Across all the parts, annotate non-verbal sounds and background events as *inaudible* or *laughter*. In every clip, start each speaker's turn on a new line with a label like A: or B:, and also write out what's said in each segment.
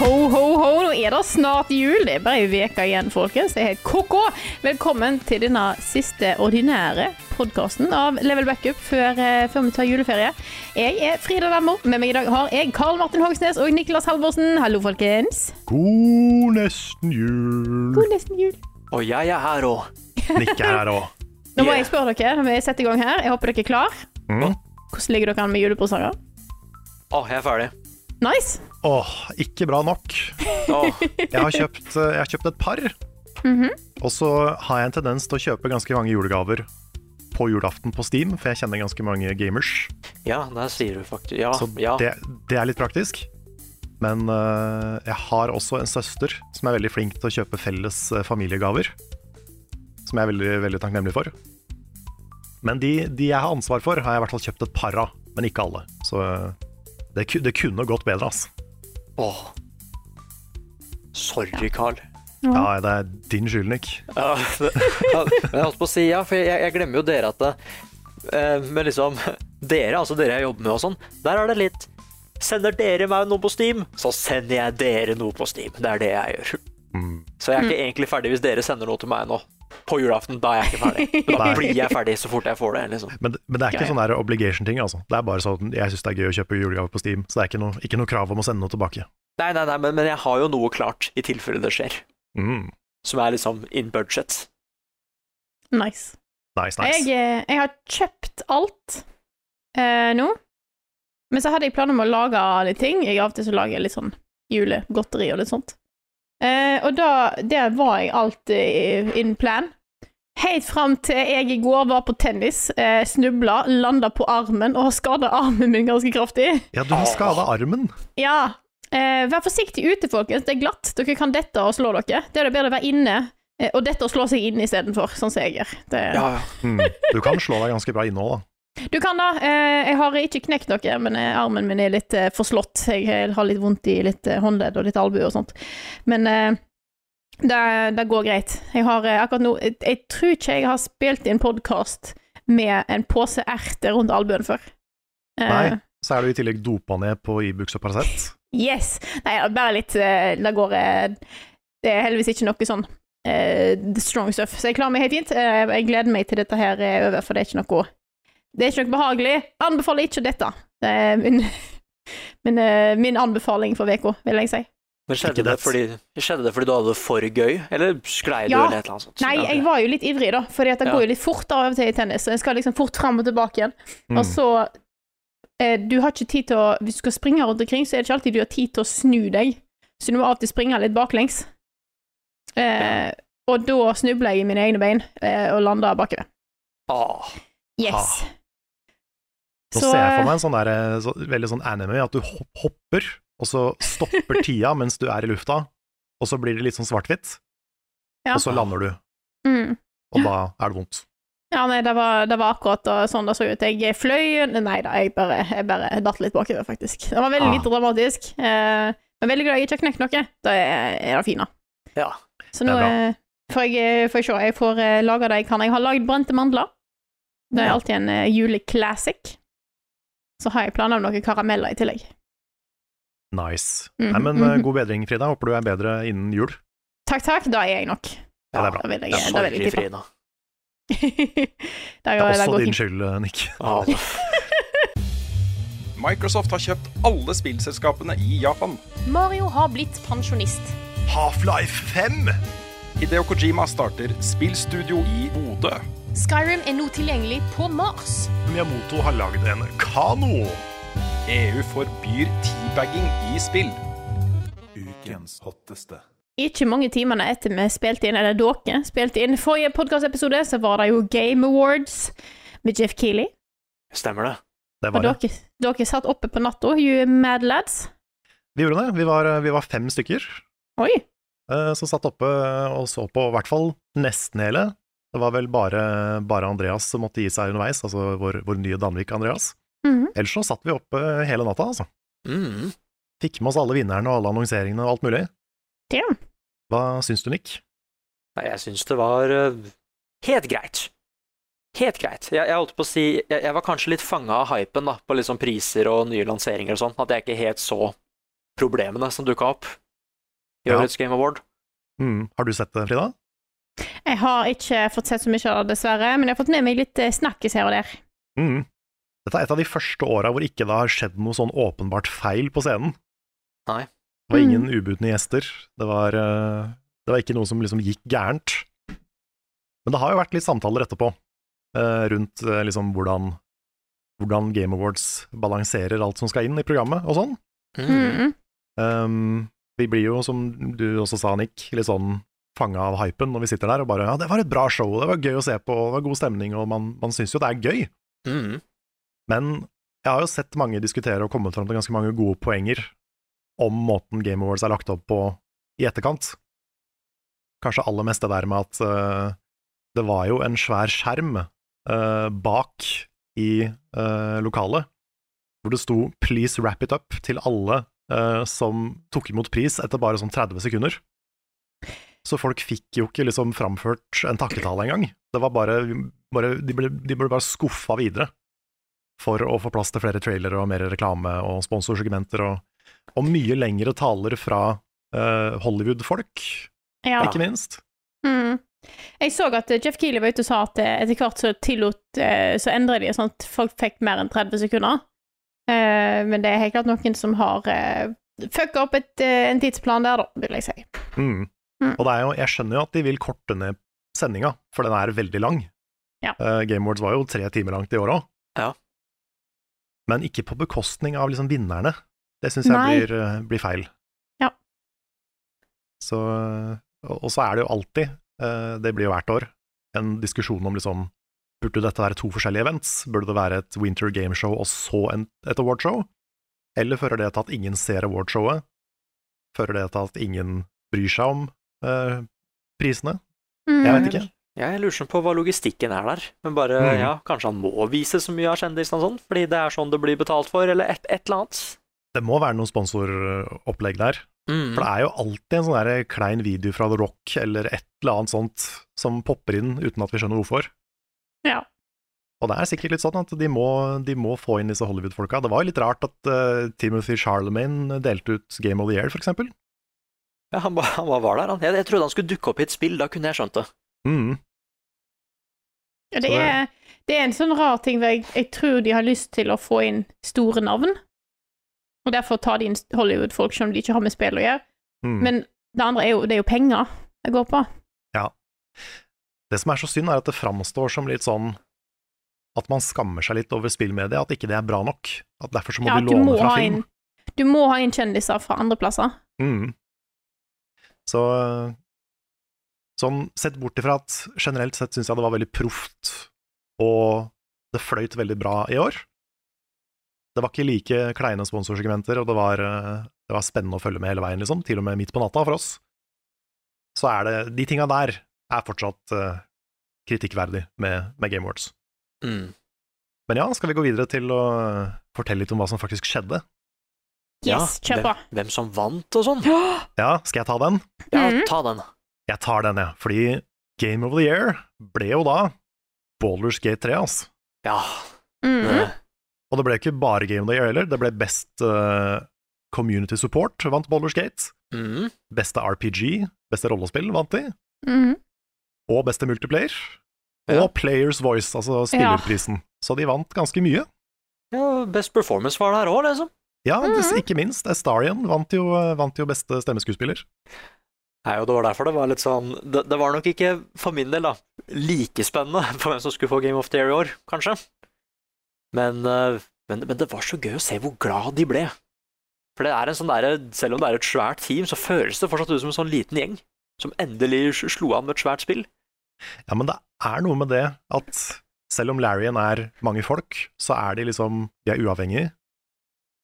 A: Ho, ho, ho, nå er det snart jul. Det er bare ei uke igjen, folkens. Det er helt ko-ko. Velkommen til denne siste ordinære podkasten av Level Backup før, eh, før vi tar juleferie. Jeg er Frida Dammo. Med meg i dag har jeg Karl Martin Hogsnes og Niklas Halvorsen. Hallo, folkens.
B: God nesten jul.
A: God nesten jul.
C: Og jeg er her òg.
B: Nikke her òg.
A: Nå må jeg spørre dere når vi setter i gang her. Jeg håper dere er klar.
B: Mm.
A: Hvordan ligger dere an med julepresanger?
C: Å, jeg er ferdig.
A: Nice.
B: Åh, ikke bra nok.
C: Åh,
B: Jeg har kjøpt, eh, jeg har kjøpt et par. Og så har jeg en tendens til å kjøpe ganske mange julegaver på julaften på Steam, for jeg kjenner ganske mange gamers.
C: ja, der sier du faktisk Ja,
B: Så
C: Ah, ja.
B: det, det er litt praktisk. Men eh, jeg har også en søster som er veldig flink til å kjøpe felles eh, familiegaver. Som jeg er veldig, veldig takknemlig for. Men de, de jeg har ansvar for, har jeg i hvert fall kjøpt et par av, men ikke alle. Så eh, det, ku- det kunne gått bedre, ass.
C: Åh. Sorry, Carl.
B: Ja, det er din skyld, Nick.
C: Ja, det, ja, men jeg holdt på å si ja, for jeg, jeg glemmer jo dere at det, eh, Men liksom Dere, altså dere jeg jobber med og sånn, der er det litt Sender dere meg noe på Steam, så sender jeg dere noe på Steam. Det er det jeg gjør. Så jeg er ikke egentlig ferdig hvis dere sender noe til meg nå. På julaften, da er jeg ikke *laughs* ferdig. Men
B: Nei.
C: da blir jeg ferdig så fort jeg får det. liksom.
B: Men, men det er ikke
A: Ja, ja.
B: sånn der obligation-ting, altså. Det er bare sånn jeg syns det er gøy å kjøpe julegaver på Steam, så det er ikke noe, ikke noe krav om å sende noe tilbake.
C: Nei, nei, nei, men, men jeg har jo noe klart i tilfelle det skjer,
B: Mm.
C: som er liksom in budget.
A: Nice.
B: Nice, nice.
A: Jeg, eh, jeg har kjøpt alt eh, nå. Men så hadde jeg planer om å lage litt ting. Jeg Av og til så lager jeg litt sånn julegodteri og litt sånt. Eh, og da Der var jeg alltid in plan. Helt fram til jeg i går var på tennis, eh, snubla, landa på armen og skada armen min ganske kraftig.
B: Ja, du har skada armen.
A: Ja. Eh, vær forsiktig ute, folkens. Det er glatt. Dere kan dette og slå dere. Det er det bedre å være inne eh, og dette og slå seg inn istedenfor, sånn som jeg gjør. Det,
C: Ja, ja.
B: Mm. Du kan slå deg ganske bra innhold, da.
A: Du kan da. Eh, jeg har ikke knekt noe, men eh, armen min er litt eh, forslått. Jeg har litt vondt i litt eh, håndledd og litt albue og sånt. Men eh, det, det går greit. Jeg har eh, akkurat nå jeg, jeg tror ikke jeg har spilt inn podkast med en pose erter rundt albuen før. Eh,
B: Nei. Så er du i tillegg dopa ned på Ibux og Paracet.
A: Yes. Nei, bare litt eh, Det går eh, Det er heldigvis ikke noe sånn eh, strong stuff, så jeg klarer meg helt fint. Eh, jeg gleder meg til dette her er over, for det er ikke noe Det er ikke noe behagelig. Anbefaler ikke dette. Det er min, *laughs* min, eh, min anbefaling for uka, vil jeg si.
C: Men skjedde
B: Ikke
C: det,
B: det.
C: fordi, skjedde det fordi du hadde det for gøy, eller sklei du
A: Ja.
C: eller et eller annet sånt?
A: Nei,
C: Ja,
A: jeg var jo litt ivrig, da, for det
C: Ja.
A: går jo litt fort av og til i tennis. Så jeg skal liksom fort fram og tilbake igjen.
B: Mm.
A: Og så eh, Du har ikke tid til å Hvis du skal springe rundt omkring, så er det ikke alltid du har tid til å snu deg. Så du må av og til springe litt baklengs. Eh, Og da snubla jeg i mine egne bein eh, og landa bakover.
C: Ah,
A: Yes.
B: Nå ser jeg for meg en sånn der, eh, så, veldig sånn anime, at du hop- hopper, og så
A: *laughs*
B: stopper tida mens du er i lufta, og så blir det litt sånn svart-hvitt,
A: Ja.
B: og så lander du,
A: mm.
B: og da er det vondt.
A: Ja, nei, det var, det var akkurat da, sånn det så ut. Jeg fløy Nei da, jeg bare, jeg bare datt litt bakover, faktisk. Det var veldig
B: Ah.
A: lite dramatisk. Eh, men veldig glad jeg ikke har knekt noe. Da er, er det fint, da.
C: Ja.
A: Så
B: Det
A: nå
B: er bra.
A: eh, får jeg, eh, får jeg se. Jeg får eh, lage det jeg kan. Jeg har lagd brente mandler. Det er
B: Ja.
A: alltid en eh, juleclassic. Så har jeg planer om noen karameller i tillegg.
B: Nice.
A: Mhm,
B: Nei, men eh,
A: mhm.
B: god bedring, Frida. Håper du er bedre innen jul.
A: Takk, takk, da er jeg nok.
B: Ja, det er bra.
A: Da vil jeg,
C: ja,
A: da vil
C: sorry,
A: jeg tippe. *laughs*
C: Frida.
A: Da
B: Det
A: går- da
B: er også
A: går
B: din
A: fint.
B: skyld, eh, Nick.
C: Ah,
D: Microsoft har kjøpt alle spillselskapene i Japan.
E: Mario har blitt pensjonist.
B: Half-Life 5!
D: Hideo Kojima starter spillstudio i Bodø.
E: Skyrim er nå tilgjengelig på Mars.
B: Miyamoto har lagd en kano.
D: EU E forbyr teabagging i spill.
F: Ukens hotteste.
A: Ikke mange timene etter vi spilte inn, eller dere spilte inn forrige podkastepisode, så var det jo Game Awards med Jeff Keeley.
C: Stemmer det.
B: Det
A: Og
B: var det.
A: dere, dere satt oppe på natta, you mad lads.
B: Vi gjorde det. Vi var, eh, vi var fem stykker
A: Oi.
B: eh, som satt oppe og så på i hvert fall nesten hele. Det var vel bare, bare Andreas som måtte gi seg underveis, altså vår, vår nye Danvik Andreas.
A: Mhm.
B: Ellers så satt vi oppe hele natta, altså.
C: Mm.
B: Fikk med oss alle vinnerne og alle annonseringene og alt mulig.
A: Damn.
B: Hva syns du, Nick?
C: Nei, Jeg syns det var eh, helt greit. Helt greit. Jeg, jeg holdt på å si Jeg, jeg var kanskje litt fanga av hypen da, på liksom priser og nye lanseringer og sånn, at jeg ikke helt så problemene som dukka opp i
B: Ja.
C: årets Game Award.
B: Mm. Har du sett det, Frida?
A: Jeg har ikke fått sett så mye av det, dessverre, men jeg har fått med meg litt eh, snakkes her og der.
B: Mm. Dette er et av de første åra hvor ikke det har skjedd noe sånn åpenbart feil på scenen.
C: Nei.
B: Det var ingen ubudne gjester. Det var, eh, det var ikke noe som liksom gikk gærent. Men det har jo vært litt samtaler etterpå eh, rundt eh, liksom hvordan, hvordan Game Awards balanserer alt som skal inn i programmet og sånn.
A: Mhm.
B: Ehm, vi blir jo, som du også sa, Nick, litt sånn fanga av hypen når vi sitter der og bare Ja, det var et bra show, det var gøy å se på, det var god stemning, og man, man syns jo det er gøy.
C: Mhm.
B: Men jeg har jo sett mange diskutere og kommet fram til ganske mange gode poenger om måten Game Awards er lagt opp på i etterkant. Kanskje aller mest det der med at eh, det var jo en svær skjerm eh, bak i eh, lokalet, hvor det sto 'Please wrap it up' til alle eh, som tok imot pris etter bare sånn 30 sekunder. Så folk fikk jo ikke liksom framført en takketale engang. Det var bare, bare De ble, de ble bare skuffa videre for å få plass til flere trailere og mer reklame og sponsorsegmenter og, og mye lengre taler fra eh, Hollywood-folk,
A: Ja.
B: ikke minst.
A: Mm. Jeg så at eh, Jeff Keeley var ute og sa at eh, etter hvert så tillot eh, Så endret de sånn at folk fikk mer enn 30 sekunder. Eh, Men det er helt klart noen som har eh, fucka opp et, eh, en tidsplan der, da, vil jeg si.
B: Mm.
A: Mm.
B: Og det er jo, jeg skjønner jo at de vil korte ned sendinga, for den er veldig lang.
A: Ja.
B: Eh, Game Awards var jo tre timer langt i år òg.
C: Ja.
B: Men ikke på bekostning av liksom vinnerne. Det syns jeg
A: Nei.
B: blir, eh, blir feil.
A: Ja.
B: Så, og og så er det jo alltid, eh, det blir jo hvert år, en diskusjon om liksom Burde dette være to forskjellige events? Burde det være et winter gameshow og så en, et awardshow? Eller fører det til at ingen ser awardshowet? Fører det til at ingen bryr seg om eh, prisene? Jeg
A: Mm.
B: vet ikke.
C: Jeg lurer sånn på hva logistikken er der. Men bare,
B: Mhm.
C: ja, Kanskje han må vise så mye av kjendisene og sånn, fordi det er sånn det blir betalt for, eller et, et eller annet.
B: Det må være noen sponsoropplegg der.
C: Mhm.
B: For det er jo alltid en sånn der klein video fra The Rock eller et eller annet sånt som popper inn uten at vi skjønner hvorfor.
A: Ja.
B: Og det er sikkert litt sånn at de må, de må få inn disse Hollywood-folka. Det var jo litt rart at eh, Timothy Charlemagne delte ut Game of the Year, for eksempel.
C: Ja, han, ba, han bare var der, han. Jeg, jeg trodde han skulle dukke opp i et spill, da kunne jeg skjønt det.
B: Mm.
A: Ja,
B: Så
A: det,
B: det-
A: er, det er en sånn rar ting hvor jeg, jeg tror de har lyst til å få inn store navn. Og derfor tar de inn Hollywood-folk som de ikke har med spill å gjøre.
B: Mm.
A: Men det andre er jo, det er jo penger det går på.
B: Det som er så synd, er at det framstår som litt sånn at man skammer seg litt over spillmediet, at ikke det er bra nok. At derfor så må
A: Ja,
B: de
A: at du
B: låne
A: må ha
B: fra film.
A: inn- Du må ha inn kjendiser fra andre plasser.
B: Mm. Så øh, sånn sett bort ifra at generelt sett syns jeg det var veldig proft, og det fløyt veldig bra i år. Det var ikke like kleine sponsorsegmenter, og det var, øh, det var spennende å følge med hele veien, liksom. Til og med midt på natta for oss. Så er det De tinga der er fortsatt øh, kritikkverdig med, med Game Awards.
C: Mm.
B: Men ja, skal vi gå videre til å fortelle litt om hva som faktisk skjedde?
A: Yes,
C: ja,
A: kjør på.
C: hvem, hvem som vant og sånn.
B: Ja, skal jeg ta den?
C: Ja,
A: Mhm.
C: ta den.
B: Jeg tar den, jeg. Fordi Game of the Year ble jo da Ballers Gate 3, altså.
C: Ja.
A: Mhm.
C: det-
B: Og det ble ikke bare Game of the Year heller. Det ble best eh, Community Support vant Ballers Gate.
C: Mhm.
B: Beste RPG, beste rollespill vant de.
A: Mhm.
B: Og beste multiplayer.
C: Ja.
B: Og Players Voice, altså spillerprisen. Så de vant ganske mye.
C: ja, best performance var der òg, liksom.
B: eh, Ja, det- ikke minst. Astarian vant jo, vant jo beste stemmeskuespiller.
C: Nei, og det var derfor det var litt sånn Det, det var nok ikke, for min del, da, like spennende *laughs* på hvem som skulle få Game of the Year i år, kanskje. Men, eh, men, men det var så gøy å se hvor glad de ble. For det er en sånn derre Selv om det er et svært team, så føles det fortsatt ut som en sånn liten gjeng som endelig sl- slo an med et svært spill.
B: Ja, men det er noe med det at selv om Larrion er mange folk, så er de liksom De er uavhengige,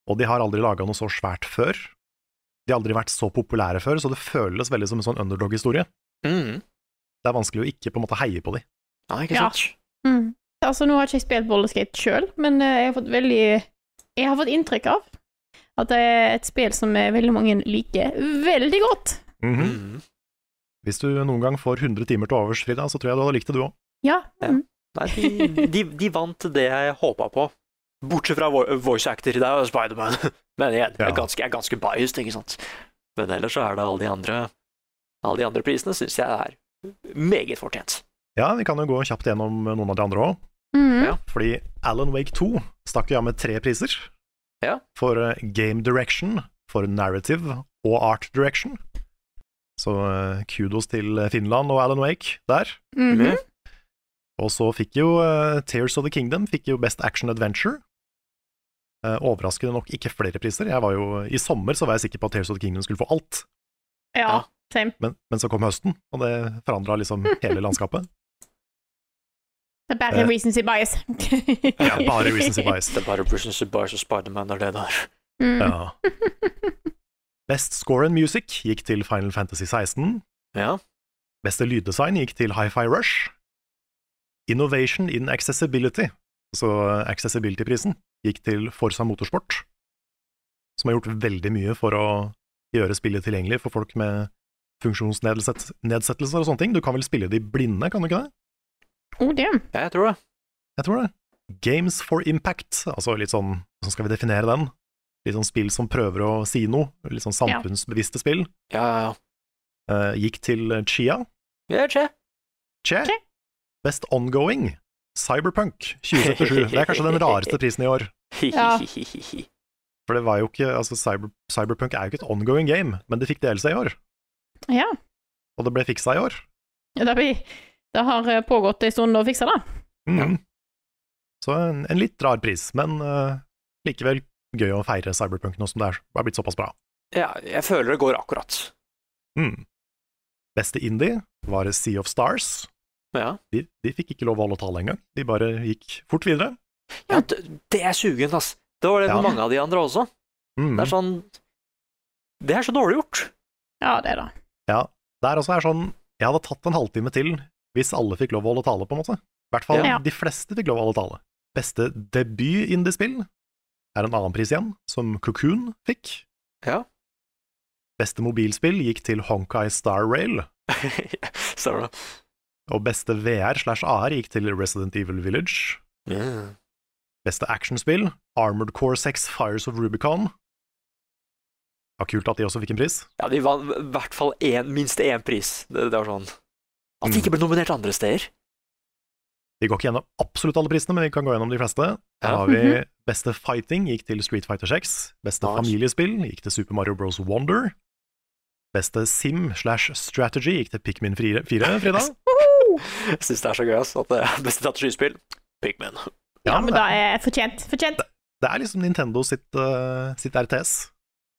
B: og de har aldri laga noe så svært før. De har aldri vært så populære før, så det føles veldig som en sånn underdog-historie. Det er vanskelig å ikke på en måte heie på de.
C: Ja,
A: Ja. Mm. Altså, nå har ikke jeg spilt Bolleskate sjøl, men eh, jeg har fått veldig Jeg har fått inntrykk av at det er et spill som eh, veldig mange liker veldig godt.
B: Mm.
C: Mhm. Mm.
B: Hvis du noen gang får 100 timer til overs, Frida, så tror jeg du hadde likt det, du òg.
A: Ja. Mm.
C: Nei, de, de, de vant det jeg håpa på. Bortsett fra vo- voice actor, det er jo Spiderman. *laughs* Men igjen, jeg er ganske, jeg er ganske biased, ikke sant. Men ellers så er det alle de andre Alle de andre prisene syns jeg er meget fortjent.
B: Ja, vi kan jo gå kjapt gjennom noen av de andre òg.
A: mm-hmm,
C: Ja.
B: Fordi Alan Wake 2 stakk jo av med tre priser.
C: Ja.
B: For eh, Game Direction, for Narrative og Art Direction. Så eh, kudos til Finland og Alan Wake der.
A: Mhm.
B: Og så fikk jo eh, Tears of the Kingdom fikk jo Best Action Adventure. Eh, overraskende nok ikke flere priser. Jeg var jo, eh, I sommer så var jeg sikker på at Tears of the Kingdom skulle få alt,
A: ja. Same.
B: men, men så kom høsten, og det forandra liksom hele landskapet.
A: Det er bare
B: Eh.
A: reasons in bias.
B: Ja, bare Reasons in Bias.
C: Det er bare Bruce and Bias og Spiderman er det der.
A: *laughs* Mm.
B: Ja. *laughs* Best score and music gikk til Final Fantasy 16.
C: Ja.
B: Beste lyddesign gikk til Hi-Fi Rush. Innovation in accessibility, altså accessibility-prisen, gikk til Forsa Motorsport, som har gjort veldig mye for å gjøre spillet tilgjengelig for folk med funksjonsnedsettelser og sånne ting. Du kan vel spille det i blinde, kan du ikke det?
A: Oh, damn.
C: Ja, jeg tror det.
B: Jeg tror det. Games for impact, altså litt sånn Hvordan skal vi definere den? Litt sånn spill som prøver å si noe, litt sånn
A: Ja.
B: samfunnsbevisste spill,
C: Ja, ja,
B: eh, gikk til Chia.
C: ja. Ja, tje.
B: Che.
A: Che.
B: Best ongoing, Cyberpunk 2077. Det er kanskje den rareste prisen i år.
A: Ja.
C: Hihihihihi.
B: For det var jo ikke, altså cyber, Cyberpunk er jo ikke et ongoing game, men det fikk DLC i år.
A: ja.
B: Og det ble fiksa i år.
A: Det, blir, det har eh, pågått en stund å fikse det.
B: Mhm. Så en, en litt rar pris, men eh, likevel gøy å feire Cyberpunk nå som det er, har blitt såpass bra.
C: *laughs* Ja, jeg føler det går akkurat.
B: Mm. Beste indie var Sea of Stars.
C: Ja.
B: De, de fikk ikke lov å holde tale engang. De bare gikk fort videre.
C: ja det, det er sugent, ass. Det var det med
B: Ja.
C: mange av de andre også.
B: Mm.
C: Det er sånn Det er så dårlig gjort.
A: Ja, det, da.
B: Ja, det er også er sånn Jeg hadde tatt en halvtime til hvis alle fikk lov å holde tale, på en måte. I hvert fall
A: Ja.
B: de fleste fikk lov å holde tale. Beste debut-indiespill er en annen pris igjen, som Cocoon fikk.
C: Ja. *laughs*
B: Beste mobilspill gikk til Honkai Star Rail,
C: Ser du det?
B: og beste VR slash AR gikk til Resident Evil Village. Beste actionspill, Armored Core 6 Fires of Rubicon. Ja, kult at de også fikk en pris.
C: Ja, de vant i hvert fall én, minst én pris. Det, det var sånn At de ikke ble nominert andre steder.
B: Vi går ikke gjennom absolutt alle prisene, men vi kan gå gjennom de fleste. Her
C: Ja.
B: har vi
A: Mhm.
B: Beste fighting gikk til Street Fighter 6. Beste
C: Nice.
B: familiespill gikk til Super Mario Bros. Wonder. Beste sim slash strategy gikk til Pikmin 4, Frida.
C: *laughs* Jeg syns det er så gøy ass, at eh, det *laughs* er beste strategispill. Pigman.
A: Ja, men det
B: det,
A: er fortjent. Fortjent.
B: det er liksom Nintendo sitt, eh, sitt RTS.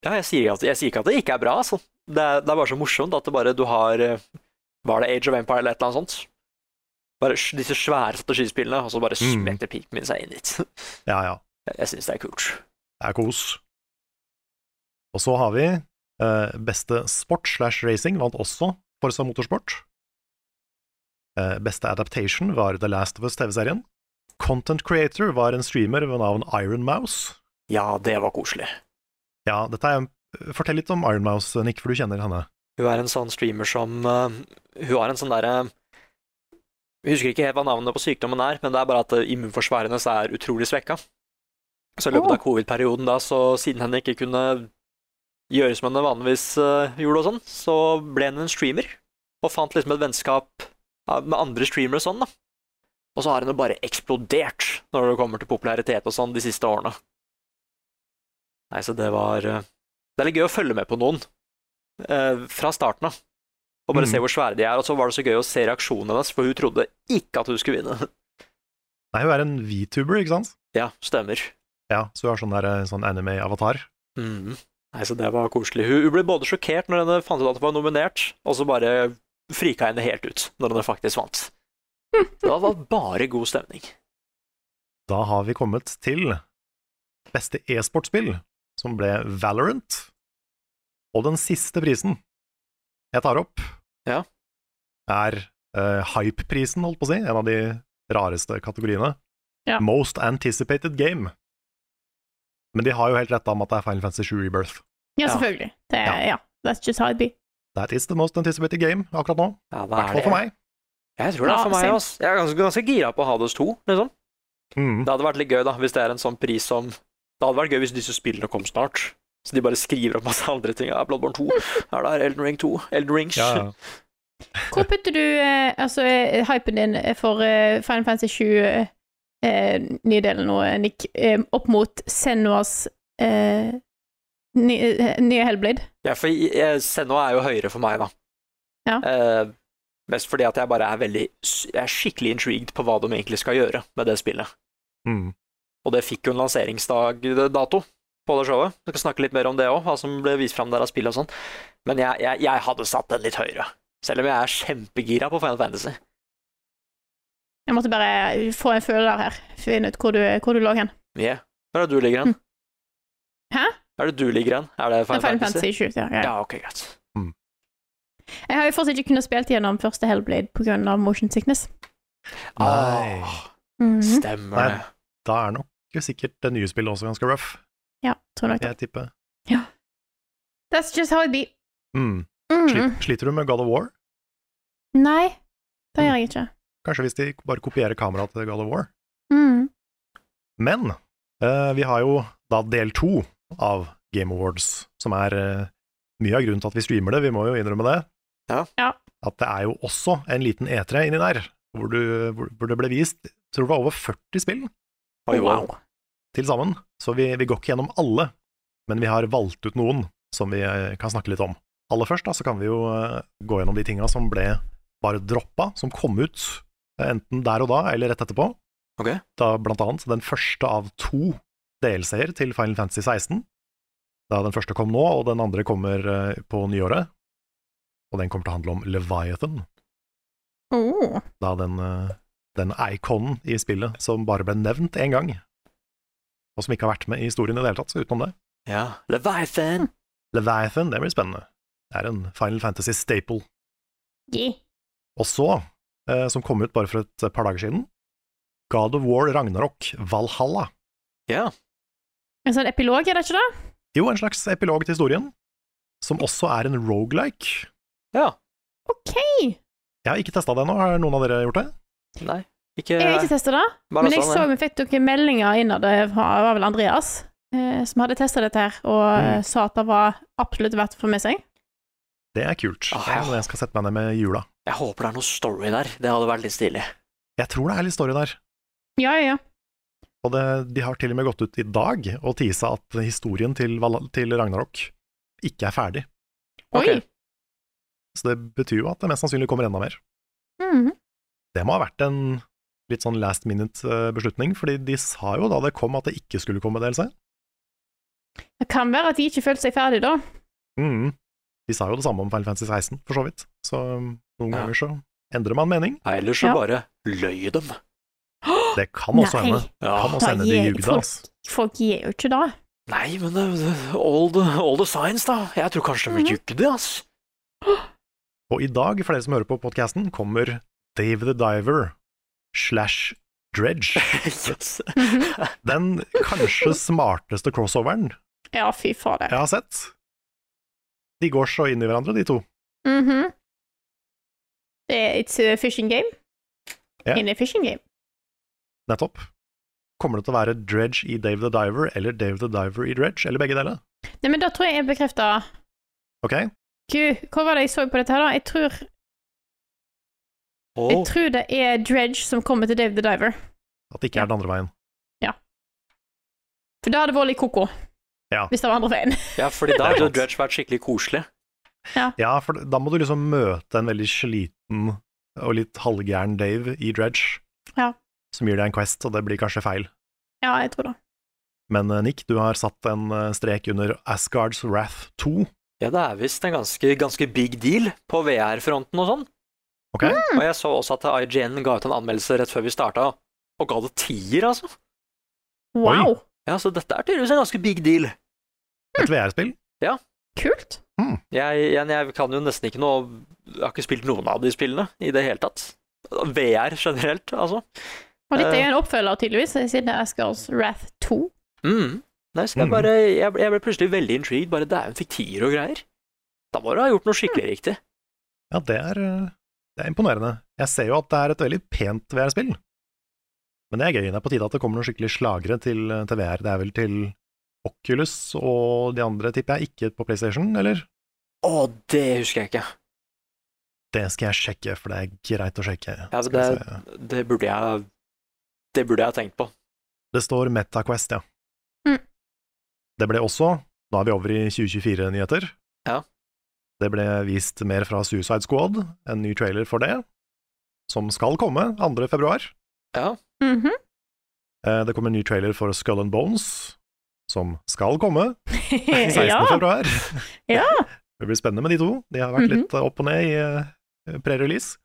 C: Ja, jeg sier, at, jeg sier ikke at det ikke er bra, altså. Det er, det er bare så morsomt at det bare du har eh, Var det Age of Empire eller et eller annet sånt? Bare s- disse svære strategispillene, og så bare
B: Mm.
C: smetter Pikmin seg inn dit.
B: Ja, ja.
C: *laughs* Jeg, jeg syns det er kult.
B: Det er kos. Og så har vi eh, Beste sport slash racing vant også Forsa Motorsport. Eh, beste adaptation var The Last of Us TV-serien. Content creator var en streamer ved navn Iron Mouse.
C: Ja, det var koselig.
B: Ja, dette er Fortell litt om Iron Mouse, Nick, for du kjenner henne.
C: Hun er en sånn streamer som eh, Hun har en sånn derre Jeg husker ikke helt hva navnet på sykdommen er, men det er bare at eh, immunforsvaret hennes er utrolig svekka. Så i løpet av covid-perioden, da, så siden henne ikke kunne gjøre som henne vanligvis eh, gjorde, og sånn, så ble hun en streamer. Og fant liksom et vennskap ja, med andre streamere og sånn, da. Og så har hun jo bare eksplodert når det kommer til popularitet og sånn de siste årene. Nei, så det var eh, Det er litt gøy å følge med på noen eh, fra starten av. Og bare se hvor svære de er. Og så var det så gøy å se reaksjonen hennes, for hun trodde ikke at hun skulle vinne. *laughs*
B: Nei, hun er en VTuber, ikke sant?
C: Ja, stemmer.
B: Ja, så hun har sånn, der, eh, sånn anime-avatar.
C: Mm. Nei, så det var koselig. Hun, hun ble både sjokkert når henne fant ut at hun var nominert, og så bare frika henne helt ut når henne faktisk vant. Det var bare god stemning.
B: Da har vi kommet til beste e-sportspill, som ble Valorant. Og den siste prisen jeg tar opp,
C: Ja.
B: er eh, Hype-prisen, holdt på å si, en av de rareste kategoriene.
A: Ja.
B: Most Anticipated Game. Men de har jo helt rett da om at det er Final Fantasy 7 Rebirth.
A: Ja, selvfølgelig. Det, er- ja. That's just how it be.
B: That is the most anticipated game akkurat nå.
C: Ja,
B: I
C: hva
B: hvert
C: er
B: fall for meg.
C: Jeg tror det
A: Ja,
C: er for meg,
A: same.
C: ass. Jeg er ganske, ganske gira på Hades 2, liksom.
B: Mm.
C: Det hadde vært litt gøy, da, hvis det er en sånn pris som Det hadde vært gøy hvis disse spillene kom snart. Så de bare skriver opp masse andre ting. Ja, Bloodborne 2, er det her Elden Ring 2, Elden Ring
B: Ja, ja.
A: Hvor putter du eh, altså, eh, hypen din for eh, Final Fantasy 20 eh, nye delen nå, eh, Nick, eh, opp mot Senuas eh, ny, eh, nye Hellblade?
C: Ja, for jeg- Senua er jo høyere for meg, da.
A: Ja.
C: Eh, mest fordi at jeg bare er veldig s- Jeg er skikkelig intrigued på hva de egentlig skal gjøre med det spillet.
B: Mm.
C: Og det fikk jo en lanseringsdag-dato på det showet. Vi skal snakke litt mer om det òg, hva som ble vist fram der av spill og sånn. Men jeg, jeg, jeg hadde satt den litt høyere. Selv om jeg er kjempegira på Final Fantasy.
A: Jeg måtte bare få en føler her. Finne ut hvor du, hvor du lå hen.
C: Yeah. Hvor er det du ligger hen?
A: Hm. Hæ?
C: Er det du ligger hen? Er det Final,
A: Final, Fantasy 20. Ja, ja.
C: Ja, ok, greit.
A: Jeg har jo fortsatt ikke kunnet spilt gjennom første Hellblade pga. motion sickness.
B: Nei.
C: Ah,
A: Mhm.
C: stemmer
B: Nei.
C: det.
B: Da er nok sikkert det nye spillet også ganske rough,
A: Ja, tror nok det.
B: jeg tipper.
A: That's just how it be.
B: Mm.
A: Mhm.
B: Slit, sliter du med God of War?
A: Nei, det gjør jeg ikke.
B: Kanskje hvis de bare kopierer kameraet til God of War?
A: Mhm.
B: Men eh, vi har jo da del to av Game Awards, som er eh, mye av grunnen til at vi streamer det, vi må jo innrømme det.
C: Ja.
A: Ja.
B: At det er jo også en liten E3 inni der, hvor, du, hvor, hvor det ble vist jeg tror det var over 40 spill
C: Oi, wow.
B: til sammen, så vi, vi går ikke gjennom alle, men vi har valgt ut noen som vi eh, kan snakke litt om. Aller først da, så kan vi jo eh, gå gjennom de tinga som ble bare droppa, som kom ut eh, enten der og da eller rett etterpå.
C: Ok.
B: Da blant annet den første av to DLC-er til Final Fantasy 16. Da den første kom nå, og den andre kommer eh, på nyåret. Og den kommer til å handle om Leviathan,
A: Oh.
B: da den, eh, den iconen i spillet som bare ble nevnt én gang, og som ikke har vært med i historien i det hele tatt, så utenom det.
C: Ja.
A: Hm.
C: Leviathan.
B: Leviathan, det blir spennende. Det er en Final Fantasy staple.
A: Yeah.
B: Og så, eh, som kom ut bare for et par dager siden, God of War Ragnarok Valhalla.
C: Ja.
A: En sånn epilog, er det ikke det?
B: Jo, en slags epilog til historien, som også er en rogelike.
C: ja.
A: OK!
B: Jeg har ikke testa det ennå, har noen av dere gjort det?
C: Nei. Ikke
A: Jeg har ikke testa det,
C: Bare
A: men jeg
C: sånn,
A: så
C: ja.
A: vi fikk noen meldinger innad, det var var vel Andreas, eh, som hadde testa dette her, og
C: Mm.
A: eh, sa at det var absolutt verdt å få med seg.
B: Det er kult.
C: Ah,
B: Det er noe jeg skal sette meg ned med i jula.
C: Jeg håper det er noe story der. Det hadde vært litt stilig.
B: Jeg tror det er litt story der.
A: Ja, ja, ja.
B: Og det, de har til og med gått ut i dag og tisa at historien til, Valhalla- til Ragnarok ikke er ferdig.
A: Oi!
C: Ok.
B: Så det betyr jo at det mest sannsynlig kommer enda mer.
A: Mhm.
B: Det må ha vært en litt sånn last minute eh, beslutning, fordi de sa jo da det kom at det ikke skulle komme DLC.
A: Det kan være at de ikke følte seg ferdig da.
B: Mhm. De sa jo det samme om Final Fantasy 16, for så vidt. Så um, noen
C: Ja.
B: ganger så endrer man mening.
C: Nei, Ellers så
A: Ja.
C: bare løy dem.
B: Det kan også
A: Nei.
B: hende. Kan også hende de
A: gir-
B: jugde,
A: folk,
B: altså.
A: folk gir jo ikke det.
C: Nei, men det, det- all, the, all the signs, da. Jeg tror kanskje de
A: Mhm.
C: jugde, ass. *laughs*
B: Og i dag, for dere som hører på podkasten, kommer Dave the Diver slash Dredge.
C: yes.
A: Mhm.
B: Den kanskje smarteste crossoveren
A: Ja, fy fader.
B: jeg har sett. De går så inn i hverandre, de to.
A: Mhm. Det er It's a fishing game.
B: Ja.
A: In a fishing game.
B: Nettopp. Kommer det til å være Dredge i Dave the Diver eller Dave the Diver i Dredge, eller begge deler?
A: Nei, men da tror jeg jeg bekrefter
B: Ok?
A: Gud, hva var det jeg så på dette her, da? Jeg tror, jeg
C: Åh,
A: tror det er Dredge som kommer til Dave the Diver.
B: At det ikke er den andre veien.
A: For da hadde det vært litt koko.
B: Ja.
A: Hvis det var andre veien.
C: Ja, fordi da
B: Det er
C: hadde jo
B: sant.
C: *laughs* Dredge vært skikkelig koselig.
A: Ja.
B: for da må du liksom møte en veldig sliten og litt halvgæren Dave i Dredge,
A: Ja.
B: som gir deg en quest, og det blir kanskje feil.
A: ja, jeg tror det.
B: Men eh, Nick, du har satt en eh, strek under Asgards Wrath 2.
C: Ja, det er visst en ganske, ganske big deal på VR-fronten og sånn.
B: Ok?
A: Mm.
C: Og jeg så også at IGN ga ut en anmeldelse rett før vi starta, og ga det tier, altså.
A: Wow!
C: Ja, Så dette er tydeligvis en ganske big deal.
B: Et VR-spill.
A: Kult!
C: Jeg, jeg, jeg kan jo nesten ikke noe Jeg har ikke spilt noen av de spillene i det hele tatt. VR generelt, altså.
A: Og dette
C: Eh.
A: er en oppfølger, tydeligvis, siden det er Asgards Wrath 2.
C: Mm. Nei, så jeg,
B: Mm.
C: bare, jeg, ble- jeg ble plutselig veldig intrigued. Bare det er jo en fiktier og greier. Da må du ha gjort noe skikkelig riktig.
B: Ja, det er, eh, det er imponerende. Jeg ser jo at det er et veldig pent VR-spill. Men det er gøy. Det er på tide at det kommer noen skikkelig slagere til, til VR. Det er vel til Oculus og de andre, tipper jeg. Ikke på PlayStation, eller?
C: Å, det husker jeg ikke.
B: Det skal jeg sjekke, for det er greit å sjekke.
C: Ja, men
B: Skal vi se.
C: Det burde jeg Det burde jeg ha tenkt på.
B: Det står MetaQuest, ja.
A: Mm.
B: Det ble også, da er vi over i 2024-nyheter,
C: Ja.
B: det ble vist mer fra Suicide Squad, en ny trailer for det, som skal komme 2. februar.
C: Ja.
A: *laughs* Mhm.
B: Eh, Det kommer en ny trailer for Skull and Bones, som
A: *laughs*
B: skal komme 16.
A: ja!
B: februar.
A: *laughs* Ja.
B: *laughs* Det blir spennende med de to. De har vært
A: Mhm.
B: litt eh, opp og ned i eh, pre-release.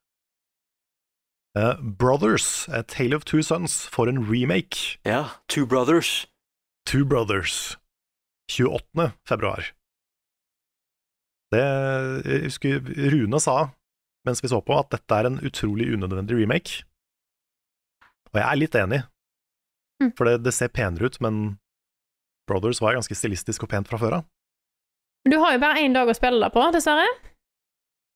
B: Eh, Brothers, A Tale of Two Sons, får en remake.
C: Ja. Two Brothers.
B: Two Brothers 28. februar. Det jeg husker Rune sa mens vi så på, at dette er en utrolig unødvendig remake. Og jeg er litt enig,
A: Mm.
B: for det, det ser penere ut, men Brothers var ganske stilistisk og pent fra før av.
A: Du har jo bare én dag å spille det på, dessverre.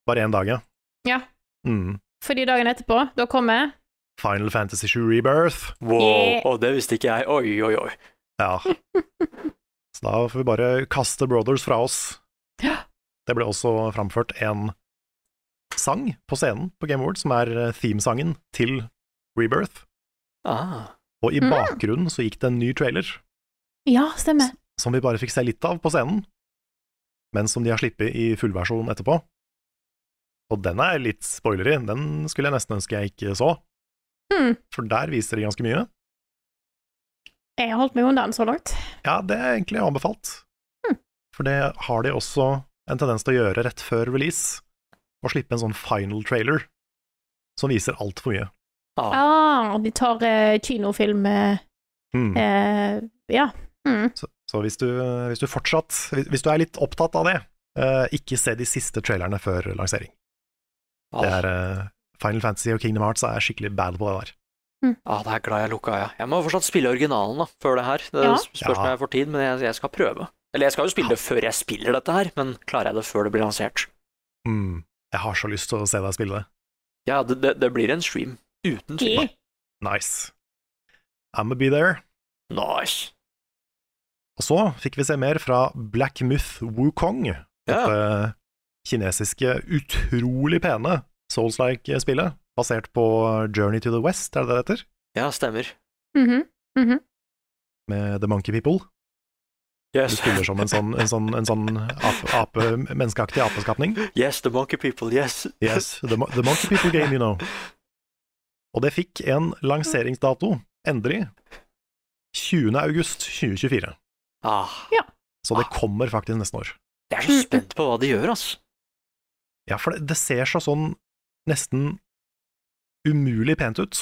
B: Bare én dag, ja.
A: Ja.
B: Mm.
A: Fordi dagen etterpå, da kommer
B: Final Fantasy 7 Rebirth.
C: Wow.
A: Yeah.
C: Å, det visste ikke jeg. Oi, oi, oi.
B: Ja. Så da får vi bare kaste Brothers fra oss.
A: Ja.
B: Det ble også framført en sang på scenen på Game Award, som er eh, themesangen til Rebirth.
C: Ah.
B: Og i
A: Mm.
B: bakgrunnen så gikk det en ny trailer,
A: Ja, stemmer.
B: som vi bare fikk se litt av på scenen, men som de har slippet i fullversjon etterpå. Og den er litt spoilery, den skulle jeg nesten ønske jeg ikke så,
A: Mm.
B: for der viser de ganske mye.
A: Jeg har holdt meg unna den så langt.
B: Ja, det er egentlig anbefalt.
A: Hmm.
B: For det har de også en tendens til å gjøre rett før release, å slippe en sånn final trailer som viser altfor mye.
C: Ah.
A: Ah, de tar eh, kinofilm eh,
B: Hmm.
A: eh, Ja. Mm.
B: Så, så hvis, du, hvis du fortsatt hvis, hvis du er litt opptatt av det, eh, ikke se de siste trailerne før lansering.
C: Ah.
B: Det er eh, Final Fantasy og Kingdom Hearts er skikkelig bad på det der.
C: ah, det er glad jeg lukka, ja. Jeg må fortsatt spille originalen da, før det her. Det
A: Ja.
C: spørs om jeg får tid, men jeg, jeg skal prøve. Eller jeg skal jo spille det før jeg spiller dette her, men klarer jeg det før det blir lansert?
B: Hmm. Jeg har så lyst til å se deg spille det.
C: Ja, det, det, det blir en stream. Uten tvil.
A: Yeah.
B: Nice. I'ma be there.
C: Nice.
B: Og så fikk vi se mer fra Black Myth Wukong.
C: Ja.
B: dette kinesiske, utrolig pene Souls-like-spillet, basert på Journey to the West, er det det heter?
C: ja, stemmer.
A: Mhm. Mhm.
B: Med The Monkey People. Du *laughs*
C: Yes.
B: spiller som en sånn, en sånn, en sånn ape, ape, menneskeaktig apeskapning.
C: yes, the monkey people, yes.
B: Yes, the, Mo- the Monkey People Game, you know. Og det fikk en lanseringsdato, endelig, 20. august 2024.
C: Ah,
B: Så det kommer faktisk neste år.
C: jeg er så spent på hva de gjør, altså.
B: Ja, for det, det ser så sånn nesten umulig pent ut.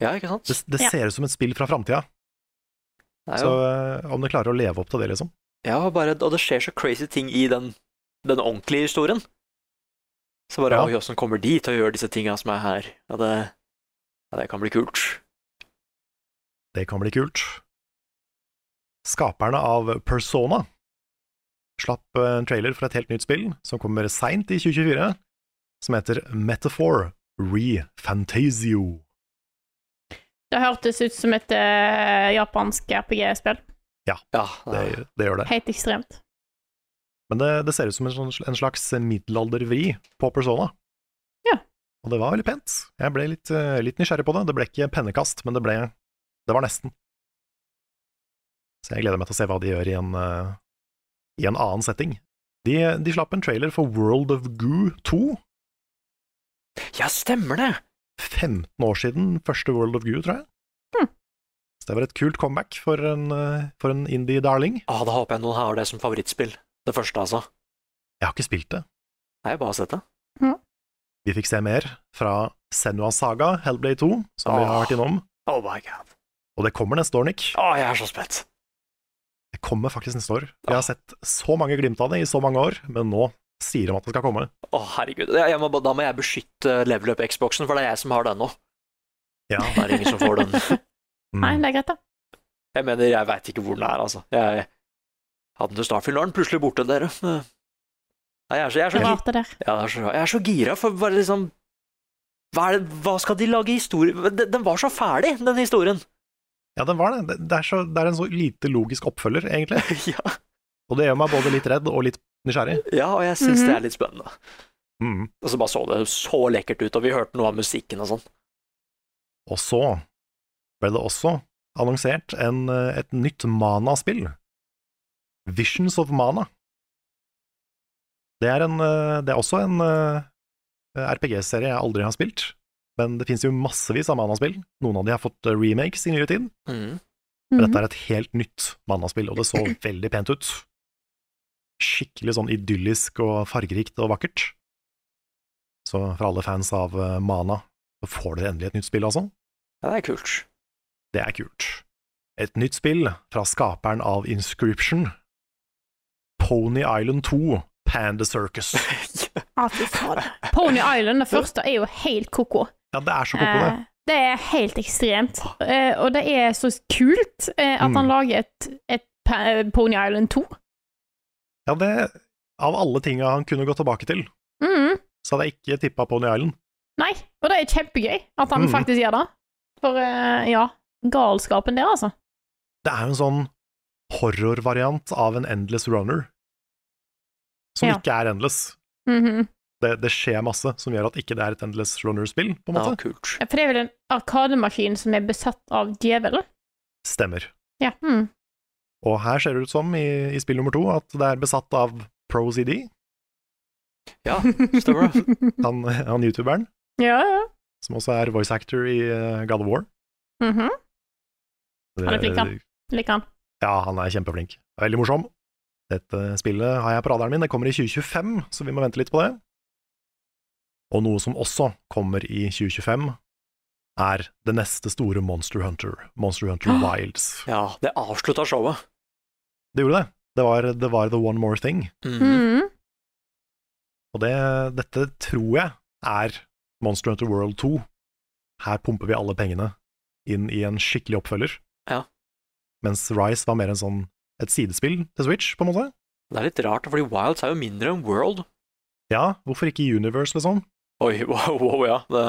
C: Ja, ikke sant?
B: Det, det
A: Ja.
B: ser ut som et spill fra framtida.
C: Det er
B: Så
C: jo,
B: eh, om du klarer å leve opp til det, liksom.
C: ja, bare, og det skjer så crazy ting i den, den ordentlige historien. Så bare,
B: Ja.
C: oi, åssen kommer de til å gjøre disse tinga som er her? Ja, det, ja, det kan bli kult.
B: Det kan bli kult. Skaperne av Persona slapp eh, en trailer for et helt nytt spill som kommer seint i 2024, som heter Metaphor Refantasio.
A: Det hørtes ut som et eh, japansk RPG-spill.
C: Ja,
B: Det, det gjør det.
A: Helt ekstremt.
B: Men det, det ser ut som en, sånn- en slags middelaldervri på Persona.
A: Ja.
B: Og det var veldig pent. Jeg ble litt, eh, litt nysgjerrig på det. Det ble ikke pennekast, men det ble Det var nesten. Så jeg gleder meg til å se hva de gjør i en, eh, i en annen setting De, de slapp en trailer for World of Goo 2.
C: Ja, stemmer det!
B: 15 år siden første World of Goo, tror jeg. Så det var et kult comeback for en, eh, for en indie-darling.
C: Ah, da håper jeg noen har det som favorittspill. Det første, altså.
B: Jeg har ikke spilt det.
C: Nei, bare sett det.
B: Vi fikk se mer fra Senua Saga, Hellblade 2, som vi har vært innom.
C: Oh my god.
B: Og det kommer neste år, Nick.
C: Å, jeg er så spent.
B: Det kommer faktisk neste år. Jeg har sett så mange glimt av det i så mange år, men nå sier de at det skal komme.
C: Å, herregud. Jeg, jeg må, ba- da må jeg beskytte level up-Xboxen, for det er jeg som har den nå.
B: Ja.
C: Det er ingen som får den. *laughs*
B: Mm.
A: Nei, det er greit, da.
C: Jeg mener, jeg veit ikke hvor den er, altså. Jeg hadde den til Starfield, nå er den plutselig borte, dere. Nei, jeg er så, jeg er
A: Det
C: så, gi-
A: rart, det der.
C: Ja, det er så, jeg er så gira for bare liksom hva, er det, hva skal de lage historie Den, den var så ferdig, den historien. *laughs*
B: Ja, den var det. Det- Det er, så, det er en så lite logisk oppfølger, egentlig.
C: ja.
B: Og det gjør meg både litt redd og litt nysgjerrig.
C: ja, og jeg syns det
A: Mhm.
C: er litt spennende.
B: Mm.
C: Og så bare så det så lekkert ut, og vi hørte noe av musikken og sånn.
B: Og så ble det også annonsert en, eh, et nytt Mana-spill. Visions of Mana. Det er, en, eh, det er også en eh, RPG-serie jeg aldri har spilt, men det finnes jo massevis av Mana-spill. Noen av de har fått eh, remakes i nyere tid.
C: Mhm.
B: Men dette er et helt nytt mannaspill, og det så veldig pent ut. Skikkelig sånn idyllisk og fargerikt og vakkert. Så for alle fans av eh, Mana, så får dere endelig et nytt spill, altså.
C: Ja, det er kult.
B: Det er kult. Et nytt spill fra skaperen av Inscription. Pony Island 2, Panda Circus.
A: Ah, fy faen. Pony Island, det første, er jo helt ko-ko.
B: Ja, det er så koko, det.
A: Eh, det er helt ekstremt. Eh, og det er så kult eh, at han
B: Mm.
A: lager et, et pa- Pony Island 2.
B: Ja, det Av alle tinga han kunne gå tilbake til,
A: Mm.
B: så hadde jeg ikke tippa Pony Island.
A: Nei, og det er kjempegøy at han
B: Mm.
A: faktisk gjør det. For eh, ja, galskapen der, altså.
B: Det er jo en sånn horrorvariant av en endless runner. Som
A: Ja.
B: ikke er endless.
A: Mhm.
B: Det, det skjer masse som gjør at ikke det er et endless runner-spill, på en
C: Ja,
B: måte.
C: kult.
A: For det er vel en arkademaskin som er besatt av djevelen?
B: Stemmer.
A: Ja. Mm.
B: Og her ser det ut som, i, i spill nummer to, at det er besatt av ProZD,
A: *laughs*
C: Ja, stemmer det.
B: han, han youtuberen,
A: ja, ja.
B: som også er voice actor i eh, God of War.
A: Mhm. Han er
B: Det-
A: flink, han. Liker han.
B: Ja, han er kjempeflink. Veldig morsom. Dette spillet har jeg på radaren min. Det kommer i 2025, så vi må vente litt på det. Og noe som også kommer i 2025, er det neste store Monster Hunter, Monster Hunter
A: Ah.
B: Wilds.
C: *laughs* Ja, det avslutta showet.
B: Det gjorde det. Det var, det var The One More Thing.
C: Mhm.
A: Mhm.
B: Og det, dette tror jeg er Monster Hunter World 2. Her pumper vi alle pengene inn i en skikkelig oppfølger.
C: Ja.
B: Mens Rise var mer en sånn et sidespill til Switch, på en måte.
C: Det er litt rart, fordi Wilds er jo mindre enn World.
B: Ja, hvorfor ikke Universe, liksom?
C: Oi, *laughs* wow, wow ja. Det,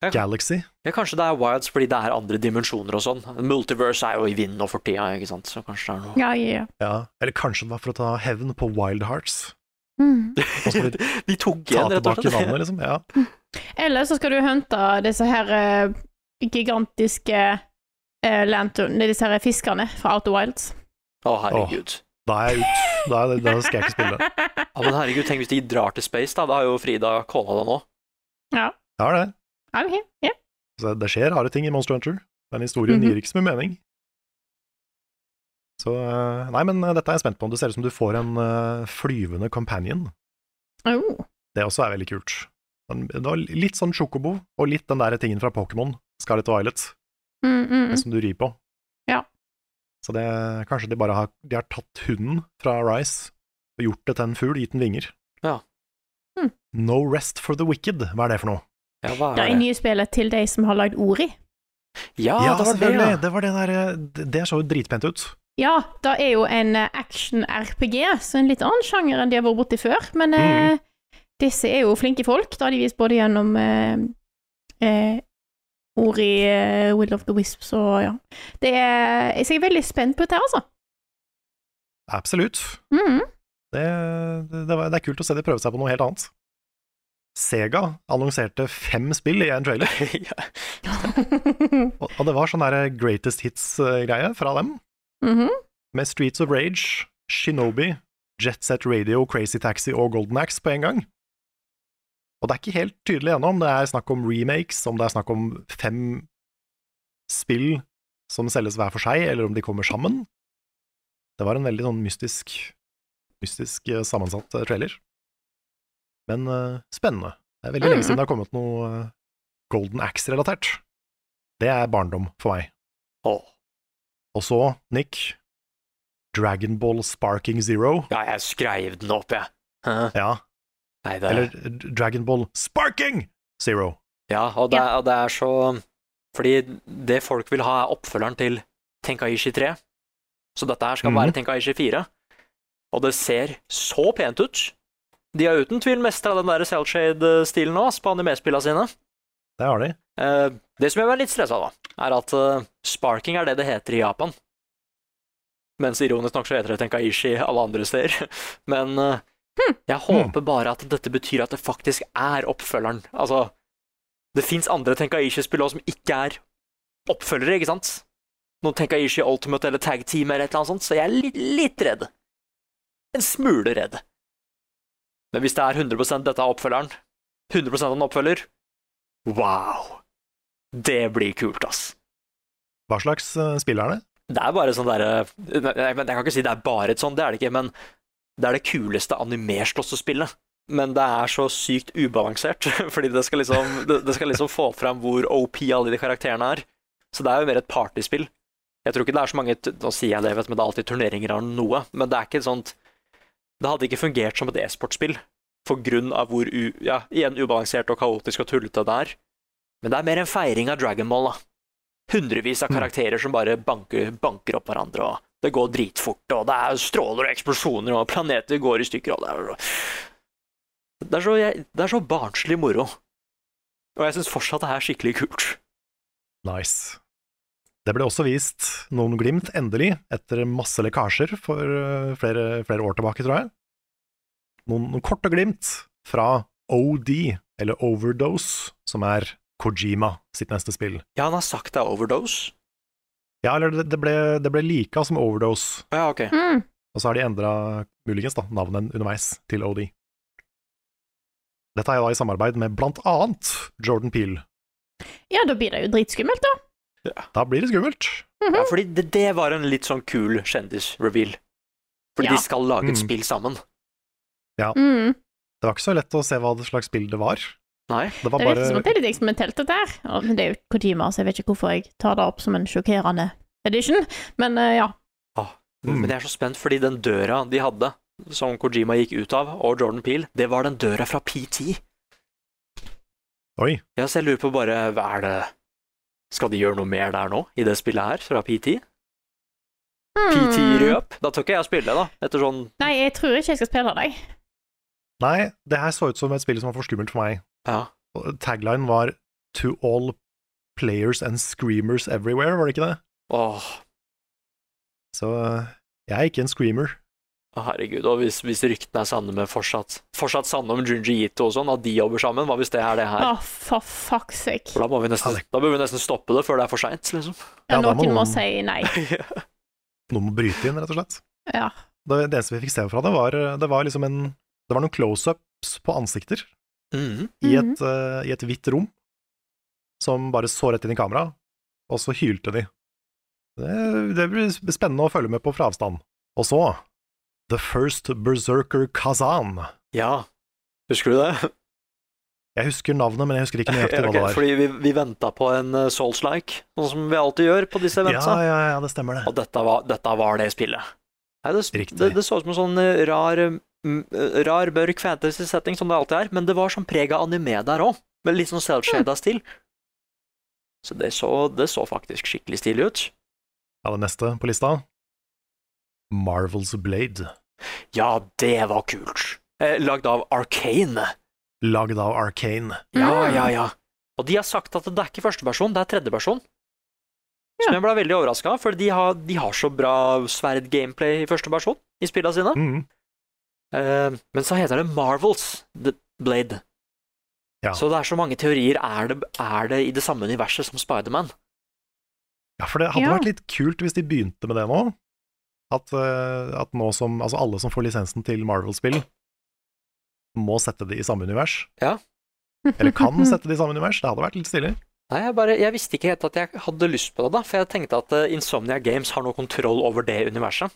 C: Ja.
B: Galaxy.
C: ja, kanskje det er Wilds fordi det er andre dimensjoner og sånn. Multiverse er jo i vinden nå for tida, ikke sant, så kanskje det er noe
A: Ja, ja, ja.
B: Ja. Eller kanskje det var for å ta hevn på Wild Hearts.
A: Mhm.
B: Og så ta
C: *laughs* De tok igjen, rett og
B: tilbake
C: slett.
B: navnet, liksom. Ja.
A: Eller så skal du hente disse her eh, gigantiske uh, lantern, nei, disse her fiskene fra Outer Wilds.
C: Å, herregud.
B: Da er jeg ut. Da, er- da skal jeg ikke
C: *laughs*
B: spille.
A: *laughs*
C: Ja, men herregud, tenk hvis de drar til space, da. Da har jo Frida kona det nå.
B: Ja, det. er det.
A: Ja, ok, ja.
B: Så Altså, det skjer rare ting i Monster Hunter. Den historien
A: Mhm.
B: gir ikke så mye mening. Så eh, Nei, men eh, dette er jeg spent på. Det ser ut som du får en eh, flyvende companion.
A: Oh.
B: Det også er veldig kult. Den, det var litt sånn sjokobo, og litt den der tingen fra Pokémon, Scarlet Violet,
A: Mm, mm,
B: den
A: mm.
B: som du rir på.
A: Ja.
B: Så det kanskje de bare har De har tatt hunden fra Rice og gjort det til en fugl, gitt den vinger.
C: Ja.
A: Hmm.
B: No rest for the wicked, hva er det for noe?
C: Ja, hva
A: Det
C: er
A: er
C: det?
A: nye spillet til de som har lagd ord i.
C: Ja,
B: ja,
C: Ah, det var det,
B: selvfølgelig!
C: ja.
B: Det var det der eh, Det, det så jo dritpent ut.
A: Ja, det er jo en eh, action-RPG, så en litt annen sjanger enn de har vært borti før. Men eh, disse er jo flinke folk. Det har de vist både gjennom eh, eh, ord i eh, Will of the Wisps og ja. Det er, jeg er veldig spent på dette, her, altså.
B: Absolutt.
A: Mm.
B: Det, det, det, var, det er kult å se de prøve seg på noe helt annet. Sega annonserte fem spill i en trailer,
C: *laughs* ja.
B: og, og det var sånn der Greatest Hits-greie fra dem,
A: Mhm.
B: med Streets of Rage, Shinobi, Jet Set Radio, Crazy Taxi og Golden Axe på en gang. Og det er ikke helt tydelig ennå om det er snakk om remakes, om det er snakk om fem spill som selges hver for seg, eller om de kommer sammen. Det var en veldig sånn mystisk, mystisk eh, sammensatt eh, trailer. Men eh, spennende. Det er veldig lenge
A: Mm.
B: siden det har kommet noe eh, Golden Axe-relatert. Det er barndom for meg.
C: Åh.
B: Og så, Nick, Dragonball Sparking Zero.
C: Ja, jeg skreiv den opp, jeg. Hæ?
B: Ja,
C: Nei, det
B: eller Dragonball Sparking Zero.
C: Ja, og det, og det er så Fordi det folk vil ha, er oppfølgeren til Tenkaishi 3. Så dette her skal
B: Mhm.
C: være Tenkaishi 4. Og det ser så pent ut. De har uten tvil mestra den der Selshade-stilen nå, ass, på animespillene sine.
B: Det har de.
C: Eh, det som gjør meg litt stressa, da, er at eh, sparking er det det heter i Japan. Mens ironisk nok så heter det tenkaishi alle andre steder. *laughs* Men eh, jeg håper bare at dette betyr at det faktisk er oppfølgeren. Altså, det fins andre tenkaishi-spill også som ikke er oppfølgere, ikke sant? Noen tenkaishi Ultimate eller Tag Team eller et eller annet sånt, så jeg er litt, litt redd. En smule redd. Men hvis det er 100 dette er oppfølgeren, 100 av en oppfølger, wow! Det blir kult, ass.
B: Hva slags eh, spill er det?
C: Det er bare sånn derre Nei, men jeg kan ikke si det er bare et sånt, det er det ikke, men det er det kuleste animerslåssespillet. Men det er så sykt ubalansert, *laughs* fordi det skal liksom, det, det skal liksom få fram hvor OP alle de karakterene er. Så det er jo mer et partyspill. Jeg tror ikke det er så mange t- Nå sier jeg det, vet, du, men det er alltid turneringer eller noe, men det er ikke et sånt Det hadde ikke fungert som et e-sportspill på grunn av hvor u, ja, igjen ubalansert og kaotisk og tullete det er. Men det er mer en feiring av Dragonball, da hundrevis av
B: Mm.
C: karakterer som bare banker, banker opp hverandre, og det går dritfort, og det er stråler og eksplosjoner, og planeter går i stykker, og det er Det er så, jeg, det er så barnslig moro. Og jeg syns fortsatt det er skikkelig kult.
B: Nice. Det ble også vist noen glimt, endelig, etter masse lekkasjer for eh, flere, flere år tilbake, tror jeg. Noen, noen korte glimt fra OD, eller Overdose, som er Kojima sitt neste spill.
C: Ja, han har sagt det er overdose.
B: Ja, eller det, det ble, det ble lika som Overdose,
C: Å ja, ok.
A: Mm.
B: og så har de endra, muligens, da, navnet underveis til OD. Dette er da i samarbeid med blant annet Jordan Peel.
A: Ja, da blir det jo dritskummelt, da.
B: Da blir det skummelt.
C: Ja, fordi det, det var en litt sånn kul kjendis-reveal. Fordi
A: Ja.
C: de skal lage et
B: Mm.
C: spill sammen.
A: Mm.
B: Det var ikke så lett å se hva slags spill det var.
C: Nei.
B: Det var
A: Det virker som
B: bare
A: at det er litt eksperimentelt, dette her. Ja, Men det er jo Kojima, så jeg vet ikke hvorfor jeg tar det opp som en sjokkerende edition, men eh, ja.
B: Mm.
C: Men jeg er så spent, fordi den døra de hadde, som Kojima gikk ut av, og Jordan Peel, det var den døra fra PT.
B: Oi.
C: Ja, så jeg lurer på bare, hva er det Skal de gjøre noe mer der nå, i det spillet her, fra PT? PT røp? Da tør ikke jeg å spille, da, etter sånn
A: Hmm. Nei, jeg tror ikke jeg skal spille deg.
B: Nei, det her så ut som et spill som var for skummelt for meg.
C: Ja.
B: Og Tagline var 'To all players and screamers everywhere', var det ikke det?
C: Åh,
B: Så eh, jeg er ikke en screamer.
C: herregud. Og hvis, hvis ryktene er sanne med fortsatt Fortsatt sanne om Junji Ito og sånn, at de jobber sammen, hva hvis det er det
A: Å,
C: her?
A: for fuck's sake.
C: For da, må vi nesten,
B: Ja, det-
C: da bør vi nesten stoppe det før det er for seint,
B: *laughs*
C: liksom.
B: Ja,
A: Ja,
B: da må
A: noen må
B: noen-
A: si nei.
B: Noen må bryte inn, rett og slett.
A: Ja.
B: Det, det eneste vi fikk se fra det, var, det var liksom en Det var noen close-ups på ansikter
C: Mhm.
B: i et, eh, i et hvitt rom, som bare så rett inn i kamera, og så hylte de. Det, det blir spennende å følge med på fra avstand. Og så The First Berserker Kazan.
C: Ja. Husker du det?
B: Jeg husker navnet, men jeg husker ikke
C: *laughs*
B: nøyaktig hva
C: Ok,
B: det var.
C: Fordi vi, vi venta på en eh, Souls-like, sånn som vi alltid gjør på disse
B: Ja,
C: eventsa.
B: ja, ja, det stemmer det.
C: Og dette var, dette var det spillet. Nei, det,
B: Riktig.
C: det, det så ut som en sånn eh, rar, eh, m- eh, rar mørk fantasy-setting, som det alltid er, men det var sånn preg av anime der òg, med litt sånn selvshada stil. Så det, så det så faktisk skikkelig stilig ut.
B: Ja, det neste på lista. Marvels Blade,
C: Ja, det var kult. Eh, lagd av Arcane.
B: lagd av Arcane.
C: Ja,
A: Mm.
C: ja, ja. Og de har sagt at det er ikke førsteperson, det er tredjeperson. Som jeg ble veldig overraska, for de har, de har så bra sverd-gameplay i førsteperson i spillene sine.
B: Mm.
C: Eh, men så heter det Marvels The Blade.
B: Ja.
C: Så det er så mange teorier. Er det, er det i det samme universet som Spiderman?
B: Ja, for det hadde
A: Ja.
B: vært litt kult hvis de begynte med det nå. at, eh, at nå som altså alle som får lisensen til Marvel-spill, må sette det i samme univers.
C: Ja.
B: Eller kan sette det i samme univers. Det hadde vært litt stilig.
C: Nei, jeg, bare, jeg visste ikke helt at jeg hadde lyst på det, da, for jeg tenkte at eh, Insomnia Games har noe kontroll over det universet.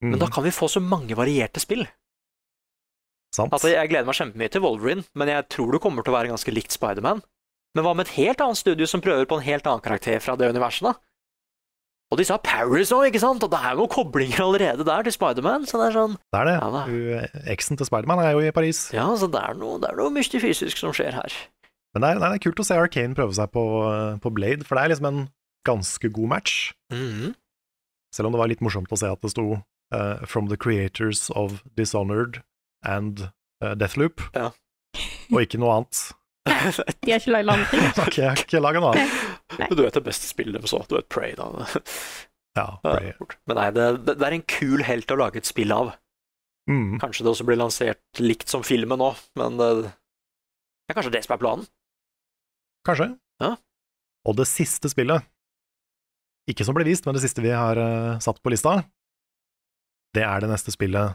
C: Men
B: Mm, Mhm.
C: da kan vi få så mange varierte spill.
B: Sant.
C: Altså, Jeg gleder meg kjempemye til Wolverine, men jeg tror det kommer til å være ganske likt Spiderman. Men hva med et helt annet studio som prøver på en helt annen karakter fra det universet, da? Og de sa Paris òg, ikke sant? Og det er jo noen koblinger allerede der til Spiderman, så det er sånn
B: Det er det.
C: Ja da.
B: Du, Eksen til Spiderman er jo i Paris.
C: Ja, så det er noe, det er noe mystifysisk som skjer her.
B: Men det er, nei, det er kult å se Arkane prøve seg på, på Blade, for det er liksom en ganske god match.
C: *laughs* Mhm.
B: Selv om det var litt morsomt å se at det sto eh, 'From the creators of Dishonored and eh, Deathloop',
C: Ja.
B: og ikke noe annet.
A: De har ikke lagd andre ting.
B: Ok, jeg har ikke laga noe annet.
C: Men Du vet det beste spillet, så du vet Prey, da. *laughs*
B: Ja, Prey.
C: Men nei, det, det det er en kul helt å lage et spill av.
B: Mm.
C: Kanskje det også blir lansert likt som filmen nå, men eh, det er kanskje det som er planen.
B: Kanskje.
C: Ja.
B: Og det siste spillet, ikke som ble vist, men det siste vi har eh, satt på lista, det er det neste spillet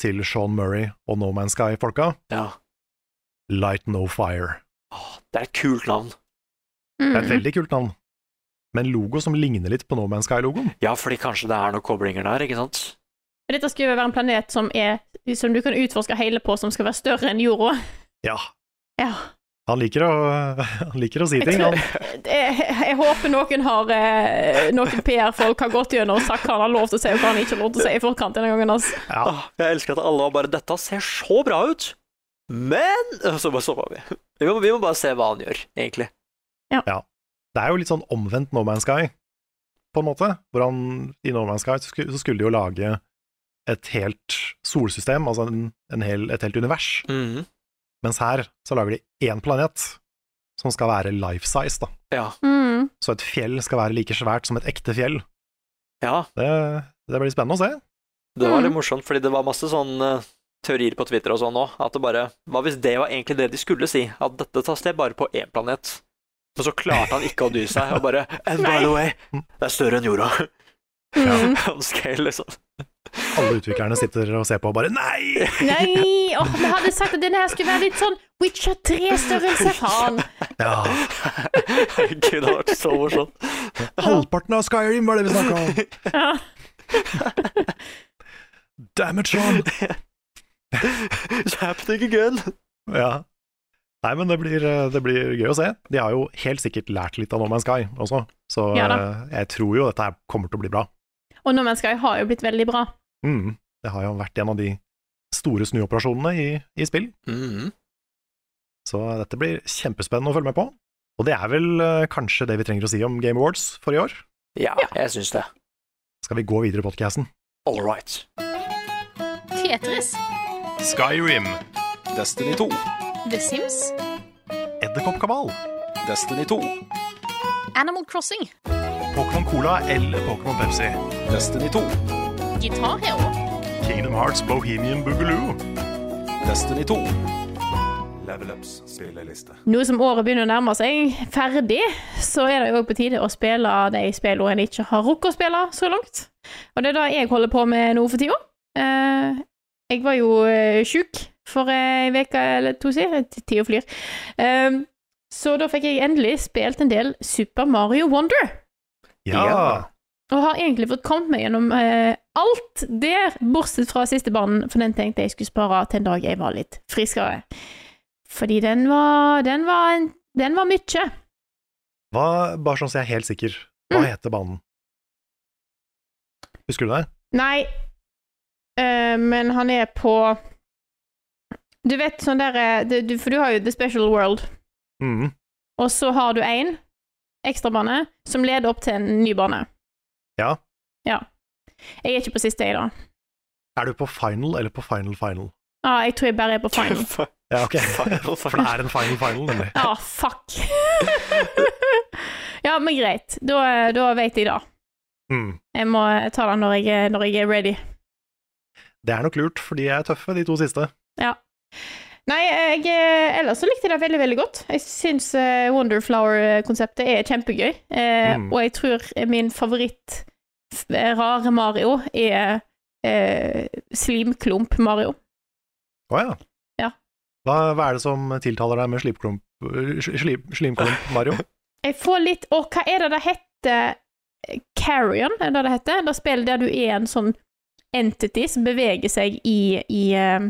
B: til Sean Murray og No Man's Sky-folka,
C: Ja.
B: Light No Fire.
C: Åh, det er et kult navn.
B: *laughs* Det
A: Hmm.
B: er et
A: Mhm.
B: veldig kult navn, med en logo som ligner litt på No Man's Sky-logoen.
C: Ja, fordi kanskje det er noen koblinger der, ikke sant?
A: Men Dette skulle jo være en planet som, er, som du kan utforske hele på, som skal være større enn jorda.
B: Ja,
A: Ja.
B: han liker å, *laughs* han liker å si
A: Jeg,
B: ting.
A: tror,
B: Han,
A: *laughs* jeg, jeg håper noen har eh, Noen PR-folk har gått gjennom og sagt hva han har lov til å si, og hva han ikke har lov til å si i forkant denne gangen. Altså.
B: ja,
C: Åh, jeg elsker at alle bare 'Dette ser så bra ut', men *laughs* Og Så bare stoppa vi. Vi må, vi må bare se hva han gjør, egentlig.
B: det er jo litt sånn omvendt No Man's Sky, på en måte. Hvor han, I No Man's Sky så skulle, så skulle de jo lage et helt solsystem, altså en, en hel, et helt univers.
C: Mhm.
B: Mens her så lager de én planet som skal være life size, da.
C: Ja.
A: Mm.
B: Så et fjell skal være like svært som et ekte fjell.
C: ja.
B: Det, det blir spennende å se.
C: Det var litt
A: Mhm.
C: morsomt, fordi det var masse sånn eh, teorier på Twitter og sånn òg. At det bare Hva hvis det var egentlig det de skulle si? At dette tar sted bare på én planet? Men så klarte han ikke å dy seg, og bare And by the way, det er større enn jorda.
A: Mm.
C: *laughs* On scale, liksom.
B: Alle utviklerne sitter og ser på og bare *laughs* nei!
A: Nei! Åh, vi hadde sagt at denne her skulle være litt sånn Witcher 3-størrelse, faen!
B: Ja,
C: Herregud, det hadde vært så morsomt.
B: halvparten av Skyrim var det vi snakka om!
A: Ja.
B: *laughs* Damn it, Sean!
C: It's happening again.
B: Ja. Nei, men det blir, eh, det blir gøy å se. De har jo helt sikkert lært litt av No Man's Sky også, så
A: Ja
B: eh, jeg tror jo dette her kommer til å bli bra.
A: Og No Man's Sky har jo blitt veldig bra.
B: Mm. Det har jo vært en av de store snuoperasjonene i, i spill.
C: Mhm.
B: Så dette blir kjempespennende å følge med på. Og det er vel eh, kanskje det vi trenger å si om Game Awards for i år.
C: Ja, jeg syns det.
B: Skal vi gå videre i podcasten?
C: All right.
E: Tetris.
D: Skyrim. Destiny 2.
E: The Sims.
B: Edderkoppkabal,
D: Destiny 2.
E: Animal Crossing.
B: Pokémon Cola eller Pokémon Pepsi,
D: Destiny 2.
E: Gitar Hero.
B: Kingdom Hearts Bohemian Boogaloo,
D: Destiny 2.
F: Level Ups spilleliste.
A: Nå som året begynner å nærme seg ferdig, så er det jo på tide å spille de spillene en ikke har rukket å spille så langt. Og det er det jeg holder på med nå for tida. Eh, jeg var jo eh, sjuk for ei uke eller to siden. Tida flyr. Eh, så da fikk jeg endelig spilt en del Super Mario Wonder.
B: Ja.
C: Ja.
A: Og har egentlig fått kommet meg gjennom eh, alt der, bortsett fra siste banen, for den tenkte jeg skulle spare til en dag jeg var litt friskere. Fordi den var Den var, en, den var mye.
B: Hva, bare sånn så jeg er helt sikker, hva
A: Mm.
B: heter banen? Husker du det?
A: Nei, eh, men han er på Du vet sånn derre For du har jo The Special World,
B: Mm.
A: og så har du én ekstrabane som leder opp til en ny bane.
B: Ja.
A: Ja. Jeg er ikke på siste, jeg, da.
B: Er du på final eller på final final?
A: Ah, jeg tror jeg bare er på
C: *laughs*
A: final.
B: Ja,
A: *laughs*
B: ok.
C: Final,
B: For det er en final final, nemlig.
A: Ja, fuck. *laughs* ja, men greit. Da, da vet jeg det.
B: Mm.
A: Jeg må ta den når jeg, er- når jeg er ready.
B: Det er nok lurt, for de er tøffe, de to siste.
A: Nei, jeg, eh, ellers så likte jeg det veldig, veldig godt. Jeg syns eh, Wonderflower-konseptet er kjempegøy. Eh,
B: Mm.
A: Og jeg tror min favoritt f- rare Mario er eh, slimklump-Mario.
B: Å ja.
A: Ja.
B: Hva, hva er det som tiltaler deg med slipklump, øh, sli- slimklump, Mario?
A: Jeg får litt Å, hva er det det heter? Carrion, er det det heter? Det spillet der du er en sånn entity som beveger seg i, i eh,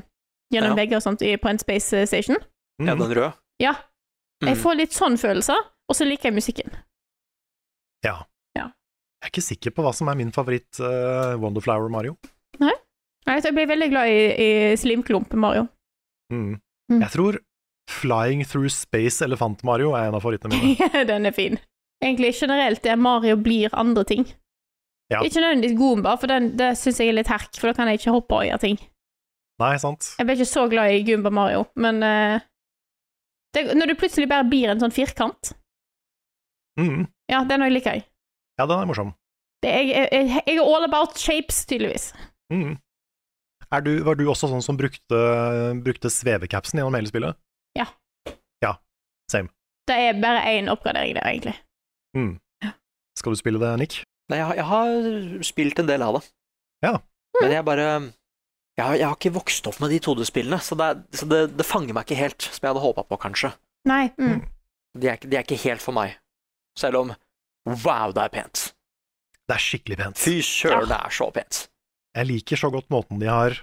A: gjennom
C: Ja.
A: vegger og sånt i, på en space eh, station.
C: Ja,
B: Mm.
C: den røde.
A: *laughs* Ja. Jeg
C: Mm.
A: får litt sånn følelser, og så liker jeg musikken.
B: Ja.
A: Ja.
B: Jeg er ikke sikker på hva som er min favoritt øh, Wonderflower Mario.
A: Nei, så Jeg blir veldig glad i, i slimklump, Mario. *laughs*
B: Mm.
A: Mm.
B: Jeg tror Flying Through Space Elefant Mario er en av
A: *laughs*
B: favorittene mine.
A: Den er fin. Egentlig generelt er Mario blir andre ting.
B: Ja.
A: Ikke nødvendigvis Goomba, for den, det syns jeg er litt herk, for da kan jeg ikke hoppe og gjøre ting.
B: Nei, sant?
A: Jeg ble ikke så glad i Goomba Mario, men eh, det, Når du plutselig bare blir en sånn firkant
B: Mm.
A: Ja, den òg liker jeg.
B: Ja, den er morsom.
A: Det, jeg, jeg. Jeg er all about shapes, tydeligvis.
B: Mm. Er du, var du også sånn som brukte, brukte svevecapsen gjennom hele spillet?
A: Ja.
B: Ja, same.
A: Det er bare én oppgradering der, egentlig.
B: Mm. Skal du spille det, Nick?
C: Nei, jeg, har- jeg har spilt en del av det.
B: Ja.
C: Men jeg bare jeg har, jeg har ikke vokst opp med de 2D-spillene, så, det, er- så det, det fanger meg ikke helt, som jeg hadde håpa på, kanskje.
A: Nei. Mm.
C: De er, ikke- de er ikke helt for meg. Selv om wow, det er pent.
B: Det er skikkelig pent.
C: Fy søren, det er så pent.
B: Jeg liker så godt måten de har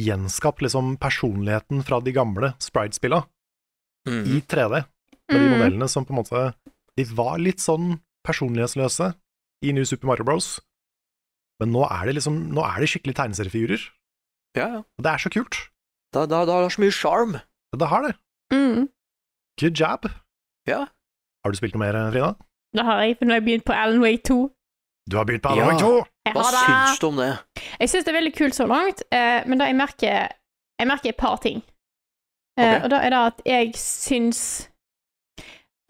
B: gjenskapt liksom personligheten fra de gamle Sprite-spilla
C: Mm.
B: i 3D. Med de
A: Mm.
B: modellene som på en måte De var litt sånn personlighetsløse i New Super Mario Bros. Men nå er det liksom Nå er det skikkelig tegneseriefigurer.
C: Ja, ja.
B: Og det er så kult.
C: Det, det, det har så mye sjarm.
B: Det har det.
A: Mm.
B: Good job.
C: Ja.
B: Har du spilt noe mer, Frida?
A: Det har jeg, for nå har jeg begynt på Alan Wake 2.
B: Du har begynt på
C: Ja.
B: Alan Wake 2!
A: Jeg
C: Hva
A: har det.
C: syns du om det?
A: Jeg syns det er veldig kult så langt, eh, men da jeg merker Jeg merker et par ting. Eh,
C: Ok.
A: Og da er det at jeg syns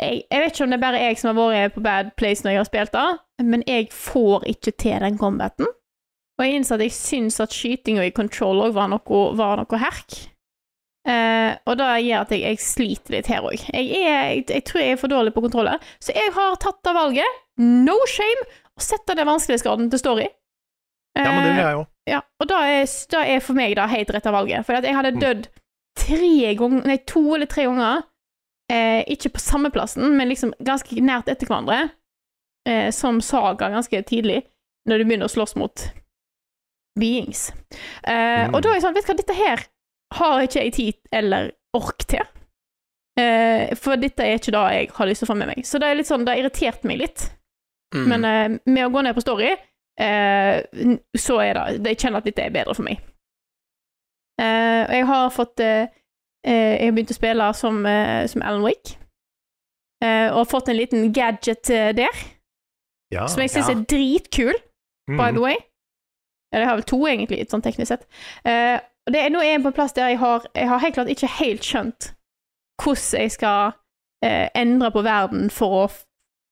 A: jeg, jeg vet ikke om det er bare jeg som har vært på bad place når jeg har spilt det, men jeg får ikke til den combaten. Og jeg innså at jeg syns at skytinga i control òg var, noe- var noe herk. Eh, og det gjør at jeg, jeg sliter litt her òg. Jeg, er- jeg, jeg tror jeg er for dårlig på kontroller. Så jeg har tatt av valget, no shame, å sette den vanskelighetsgraden til story.
B: Ja, men det
A: Eh,
B: vil jeg jo.
A: ja, og da er, da er for meg da helt rett av valget. For at jeg hadde dødd tre ganger, nei, to eller tre ganger, eh, ikke på samme plassen, men liksom ganske nært etter hverandre, eh, som Saga ganske tidlig, når du begynner å slåss mot beings. Eh,
B: Mm.
A: Og da er jeg sånn, vet du hva, dette her har ikke jeg tid eller ork til. Eh, for dette er ikke det jeg har lyst til å få med meg. Så det er litt sånn, det har irritert meg litt.
C: Mm.
A: Men eh, med å gå ned på story, eh, n- så er det Jeg kjenner at dette er bedre for meg. Eh, og jeg har fått eh, eh, Jeg har begynt å spille som, eh, som Alan Wake. Eh, og har fått en liten gadget eh, der,
B: Ja.
A: som jeg syns
C: Ah, ja.
A: er dritkul, by
B: Mm.
A: the way. Eller jeg har vel to, egentlig, sånn teknisk sett. Eh, og det er, nå er jeg på en plass der jeg har, jeg har helt klart ikke helt skjønt hvordan jeg skal eh, endre på verden for å f-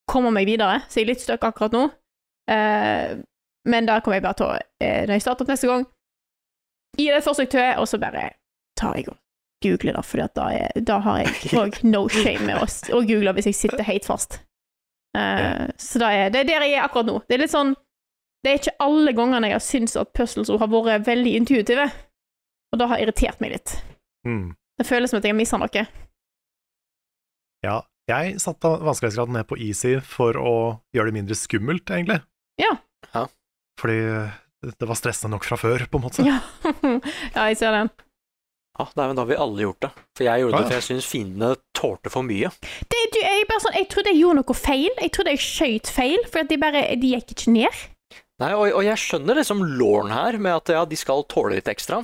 A: komme meg videre, så jeg er litt støkk akkurat nå. Eh, men der kommer jeg bare til å, eh, når jeg starter opp neste gang, gi det et forsøk til, og så bare tar jeg og googler det, for da, er- da har jeg òg no shame med å s- å google hvis jeg sitter helt fast. Eh, så da er, det er der jeg er akkurat nå. Det er litt sånn Det er ikke alle gangene jeg har syntes at puzzles har vært veldig intuitive, og det har irritert meg litt.
B: Mm.
A: Det føles som at jeg har mista noe.
B: Ja, jeg satte vanskelighetsgraden ned på easy for å gjøre det mindre skummelt, egentlig.
A: Ja.
C: Ja.
B: Fordi det var stressende nok fra før, på en måte.
A: Ja, *laughs* ja jeg ser den.
C: Ja, Ah, nei, men da har vi alle gjort det. For jeg gjorde
B: Ja,
C: det,
B: ja.
C: for jeg syns fiendene tålte for mye.
A: Det, du, jeg, er bare sånn, jeg trodde jeg gjorde noe feil. Jeg trodde jeg skjøt feil, for at de bare de gikk ikke ned.
C: Nei, og, og jeg skjønner liksom låren her, med at ja, de skal tåle litt ekstra.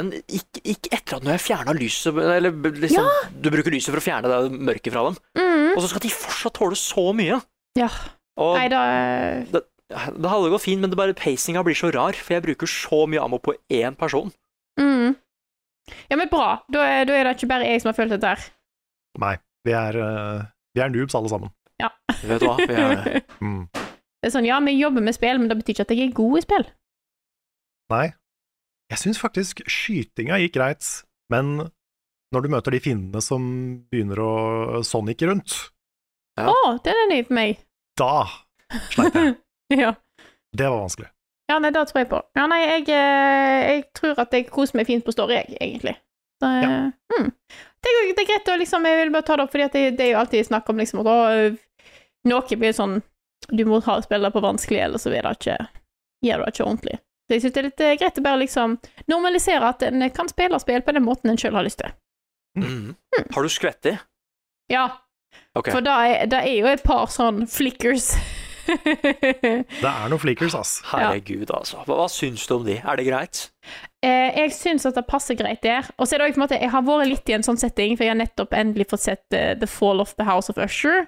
C: Men ikke, ikke etter at når jeg fjerna lyset Eller b- liksom, du bruker lyset for å fjerne det mørket fra dem.
A: Mm.
C: Og så skal de fortsatt tåle så mye.
A: Ja.
C: Og
A: Nei, da
C: det hadde gått fint, men det bare pacinga blir så rar, for jeg bruker så mye ammo på én person.
A: mm. Ja, men bra. Da, er- da er det ikke bare jeg som har følt dette her.
B: Nei, vi er, eh, vi er noobs alle sammen.
C: Vet du hva? Vi er
A: *laughs*
C: det.
B: Mm.
A: Det er sånn, ja, vi jobber med spill, men det betyr ikke at jeg er god i spill.
B: Nei. Jeg syns faktisk skytinga gikk greit, men når du møter de fiendene som begynner å sonic rundt,
C: Ja.
A: Å, den er ny for meg. *laughs*
B: da sleit jeg.
A: ja.
B: Det var vanskelig.
A: Ja, nei, det tror jeg på. Ja, nei, jeg, eh, jeg tror at jeg koser meg fint på story, jeg, egentlig. Så, eh, mm. det, er, jo- det er greit å liksom Jeg vil bare ta det opp, fordi at det, det er jo alltid snakk om liksom at å, noe blir sånn Du må ha spille på vanskelig, eller så er det ikke Gjør det ikke ordentlig. Så jeg syns det er litt eh, greit å bare liksom normalisere at en kan spille spill på den måten en sjøl har lyst til.
C: Mm. Har du skvetti?
A: Ja,
C: Ok.
A: for det er, det er jo et par sånn flickers. *laughs*
B: Det er noen flickers, ass.
C: Herregud, altså. Hva, hva syns du om de? Er det greit?
A: Eh, jeg syns at det passer greit der. Og så er det også, på en måte, Jeg har vært litt i en sånn setting, for jeg har nettopp endelig fått sett eh, The Fall of the House of Usher.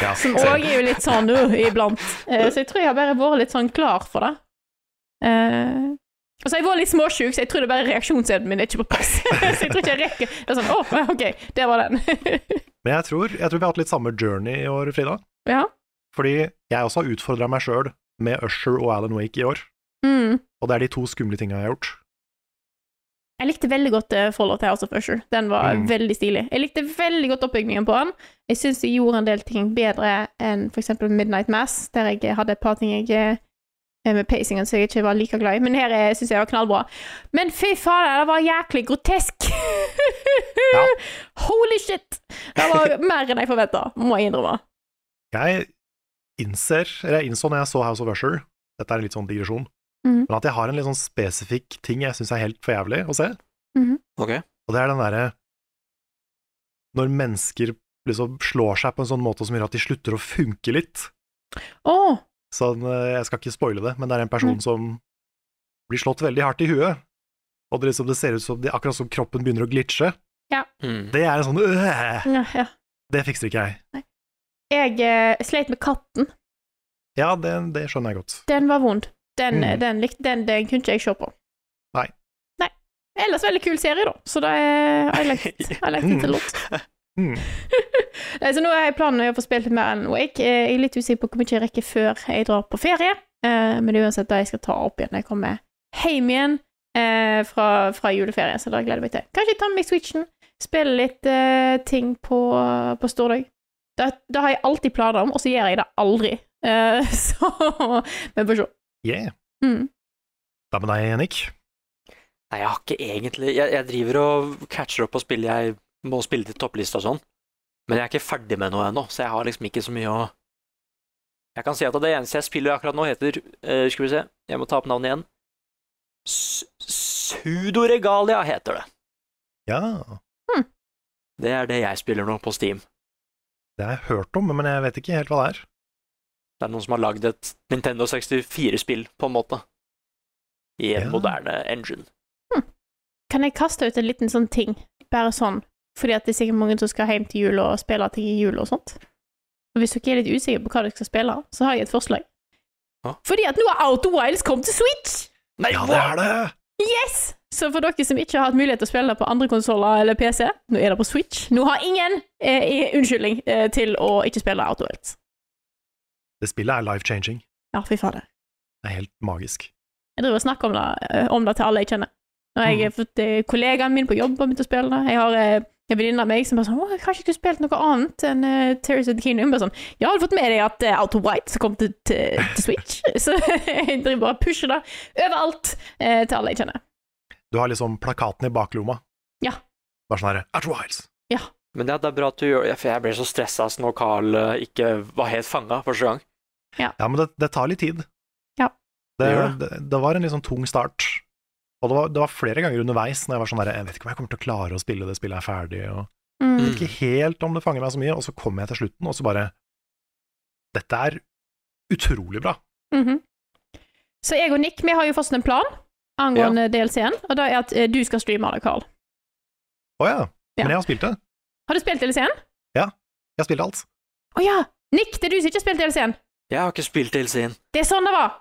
B: Ja,
A: Som òg er jo litt sånn uh, iblant. Eh, så jeg tror jeg har bare vært litt sånn klar for det. Eh, og så har jeg vært litt småsjuk, så jeg tror det er bare reaksjonsevnen min er ikke på plass. *laughs* så jeg tror ikke jeg rekker Det er sånn, åh, ok, der var den. *laughs*
B: Men jeg tror, jeg tror vi har hatt litt samme journey i år, Frida.
A: ja.
B: Fordi jeg også har utfordra meg sjøl med Usher og Alan Wake i år.
A: Mm.
B: Og det er de to skumle tinga jeg har gjort.
A: Jeg likte veldig godt uh, Follow til House of Usher. Den var
B: Mm.
A: veldig stilig. Jeg likte veldig godt oppbyggingen på den. Jeg syns de gjorde en del ting bedre enn for eksempel Midnight Mass, der jeg eh, hadde et par ting jeg eh, med pacingen som jeg ikke var like glad i. Men her eh, syns jeg var knallbra. Men fy faen, det var jæklig grotesk! *laughs* Holy shit! Det var mer enn jeg forventa, må jeg innrømme.
B: Jeg innser, eller jeg innså når jeg så House of Usher, dette er en litt sånn digresjon,
A: Mhm.
B: men at jeg har en litt sånn spesifikk ting jeg syns er helt for jævlig å se,
A: Mhm.
C: Ok.
B: og det er den derre Når mennesker liksom slår seg på en sånn måte som gjør at de slutter å funke litt.
A: Åh,
B: Sånn, eh, jeg skal ikke spoile det, men det er en person
A: Mm.
B: som blir slått veldig hardt i huet, og det, liksom, det ser ut som det, akkurat som kroppen begynner å glitche.
A: Ja.
C: Mm.
B: Det er en sånn øh,
A: ja, ja.
B: Det fikser ikke jeg.
A: Jeg eh, sleit med katten.
B: Ja, det, det skjønner jeg godt.
A: *laughs* Den var vond. Den,
B: Mm.
A: den, likte, den, den kunne ikke jeg se på.
B: Nei.
A: Nei. Ellers veldig kul serie, da. Så det er I liked it. I liked it a lot.
B: Mm.
A: *laughs* Nei, så nå er planen å få spilt litt mer Alan Wake. Eh, Jeg er litt usikker på hvor mye jeg rekker før jeg drar på ferie, Eh, men det er uansett det jeg skal ta opp igjen når jeg kommer hjem igjen eh, fra, fra juleferie, så det gleder jeg meg til. Kanskje jeg tar med meg Switchen, spiller litt eh, ting på, på stordag. Det, det har jeg alltid planer om, og så gjør jeg det aldri. Eh, *laughs* så Vi får se.
B: Yeah.
A: Mm.
B: Da med deg, Henrik.
C: Nei, jeg har ikke egentlig Jeg, jeg driver og catcher opp og spiller Jeg må spille til topplista og sånn. Men jeg er ikke ferdig med noe ennå, så jeg har liksom ikke så mye å Jeg kan si at det eneste jeg spiller akkurat nå, heter eh, Skal vi se, jeg må ta opp navnet igjen. S- Sudoregalia heter det.
B: Ja,
C: Det er det jeg spiller nå på Steam.
B: det har jeg hørt om, men jeg vet ikke helt hva det er.
C: Det er noen som har lagd et Nintendo 64-spill, på en måte. I en
B: Ja.
C: moderne engine.
A: Kan jeg kaste ut en liten sånn ting, bare sånn, fordi at det er sikkert mange som skal hjem til jul og spille ting i jul og sånt. Og hvis dere er litt usikre på hva dere skal spille, så har jeg et forslag.
C: Hå?
A: Fordi at nå har Outer Wilds kommet til Switch!
C: Nei,
B: Ja, det
C: hva?
B: er det!
A: Yes! Så for dere som ikke har hatt mulighet til å spille det på andre konsoller eller PC, nå er det på Switch. Nå har ingen eh, i- unnskyldning eh, til å ikke spille Outer Wilds.
B: Det spillet er life-changing.
A: Ja, fy fader.
B: Det er helt magisk.
A: Jeg driver og snakker om det, eh, om det til alle jeg kjenner. Når jeg har fått eh, kollegaen min på jobb har begynt å spille det. Jeg har eh, en venninne av meg som bare sånn 'Å, kanskje ikke du spilte noe annet enn uh, Terrorist of the Kingdom?' Bare sånn 'Ja, har du fått med deg at uh, Out of White som kom til, til, til Switch?' *laughs* Så jeg driver bare og pusher det overalt eh, til alle jeg kjenner.
B: Du har liksom plakaten i baklomma.
A: Ja.
B: Bare sånn herre At Wiles!
C: Men ja, det er bra at du gjør det, for jeg ble så stressa når Carl eh, ikke var helt fanga første gang.
B: Ja, men det, det tar litt tid.
A: Ja.
B: Det,
C: Det
B: det,
C: gjør
B: det, var en litt sånn tung start. Og det var, det var flere ganger underveis når jeg var sånn herre Jeg vet ikke om jeg kommer til å klare å spille det spillet er ferdig, og
A: Mm.
B: ikke helt om det fanger meg så mye, og så kommer jeg til slutten, og så bare Dette er utrolig bra.
A: Mhm. Så jeg og Nick, vi har jo fått en plan angående DLC-en, og det er at eh, du skal streame det, Carl.
B: Å ja.
A: Ja.
B: Men jeg har spilt det.
A: Har du spilt DLC-en?
B: Jeg har spilt alt.
A: Å ja! Nick, det er du som ikke har spilt DLC-en.
C: Jeg har ikke spilt DLC -en.
A: Det er sånn det var!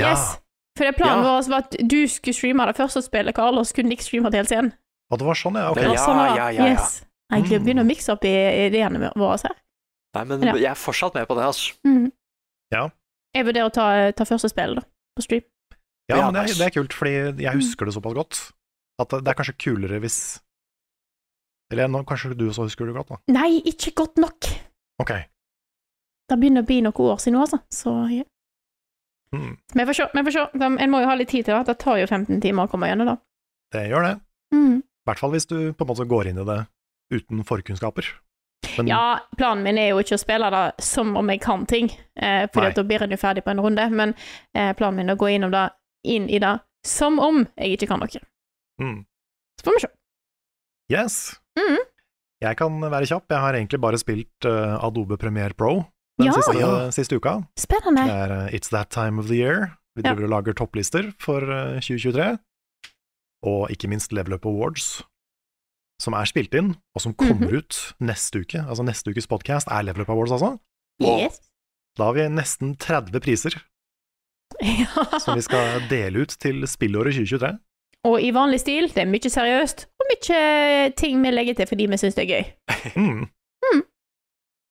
B: Ja.
A: Yes. For det planen
C: Ja.
A: vår var at du skulle streame det første spillet, Karl, og så skulle Nick streame det hele scenen.
B: Og det var sånn, ja. Ok.
C: Ja,
A: Det var sånn det var.
C: ja, ja, ja.
A: Yes. Nei, Jeg
B: Mm.
A: begynner å mikse opp i i ideene våre her.
C: Nei, men
A: Ja.
C: jeg er fortsatt med på det, altså.
A: Mhm.
B: Ja.
A: Jeg vurderer å ta, eh, ta første spillet, da, på stream.
B: Ja,
C: Ja,
B: men det er,
C: nice.
B: det er kult, fordi jeg
A: Mm.
B: husker det såpass godt at det det er kanskje kulere hvis Eller nå, kanskje du også husker det godt, da.
A: Nei, ikke godt nok!
B: Ok.
A: Det begynner å bli noen år siden nå, altså. Så ja.
B: Hmm.
A: Men vi får se. Men vi får se. De- En må jo ha litt tid til det. Det tar jo 15 timer å komme gjennom, da.
B: Det gjør det.
A: Mm.
B: I hvert fall hvis du på en måte går inn i det uten forkunnskaper. Men
A: Ja, planen min er jo ikke å spille det som om jeg kan ting, eh,
B: Nei.
A: for da blir en jo ferdig på en runde, men eh, planen min er å gå innom det, inn i det som om jeg ikke kan noe.
B: Mm.
A: Så får vi se.
B: yes,
A: Mm.
B: jeg kan være kjapp. Jeg har egentlig bare spilt eh, Adobe Premiere Pro den
A: Ja.
B: siste,
A: Ja.
B: siste uka.
A: Spennende.
B: Det er eh, It's That Time of the Year. Vi
A: Ja.
B: driver og lager topplister for eh, 2023. Og ikke minst Level Up Awards, som er spilt inn, og som kommer ut neste uke. Altså neste ukes podkast er Level Up Awards, altså.
A: Yes.
B: Da har vi nesten 30 priser
A: *laughs*
B: som vi skal dele ut til spillåret 2023.
A: Og i vanlig stil, det er mye seriøst, og mye eh, ting vi legger til fordi vi syns det er gøy.
B: Mm.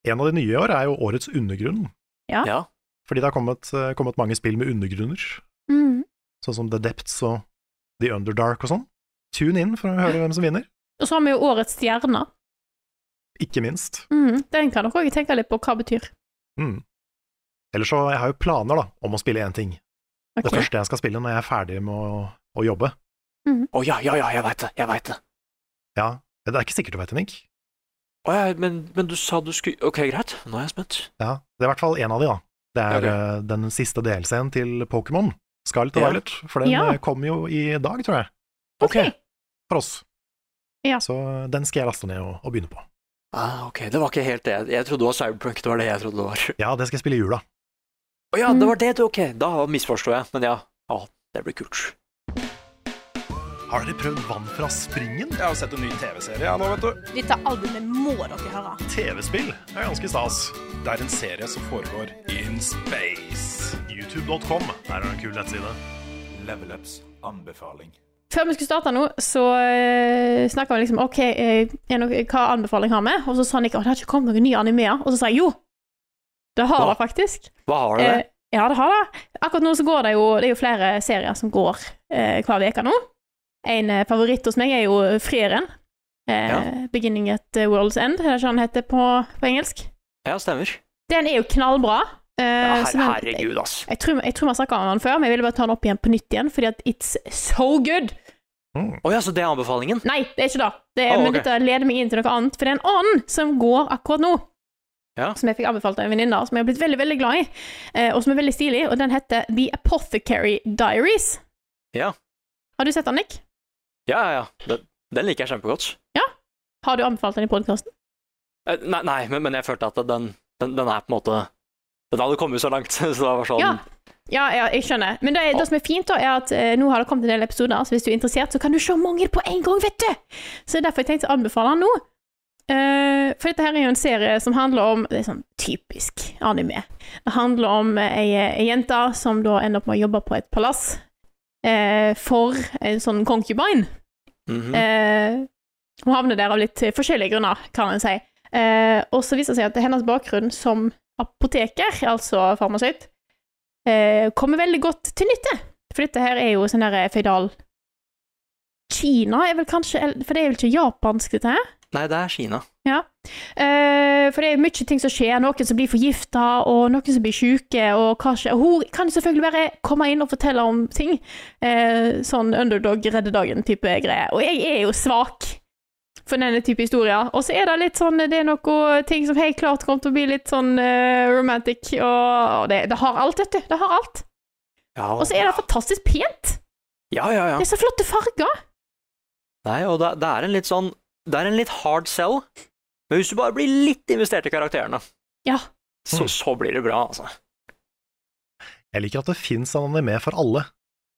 B: En av de nye i år er jo Årets undergrunn,
A: Ja.
B: fordi det har kommet, eh, kommet mange spill med undergrunner.
A: Mm.
B: sånn som The Depths og The Underdark og sånn. Tune inn for å høre hvem som vinner,
A: Og så har vi jo Årets stjerne.
B: ikke minst.
A: Mm. Den kan dere òg tenke litt på hva betyr.
B: Mm. Eller så, jeg har jo planer da, om å spille én ting.
A: Ok.
B: Det første jeg skal spille når jeg er ferdig med å, å jobbe.
C: Å ja, ja, ja, jeg veit det, jeg veit det.
B: Ja, det er ikke sikkert du vet det, Nick.
C: Å ja, men, men du sa du skulle Ok, greit, nå er jeg spent.
B: Ja, det er i hvert fall én av de, da. Det er
C: Ok.
B: eh, den siste delscenen til Pokémon, Scarlet og
C: Ja.
B: Violet, for den
A: Ja.
B: eh, kom jo i dag, tror jeg,
A: Ok.
B: for oss.
A: Ja.
B: Så eh, den skal jeg laste ned og, og begynne på.
C: Ah, ok, det var ikke helt det. Jeg trodde det var Cyberpunk, det var det jeg trodde det var.
B: Ja, det skal jeg spille i jula.
C: Å ja,
A: Mm.
C: det var det, du, ok. Da misforstår jeg, men ja. Ja, det blir kult.
B: Har dere prøvd vann fra springen?
D: Jeg har sett en ny TV-serie jeg nå, vet du.
E: Dette albumet må dere høre.
B: TV-spill er ganske stas.
D: Det er en serie som foregår in space.
B: YouTube.com, der er det en kul nettside.
F: Level Ups anbefaling.
A: Før vi skulle starte nå, så uh, snakka vi liksom OK, eh, er noe, hva anbefaling har vi? Og så sa Nick at det har ikke kommet noen nye animeer. Og så sa jeg jo, det har
C: Hva?
A: det faktisk.
C: Hva har du det?
A: Eh, ja, det har det. Akkurat nå så går det jo Det er jo flere serier som går eh, hver uke nå. En eh, favoritt hos meg er jo Frieren. Eh,
C: Ja.
A: 'Beginning at eh, World's End', er det ikke han heter på, på engelsk?
C: Ja, stemmer.
A: Den er jo knallbra. Eh,
C: Ja,
A: så
C: her,
A: den-
C: herregud, ass.
A: eh, Jeg tror jeg tror vi har snakka om den før, men jeg ville bare ta den opp igjen på nytt igjen, fordi at it's so good!
C: Å ja, så det er anbefalingen?
A: Nei, det er ikke det. det er,
C: Å,
A: Men
C: ok.
A: dette leder meg inn til noe annet. For det er en annen som går akkurat nå,
C: Ja.
A: som jeg fikk anbefalt av en venninne, som jeg har blitt veldig veldig glad i, eh, og som er veldig stilig, og den heter The Apothecary Diaries.
C: Ja,
A: Har du sett den, Nick?
C: ja, ja. ja. Den, den liker jeg kjempegodt.
A: Har du anbefalt den i podkasten?
C: Eh, Nei, nei men, men jeg følte at den, den, den er på en måte Den hadde kommet så langt, *laughs* så det var sånn
A: Ja. Ja, ja, jeg skjønner. Men det, er- det som er fint, da, er at eh, nå har det kommet en del episoder, så hvis du er interessert, så kan du se mange på en gang, vet du! Så det er derfor jeg tenkte å anbefale den nå. Eh, for dette her er jo en serie som handler om Det er sånn typisk anime. Det handler om eh, ei, ei jente som da ender opp med å jobbe på et palass eh, for en sånn concubine.
C: mhm.
A: Eh, hun havner der av litt eh, forskjellige grunner, kan en si. Eh, og så viser det seg at hennes bakgrunn som apoteker, altså farmasøyt, eh, kommer veldig godt til nytte. For dette her er jo sånn her føydal Kina er vel kanskje eller- For det er vel ikke japansk, dette her?
C: Nei, det er Kina.
A: Ja. Eh, for det er mye ting som skjer. Noen som blir forgifta, og noen som blir syke, og hva skjer? Og Hun kan selvfølgelig bare komme inn og fortelle om ting. Eh, sånn underdog redder dagen-type greier. Og jeg er jo svak for denne type historier. Og så er det litt sånn Det er noen ting som helt klart kommer til å bli litt sånn eh, romantic, og, og det, det har alt, vet du. Det har alt.
C: Ja,
A: Og så er det fantastisk pent.
C: ja, ja, ja.
A: Det er så flotte farger.
C: Nei, og det, det er en litt sånn Det er en litt hard sell, men hvis du bare blir litt investert i karakterene,
A: Ja.
C: så, så blir det bra, altså.
B: Jeg liker at det fins en anime for alle.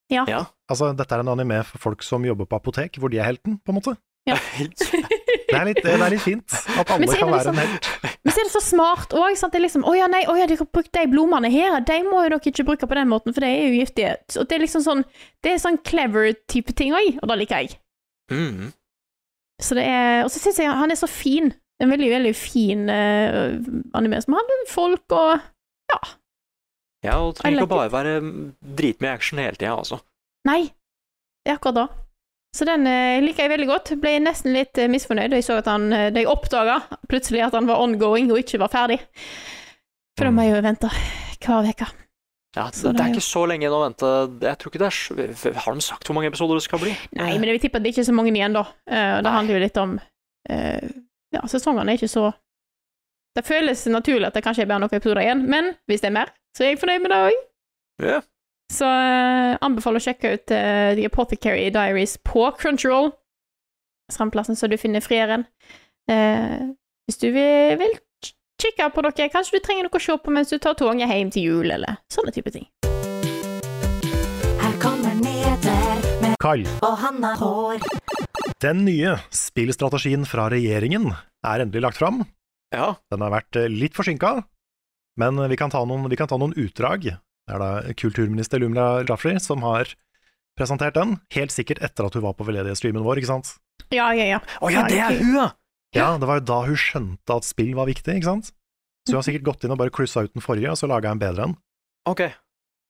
A: Ja.
C: Ja.
B: Altså, dette er en anime for folk som jobber på apotek, hvor de er helten, på en måte.
A: *laughs*
B: Det er litt, det er litt fint at alle
A: Men så er
B: kan
A: det
B: være en
A: liksom-
B: helt.
A: Men så er det så smart òg. Det er liksom Å ja, nei, å ja, de har brukt de blomstene her. De må jo dere ikke bruke på den måten, for de er jo giftige. Så det er liksom sånn Det er sånn clever type ting òg, og det liker jeg.
C: Mhm.
A: Så det er Og så syns jeg han er så fin. En veldig, veldig fin eh, anime som handler om folk og
C: Ja, og det trenger
A: I like
C: ikke å bare være mm, dritmye action hele tida, altså.
A: Nei, det er akkurat da. Så den eh, liker jeg veldig godt. Ble nesten litt eh, misfornøyd da jeg så at han eh, Da jeg oppdaga plutselig at han var ongoing og ikke var ferdig. For da må jeg jo vente hver uke.
C: Ja, det, det er ikke så lenge igjen å vente. Jeg tror ikke det er så- Har de sagt hvor mange episoder det skal bli?
A: Nei, men jeg vil tippe at det er ikke så mange igjen, da. Eh, og det handler jo litt om eh, Ja, sesongene er ikke så Det føles naturlig at det kanskje er bare noen episoder igjen, men hvis det er mer, så er jeg fornøyd med det òg.
C: Ja.
A: Så eh, anbefaler å sjekke ut eh, The Apothecary Diaries på Crunchyroll. Samme plassen som du finner frieren. Eh, hvis du vil, vil k- kikke på dere, kanskje du trenger noe å se på mens du tar toget hjem til jul, eller sånne type ting.
G: Her kommer Neder
A: eh,
G: med
B: Carl,
G: Og han har hår.
B: den nye spillstrategien fra regjeringen er endelig lagt fram. Den har vært eh, litt forsinka, men vi kan ta noen, vi kan ta noen utdrag. Det er da kulturminister Lumla Rafri som har presentert den, helt sikkert etter at hun var på veldedighetsstreamen vår, ikke sant?
A: Ja, ja, ja.
C: Å ja, det er hun, ja!
B: Ja, det var jo da hun skjønte at spill var viktig, ikke sant? Så hun har sikkert gått inn og bare kryssa ut den forrige, og så laga en bedre en.
C: Ok.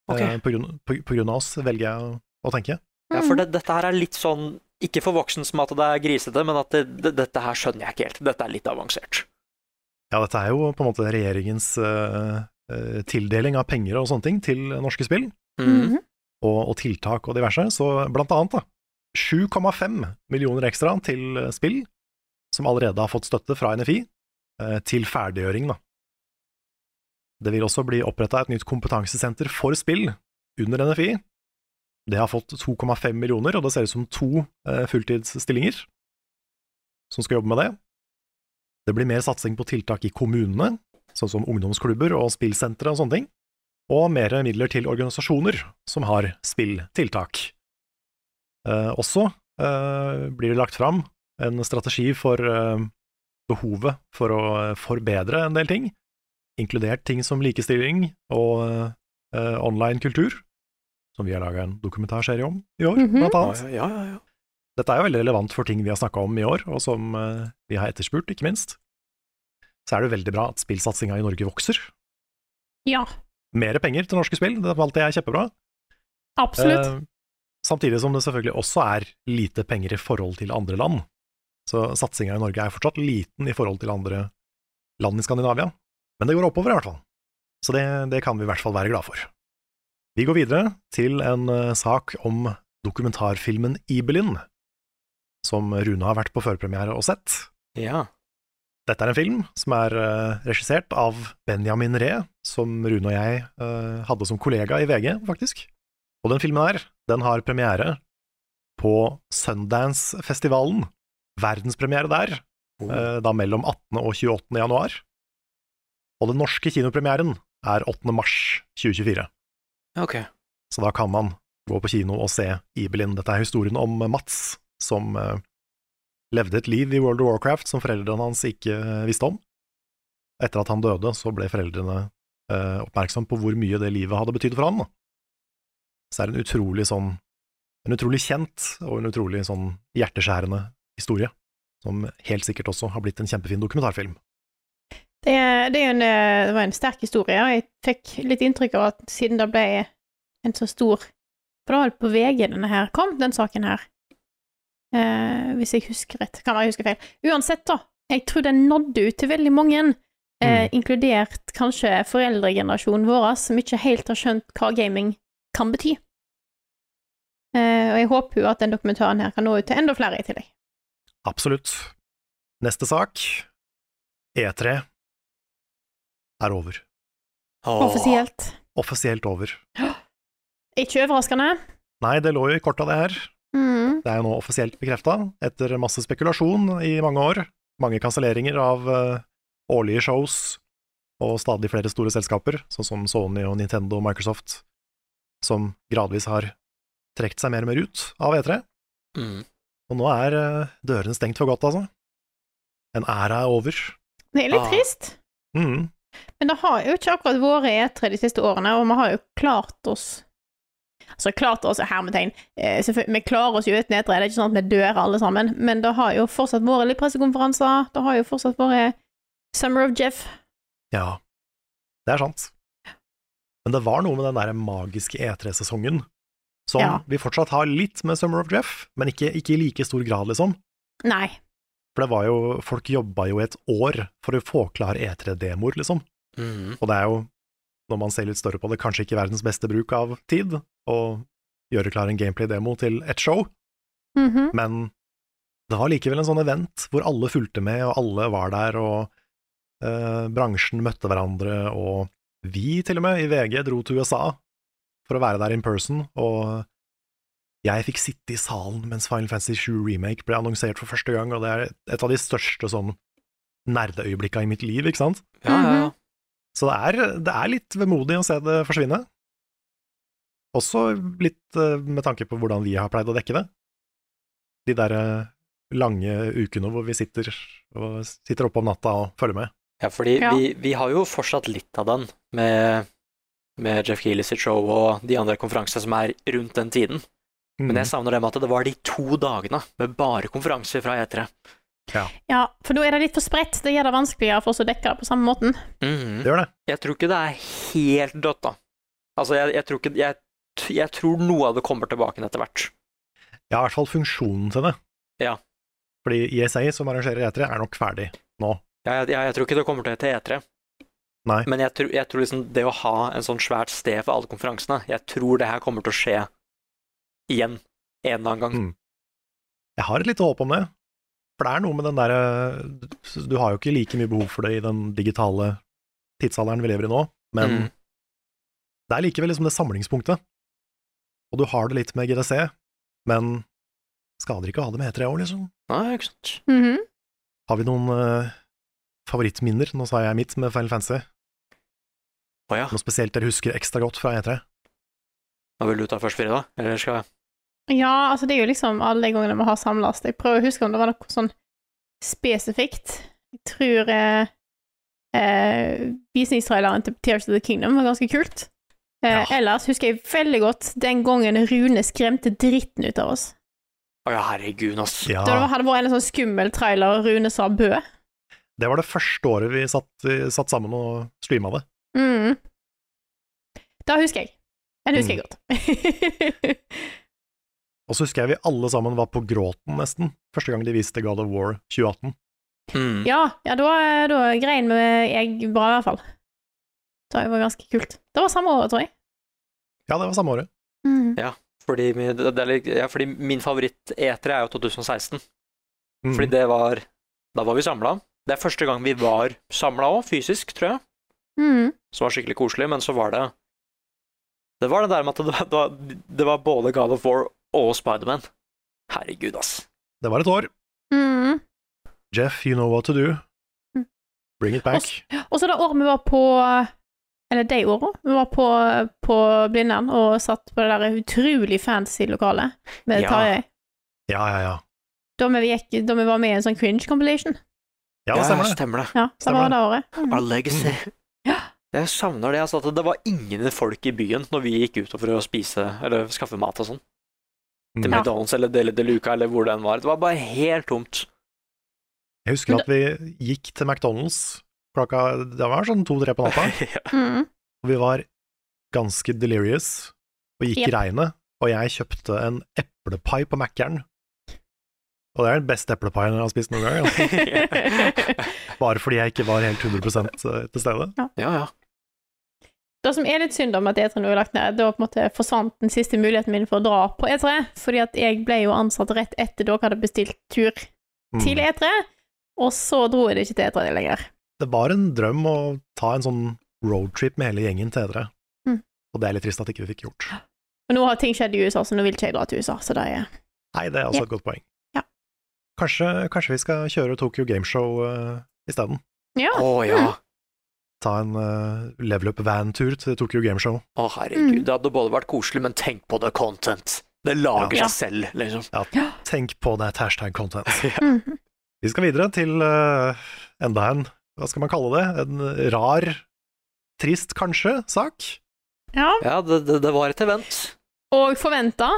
C: Ok.
B: Eh, På, grunn, på, på grunn av oss, velger jeg å, å tenke.
C: Ja,
A: Mm.
C: for det, dette her er litt sånn Ikke for voksen som at det er grisete, men at det, det, dette her skjønner jeg ikke helt. Dette er litt avansert.
B: Ja, dette er jo på en måte regjeringens eh, eh, tildeling av penger og sånne ting til norske spill,
C: Mhm.
B: og, og tiltak og diverse. Så blant annet, da. 7,5 millioner ekstra til eh, spill som allerede har fått støtte fra NFI, eh, til ferdiggjøring, da. Det vil også bli oppretta et nytt kompetansesenter for spill under NFI. Det har fått 2,5 millioner, og det ser ut som to eh, fulltidsstillinger som skal jobbe med det. Det blir mer satsing på tiltak i kommunene, sånn som ungdomsklubber og spillsentre og sånne ting. Og mer midler til organisasjoner som har spilltiltak. Eh, også eh, blir det lagt fram en strategi for eh, behovet for å eh, forbedre en del ting, inkludert ting som likestilling og eh, online kultur, som vi har laga en dokumentarserie om i år, blant annet.
C: Ja, ja, ja.
B: Dette er jo veldig relevant for ting vi har snakka om i år, og som eh, vi har etterspurt, ikke minst. Så er det jo veldig bra at spillsatsinga i Norge vokser.
A: Ja,
B: Mer penger til norske spill, det valgte jeg kjempebra.
A: absolutt.
B: Eh, samtidig som det selvfølgelig også er lite penger i forhold til andre land. Så satsinga i Norge er fortsatt liten i forhold til andre land i Skandinavia, men det går oppover i hvert fall. Så det, det kan vi i hvert fall være glad for. Vi går videre til en eh, sak om dokumentarfilmen Ibelin, som Rune har vært på førpremiere og sett.
C: Ja.
B: Dette er en film som er eh, regissert av Benjamin Ree, som Rune og jeg eh, hadde som kollega i VG, faktisk. Og den filmen her, den har premiere på Sundance-festivalen. Verdenspremiere der, eh, da mellom 18. og 28. januar. Og den norske kinopremieren er 8. mars 2024.
C: Ok.
B: Så da kan man gå på kino og se Ibelin. Dette er historien om Mats, som eh, levde et liv i World of Warcraft som foreldrene hans ikke eh, visste om. Etter at han døde, så ble foreldrene eh, oppmerksom på hvor mye det livet hadde betydd for han. da. Så det er en utrolig sånn En utrolig kjent og en utrolig sånn hjerteskjærende historie, som helt sikkert også har blitt en kjempefin dokumentarfilm.
A: Det, er- det, er jo en, eh, det var en sterk historie, og jeg fikk litt inntrykk av at siden det ble en så stor For det var vel på VG denne her kom, den saken her. Eh, hvis jeg husker rett. Kan være jeg husker feil. Uansett, da. Jeg tror den nådde ut til veldig mange, eh, inkludert kanskje foreldregenerasjonen vår, som ikke helt har skjønt hva gaming kan bety. Eh, og jeg håper jo at den dokumentaren her kan nå ut til enda flere i tillegg.
B: Absolutt. Neste sak, E3, er over.
A: Offisielt.
B: Offisielt over.
A: Ikke overraskende.
B: Nei, det lå jo i korta det her.
A: Mm.
B: Det er jo nå offisielt bekrefta, etter masse spekulasjon i mange år. Mange kanselleringer av eh, årlige shows og stadig flere store selskaper, sånn som Sony og Nintendo og Microsoft, som gradvis har trukket seg mer og mer ut av E3.
C: Mm.
B: Og nå er eh, dørene stengt for godt, altså. En æra er over.
A: Det er litt
B: Ah.
A: trist.
B: Mm.
A: Men det har jo ikke akkurat vært E3 de siste årene, og vi har jo klart oss Altså klart oss, hermetegn eh, selvfølgelig- Vi klarer oss jo uten E3, det er ikke sånn at vi dør alle sammen, men det har jo fortsatt vært litt pressekonferanser, det har jo fortsatt vært Summer of Jeff.
B: Ja, det er sant. Men det var noe med den der magiske E3-sesongen som
A: Ja.
B: vi fortsatt har litt med Summer of Jeff, men ikke, ikke i like stor grad, liksom.
A: Nei.
B: For det var jo, E
C: mm.
B: folk jobba jo et år for å få klar E3-demoer, liksom. Og det er jo når man ser litt større på det, kanskje ikke verdens beste bruk av tid å gjøre klar en gameplay-demo til et show,
A: Mhm.
B: men det var likevel en sånn event hvor alle fulgte med, og alle var der, og eh, bransjen møtte hverandre, og vi til og med i VG dro til USA for å være der in person, og jeg fikk sitte i salen mens Final Fantasy 7 Remake ble annonsert for første gang, og det er et av de største sånn nerdeøyeblikka i mitt liv, ikke sant?
C: Ja, ja, ja.
B: Så det er, det er litt vemodig å se det forsvinne. Også litt eh, med tanke på hvordan vi har pleid å dekke det. De der eh, lange ukene hvor vi sitter, og sitter oppe om natta og følger med.
C: Ja, fordi
A: Ja.
C: Vi, vi har jo fortsatt litt av den med, med Jeff Keighley sitt show og de andre konferansene som er rundt den tiden.
B: Mm.
C: Men
B: Mhm.
C: jeg savner det med at det var de to dagene med bare konferanser fra E E3.
A: Ja, for da er det litt for spredt. Det gjør det vanskeligere for oss å dekke det på samme måten.
C: Mhm.
B: Det gjør det.
C: Jeg tror ikke det er helt dødt, da. Altså, jeg, jeg tror ikke jeg, jeg tror noe av det kommer tilbake etter hvert.
B: Ja, i hvert fall funksjonen til det.
C: Ja.
B: Fordi ISA, som arrangerer E3, er nok ferdig nå.
C: Jeg, jeg, jeg tror ikke det kommer til å hete E3.
B: Nei.
C: Men jeg, tror- jeg tror liksom det å ha en sånn svært sted for alle konferansene Jeg tror det her kommer til å skje igjen. En eller annen gang.
B: Mm. Jeg har et lite håp om det. For det er noe med den derre Du har jo ikke like mye behov for det i den digitale tidsalderen vi lever i nå, men
C: Mm.
B: det er likevel liksom det samlingspunktet. Og du har det litt med GDC, men skader ikke å ha det med E3 år, liksom.
C: Nei, ikke sant.
A: Mhm.
B: Har vi noen eh, favorittminner? Nå sa jeg mitt med Final Fantasy.
C: Å ja.
B: Noe spesielt dere husker ekstra godt fra E E3?
C: Nå vil du ta først, Frida? Eller skal jeg
A: Ja, altså det er jo liksom alle de gangene vi har samles. Jeg prøver å huske om det var noe sånn spesifikt. Jeg tror eh, eh, visningstraileren til Tears of the Kingdom var ganske kult. Eh, Ellers husker jeg veldig godt den gangen Rune skremte dritten ut av oss.
C: Å ja, herregud, ass.
B: Ja,
A: Da det hadde vært en sånn skummel trailer, og Rune sa bø.
B: det var det første året vi satt, satt sammen og streama det.
A: Mm. Da husker jeg. Den husker jeg godt. *laughs*
B: Og så husker jeg vi alle sammen var på gråten nesten, første gang de viste God of War 2018.
C: Mm.
A: ja, ja, da, da grein vi jeg bra, i hvert fall. Det var ganske kult. Det var samme året, tror jeg.
B: Ja, det var samme året.
A: Mm.
C: Fordi, min- det det er litt, ja, fordi min favoritt-E3 er jo 2016.
B: Mm.
C: Fordi det var Da var vi samla. Det er første gang vi var samla òg, fysisk, tror jeg.
A: Mm.
C: Som var skikkelig koselig, men så var det Det var det der med at det var, det var, det var både God of War og Spiderman. Herregud, ass.
B: det var et år.
A: Mm.
B: Jeff, you know what to do.
A: Mm.
B: Bring it back.
A: Og så det året vi var på Eller de åra. Vi var på, på Blindern og satt på det der utrolig fancy lokalet med
C: Ja.
A: Tarjei.
B: Ja, ja, ja.
A: Da, vi gikk- da vi var med i en sånn cringe compilation.
B: Ja, det stemmer det.
C: stemmer det.
A: Ja, samme
B: Stemmer
A: var det året.
C: Our legacy.
A: Ja.
C: Mm. Jeg savner det. altså at Det var ingen folk i byen når vi gikk ut for å spise eller skaffe mat og sånn. Til
B: Mm.
C: McDonald's eller Deli de Luca eller hvor den var. Det var bare helt tomt.
B: Jeg husker at vi gikk til McDonald's klokka Det var sånn to-tre på natta,
C: *laughs*
A: *laughs*
C: Ja.
A: Mm.
B: og vi var ganske delirious og gikk i
A: Yep.
B: regnet. Og jeg kjøpte en eplepai på Mækkern. Og det er den beste eplepaien jeg har spist noen
A: *laughs*
B: gang. Altså. Bare fordi jeg ikke var helt 100 til stede.
C: ja, ja.
A: Det som er litt synd om at E3 nå er lagt ned, da på en måte forsvant den siste muligheten min for å dra på E3, fordi at jeg ble jo ansatt rett etter dere hadde bestilt tur
B: Mm.
A: til E3, og så dro jeg det ikke til E3 lenger.
B: det var en drøm å ta en sånn roadtrip med hele gjengen til Edre.
A: Mm.
B: Og det er litt trist at ikke vi fikk gjort.
A: Og nå har ting skjedd i USA, så nå vil ikke jeg dra til USA, så det er
B: Nei, det er også
A: Ja.
B: et godt poeng.
A: Ja.
B: Kanskje, kanskje vi skal kjøre Tokyo Gameshow uh, isteden?
A: Ja.
C: Å ja.
B: Ta en eh, level up-van-tur til Tokyo Gameshow.
C: Å herregud. Det hadde både vært koselig, men tenk på the content. Det lager
A: Ja.
C: seg selv, liksom.
B: Tenk på det
A: *laughs*
B: hashtag content.
A: Mhm.
B: Vi skal videre til eh, enda en, hva skal man kalle det, en rar, trist kanskje, sak.
A: Ja.
C: Ja, det, det, det var et event.
A: Og forventa.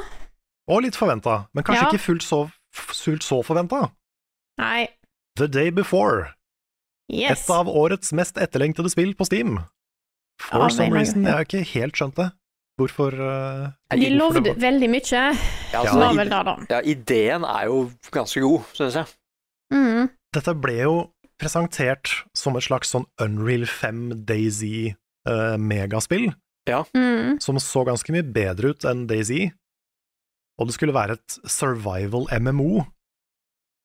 B: Og litt forventa, men kanskje
A: Ja.
B: ikke fullt så, fullt så forventa.
A: Nei.
B: The Day Before.
A: Yes.
B: Et av årets mest etterlengtede spill på Steam. For
A: Ja,
B: some
A: men-
B: reason. Jeg har ikke helt skjønt det. Hvorfor eh,
A: De
B: hvorfor
A: lovde
B: det var-
A: veldig mye,
C: Ja,
B: Ja.
A: så var
C: altså,
A: vel det, da.
C: i, ja, ideen er jo ganske god, synes jeg.
A: Mm.
B: Dette ble jo presentert som et slags sånn Unreal 5 DayZ eh, megaspill som så ganske mye bedre ut enn DayZ, og det skulle være et survival MMO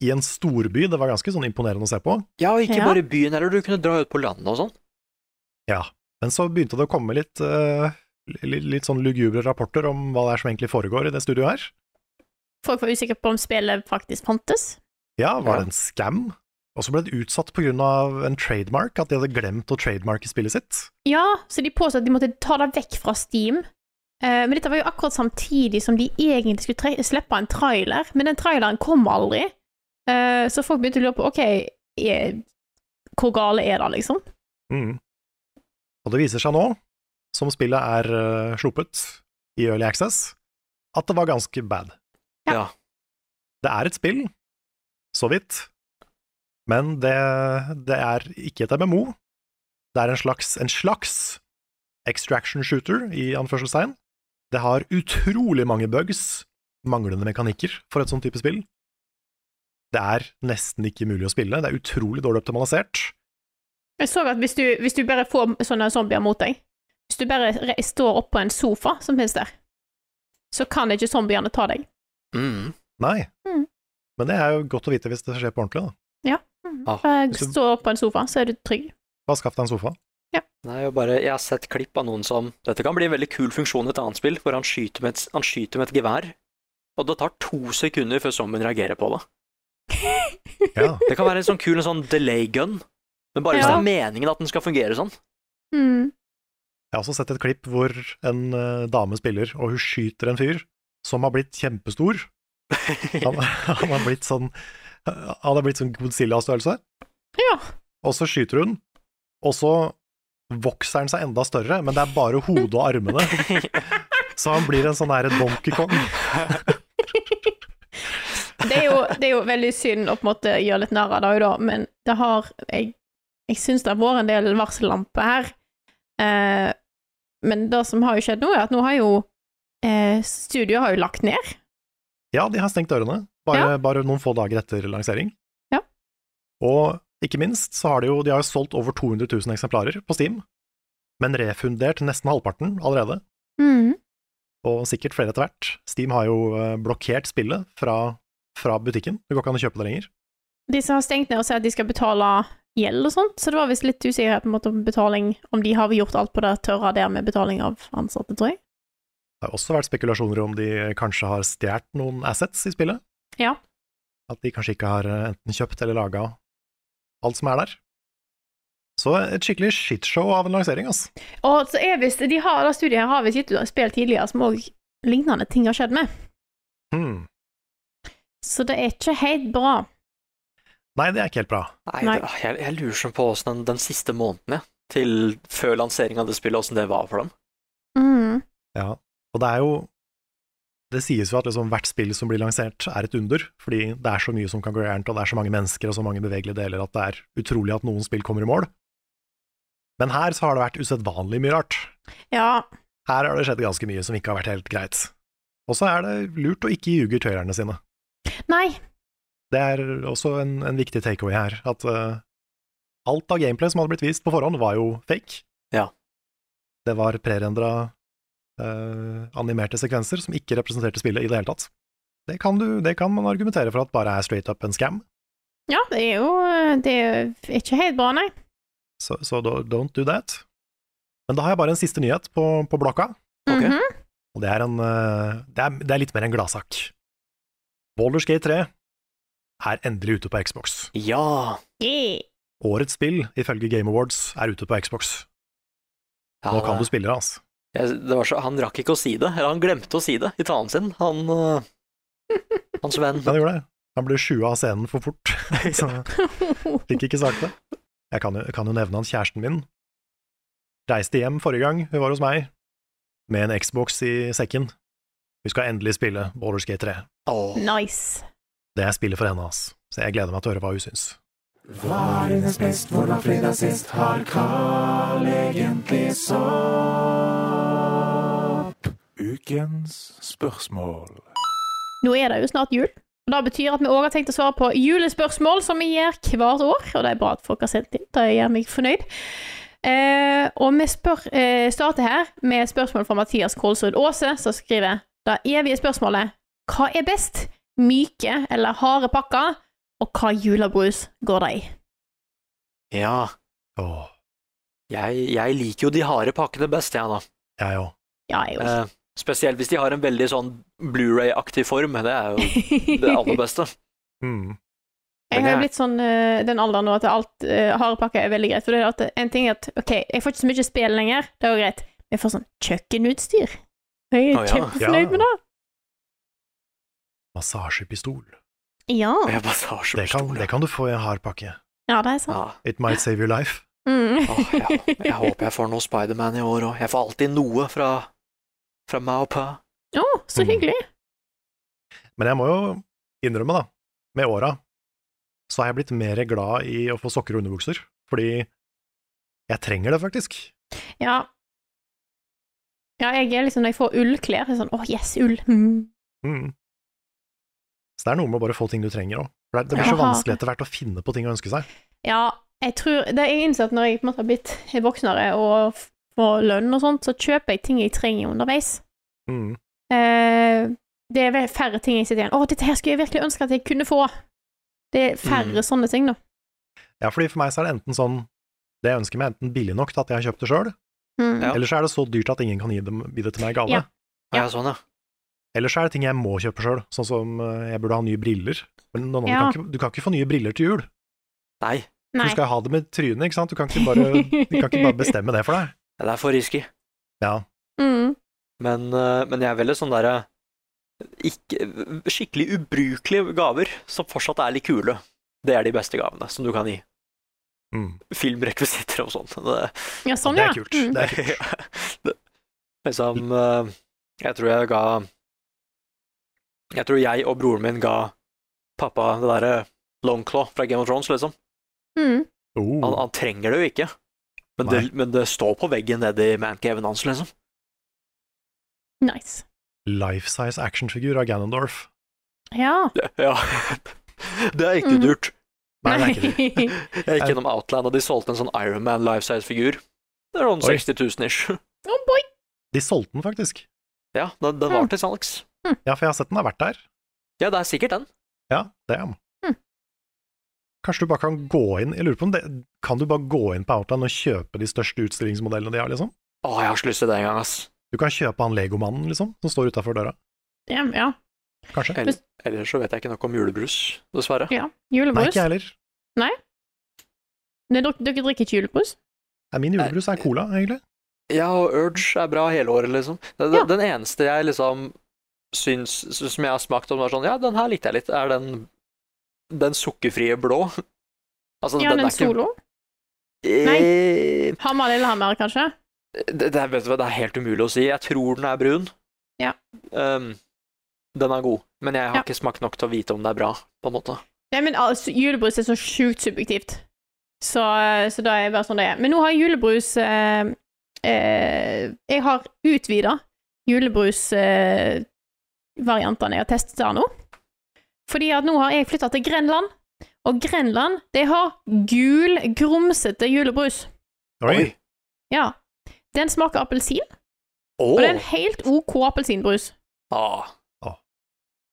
B: i en storby. Det var ganske sånn imponerende å se på.
C: Ja, og ikke
B: Ja.
C: bare i byen, eller du kunne dra ut på landet og sånn.
B: Ja, men så begynte det å komme litt, eh, li- litt sånn lugubre rapporter om hva det er som egentlig foregår i det studioet her.
A: Folk var usikre på om spillet faktisk fantes.
B: Ja, var det en scam? Og så ble det utsatt på grunn av en trademark, at de hadde glemt å trademarke spillet sitt.
A: Ja, så de påstod at de måtte ta det vekk fra Steam. Eh, men dette var jo akkurat samtidig som de egentlig skulle tre slippe en trailer, men den traileren kom aldri. Eh, så folk begynte å lure på ok, er, hvor gale er det, liksom?
B: Mm. Og det viser seg nå, som spillet er eh, sluppet i Early Access, at det var ganske bad.
C: Ja.
B: Det er et spill, så vidt, men det, det er ikke et MMO. Det er en slags, en slags extraction shooter, i anførselstegn. Det har utrolig mange bugs, manglende mekanikker for et sånt type spill. Det er nesten ikke mulig å spille, det er utrolig dårlig optimalisert.
A: Jeg så at hvis du, hvis du bare får sånne zombier mot deg, hvis du bare re står oppå en sofa som finnes der, så kan ikke zombiene ta deg.
B: Nei.
A: Mm.
B: Men det er jo godt å vite hvis det skjer på ordentlig, da.
A: Ja. Mm.
C: Ah.
A: Bare
B: Så-
A: Stå oppå en sofa, så er du trygg.
B: Bare skaff deg en
A: *laughs*
B: sofa.
C: Nei, jeg, bare, jeg har sett klipp av noen som Dette kan bli en veldig kul funksjon i et annet spill, hvor han skyter med et, han skyter med et gevær, og det tar to sekunder før zombien reagerer på det. Det kan være en sånn kul en sånn delay gun, men bare hvis
A: Ja.
C: det er meningen at den skal fungere sånn.
A: Mm.
B: Jeg har også sett et klipp hvor en eh, dame spiller, og hun skyter en fyr som har blitt
A: *laughs*
B: kjempestor. Han, han har blitt sånn Han har blitt sånn Godzilla-størrelse.
A: Ja.
B: Og så skyter hun, og så vokser han seg enda større, men det er bare hodet og
A: *laughs*
B: armene. Så han blir en sånn her Donkey Kong.
A: Det er, jo, det er jo veldig synd å på en måte gjøre litt narr av det, da, men det har Jeg, jeg syns det har vært en del varsellamper her. Eh, men det som har jo skjedd nå, er at nå har jo eh, Studioet har jo lagt ned.
B: Ja, de har stengt dørene, bare, bare noen få dager etter lansering.
A: Ja.
B: Og ikke minst så har de jo de har jo solgt over 200 000 eksemplarer på Steam, men refundert nesten halvparten allerede,
A: Mm.
B: og sikkert flere etter hvert. Steam har jo eh, blokkert spillet fra, fra butikken, det går ikke an å kjøpe det lenger.
A: De som har stengt ned og sier at de skal betale gjeld og sånt, så det var visst litt usikkerhet på en måte om betaling Om de har gjort alt på det tørre der med betaling av ansatte, tror jeg.
B: Det har også vært spekulasjoner om de kanskje har stjålet noen assets i spillet,
A: Ja.
B: at de kanskje ikke har eh, enten kjøpt eller laga alt som er der. Så et skikkelig shitshow av en lansering, altså.
A: Og så er visst de har, det studiet her har visst gitt ut spill tidligere som òg lignende ting har skjedd med.
B: Hmm.
A: Så det er ikke helt bra.
B: Nei, det er ikke helt bra.
C: Nei, Det, jeg, jeg lurer sånn på åssen den, den siste måneden, jeg, til før lansering av det spillet, åssen det var for dem.
B: Ja, og det er jo Det sies jo at liksom hvert spill som blir lansert, er et under, fordi det er så mye som kan gå gærent, og det er så mange mennesker og så mange bevegelige deler at det er utrolig at noen spill kommer i mål. Men her så har det vært usedvanlig mye rart.
A: Ja.
B: Her har det skjedd ganske mye som ikke har vært helt greit. Og så er det lurt å ikke ljuge tøylerne sine.
A: Nei.
B: Det er også en, en viktig takeaway her, at eh, alt av gameplay som hadde blitt vist på forhånd, var jo fake.
C: Ja.
B: Det var prerendra eh, animerte sekvenser som ikke representerte spillet i det hele tatt. Det kan, du, det kan man argumentere for at bare er straight up en scam,
A: Ja, det er jo Det er ikke helt bra, nei.
B: så så do- don't do that. Men da har jeg bare en siste nyhet på, på blokka,
A: Mhm.
B: og det er, en, eh, det, er, det er litt mer en gladsak. Baldur's Gate 3 er endelig ute på Xbox.
C: Ja!
A: Yeah.
B: Årets spill, ifølge Game Awards, er ute på Xbox. Nå kan du spille det, altså.
C: Jeg, det var så, han rakk ikke å si det, eller han glemte å si det i talen sin, han, øh, hans venn.
B: *laughs* Ja, det gjorde det. Han ble sjua av scenen for fort, *laughs*
A: *laughs*
B: så fikk ikke sagt det. Jeg kan jo, kan jo nevne han kjæresten min. Reiste hjem forrige gang hun var hos meg, med en Xbox i sekken. Vi skal endelig spille Baldur's Gate 3.
A: Nice.
B: Det er spillet for henne, ass. Så jeg gleder meg til å høre hva hun syns.
H: Hva er dines best, hvor var fredag sist? Har Carl egentlig sopp?
F: Ukens spørsmål.
A: Nå er det jo snart jul. Og Det betyr at vi òg har tenkt å svare på julespørsmål, som vi gjør hvert år. Og det er bra at folk har sendt inn. Det gjør meg fornøyd. Eh, og vi spør, eh, starter her med et spørsmål fra Mathias Kolsrud Aase, som skriver det evige spørsmålet Hva er best? Myke eller harde pakker? Og hva julebrus går det i?
C: Ja. Jeg, jeg liker jo de harde pakkene best, jeg, da.
B: Jeg òg.
A: Ja, jeg
C: Eh, spesielt hvis de har en veldig sånn Blu-ray-aktig form. Det
B: *laughs*
C: er jo det aller beste.
B: Mm,
A: Jeg
C: Men
A: har jo
C: jeg-
A: blitt sånn eh, den alderen nå at alt uh, harde pakker er veldig greit. For det er at en ting er at OK, jeg får ikke så mye spill lenger, det er jo greit. Men jeg får sånn kjøkkenutstyr. Jeg er
B: Å, ja.
A: kjempefornøyd
B: Ja.
A: med det.
B: Massasjepistol.
A: Ja.
B: Det kan, det kan du få i en hard pakke.
A: ja, det er sant.
B: It might save your life.
A: Mm. *laughs*
C: Jeg håper jeg får noe Spiderman i år òg. Jeg får alltid noe fra, fra meg og pa.
A: Å, så hyggelig.
B: Men jeg må jo innrømme, da, med åra, så har jeg blitt mer glad i å få sokker og underbukser, fordi jeg trenger det faktisk.
A: Ja. Ja, jeg er liksom, når jeg får ullklær, så er jeg sånn Å, yes, ull. Mm.
B: Mm. Så det er noe med å bare få ting du trenger òg. Det det blir så
A: Ja.
B: vanskelig etter hvert å finne på ting å ønske seg.
A: Ja, jeg tror Det jeg innser at når jeg på en måte har blitt voksnere og f- får lønn og sånt, så kjøper jeg ting jeg trenger underveis.
B: Mm.
A: Eh, det er vel færre ting jeg sitter igjen Å, dette her skulle jeg virkelig ønske at jeg kunne få. Det er færre
B: Mm.
A: sånne ting, da.
B: Ja, fordi for meg så er det enten sånn Det jeg ønsker meg, er enten billig nok til at jeg har kjøpt det sjøl,
A: Mm. Ja.
B: eller så er det så dyrt at ingen kan gi, dem, gi det til meg i gave.
A: Ja. Ja. Ja,
C: sånn,
B: Eller så er det ting jeg må kjøpe sjøl, sånn som eh, jeg burde ha nye briller. Men noen,
A: Ja.
B: du, kan ikke, du kan ikke få nye briller til jul.
C: Nei.
B: Du
A: Nei.
B: skal jo ha det med trynet, ikke sant? Du kan ikke bare, du
A: *laughs*
B: kan ikke bare bestemme det for deg.
C: Det er for risky.
B: Ja.
A: Mm.
C: Men, eh, men jeg er veldig sånn derre ikke- Skikkelig ubrukelige gaver som fortsatt er litt kule. Det er de beste gavene som du kan gi.
B: Mm.
C: Filmrekvisitter og sånn. Det,
A: Ja, sånn,
B: det
A: ja.
B: er kult.
A: Mm.
C: *laughs*
B: Det er
A: *laughs*
B: kult.
C: det, liksom eh, Jeg tror jeg ga Jeg tror jeg og broren min ga pappa det derre Longclaw fra Game of Thrones, liksom.
A: Mm.
B: Oh,
C: Han, han trenger det jo ikke, men det, men det står på veggen nede i mancaven hans, liksom.
A: Nice.
B: Life-size actionfigur av Ganondorf.
A: Ja.
C: Det- Ja. *laughs* Det er ikke
A: Mhm.
C: dyrt.
B: Nei, det er ikke det.
C: Jeg gikk gjennom Outland, og de solgte en sånn Ironman life size-figur. Det er sånn
B: Oi.
C: 60 000 ish.
A: *laughs* Oh boy.
B: De solgte den faktisk.
C: Ja, den, den
A: Hm.
C: var til salgs.
B: Ja, for jeg har sett den har vært der.
C: Ja, det er sikkert den.
B: Ja, det er den.
A: Hm.
B: Kanskje du bare kan gå inn Jeg lurer på om det Kan du bare gå inn på Outland og kjøpe de største utstillingsmodellene de har, liksom?
C: Å, jeg har ikke lyst til det engang, ass.
B: Du kan kjøpe han legomannen, liksom, som står utafor døra.
A: Ja, ja. Eh,
B: Kanskje.
C: Eller, ellers så vet jeg ikke nok om julebrus, dessverre.
A: ja.
B: Nei,
A: Julebrus.
B: ikke jeg heller.
A: Nei? Nei, Dere, dere drikker ikke julebrus?
B: Nei,
A: Eh,
B: min julebrus er cola, egentlig.
C: Ja, og Urge er bra hele året, liksom. Det, det, Den eneste jeg liksom syns som jeg har smakt, og som er sånn Ja, den her likte jeg litt, er den, den sukkerfrie blå. *laughs* Altså,
A: ja, den
C: er ikke-
A: solo?
C: Eh,
A: Hamar Lillehammer, kanskje?
C: Det, det, er- vet du hva, det er helt umulig å si. Jeg tror den er brun.
A: Ja.
C: Ehm, den er god, men jeg har
A: Ja.
C: ikke smakt nok til å vite om det er bra, på en måte.
A: Nei, men altså, julebrus er så sjukt subjektivt. Så, så da er det bare sånn det er. Men nå har jeg julebrus eh, eh, Jeg har utvida julebrusvariantene eh, variantene jeg har testet der nå. Fordi at nå har jeg flytta til Grenland, og Grenland de har gul, grumsete julebrus.
B: Oi.
A: Ja. Den smaker appelsin,
C: Åh.
A: og det er en helt OK appelsinbrus.
C: Ah.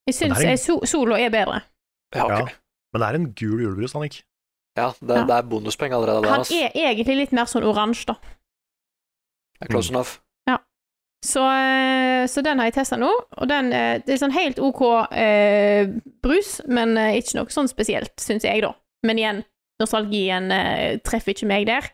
A: Jeg syns
B: Men det er en-
A: eh, so Solo er bedre.
C: Ja, ok.
B: Men det er en gul julebrus, Annik.
C: Ja, det, det er bonuspoeng allerede der,
A: Han
C: ass.
A: er egentlig litt mer sånn oransje, da.
C: Det er Close enough.
A: Så, eh, så den har jeg testa nå, og den eh, det er sånn helt OK eh, brus, men eh, ikke noe sånn spesielt, syns jeg, da. Men igjen, nostalgien eh, treffer ikke meg der.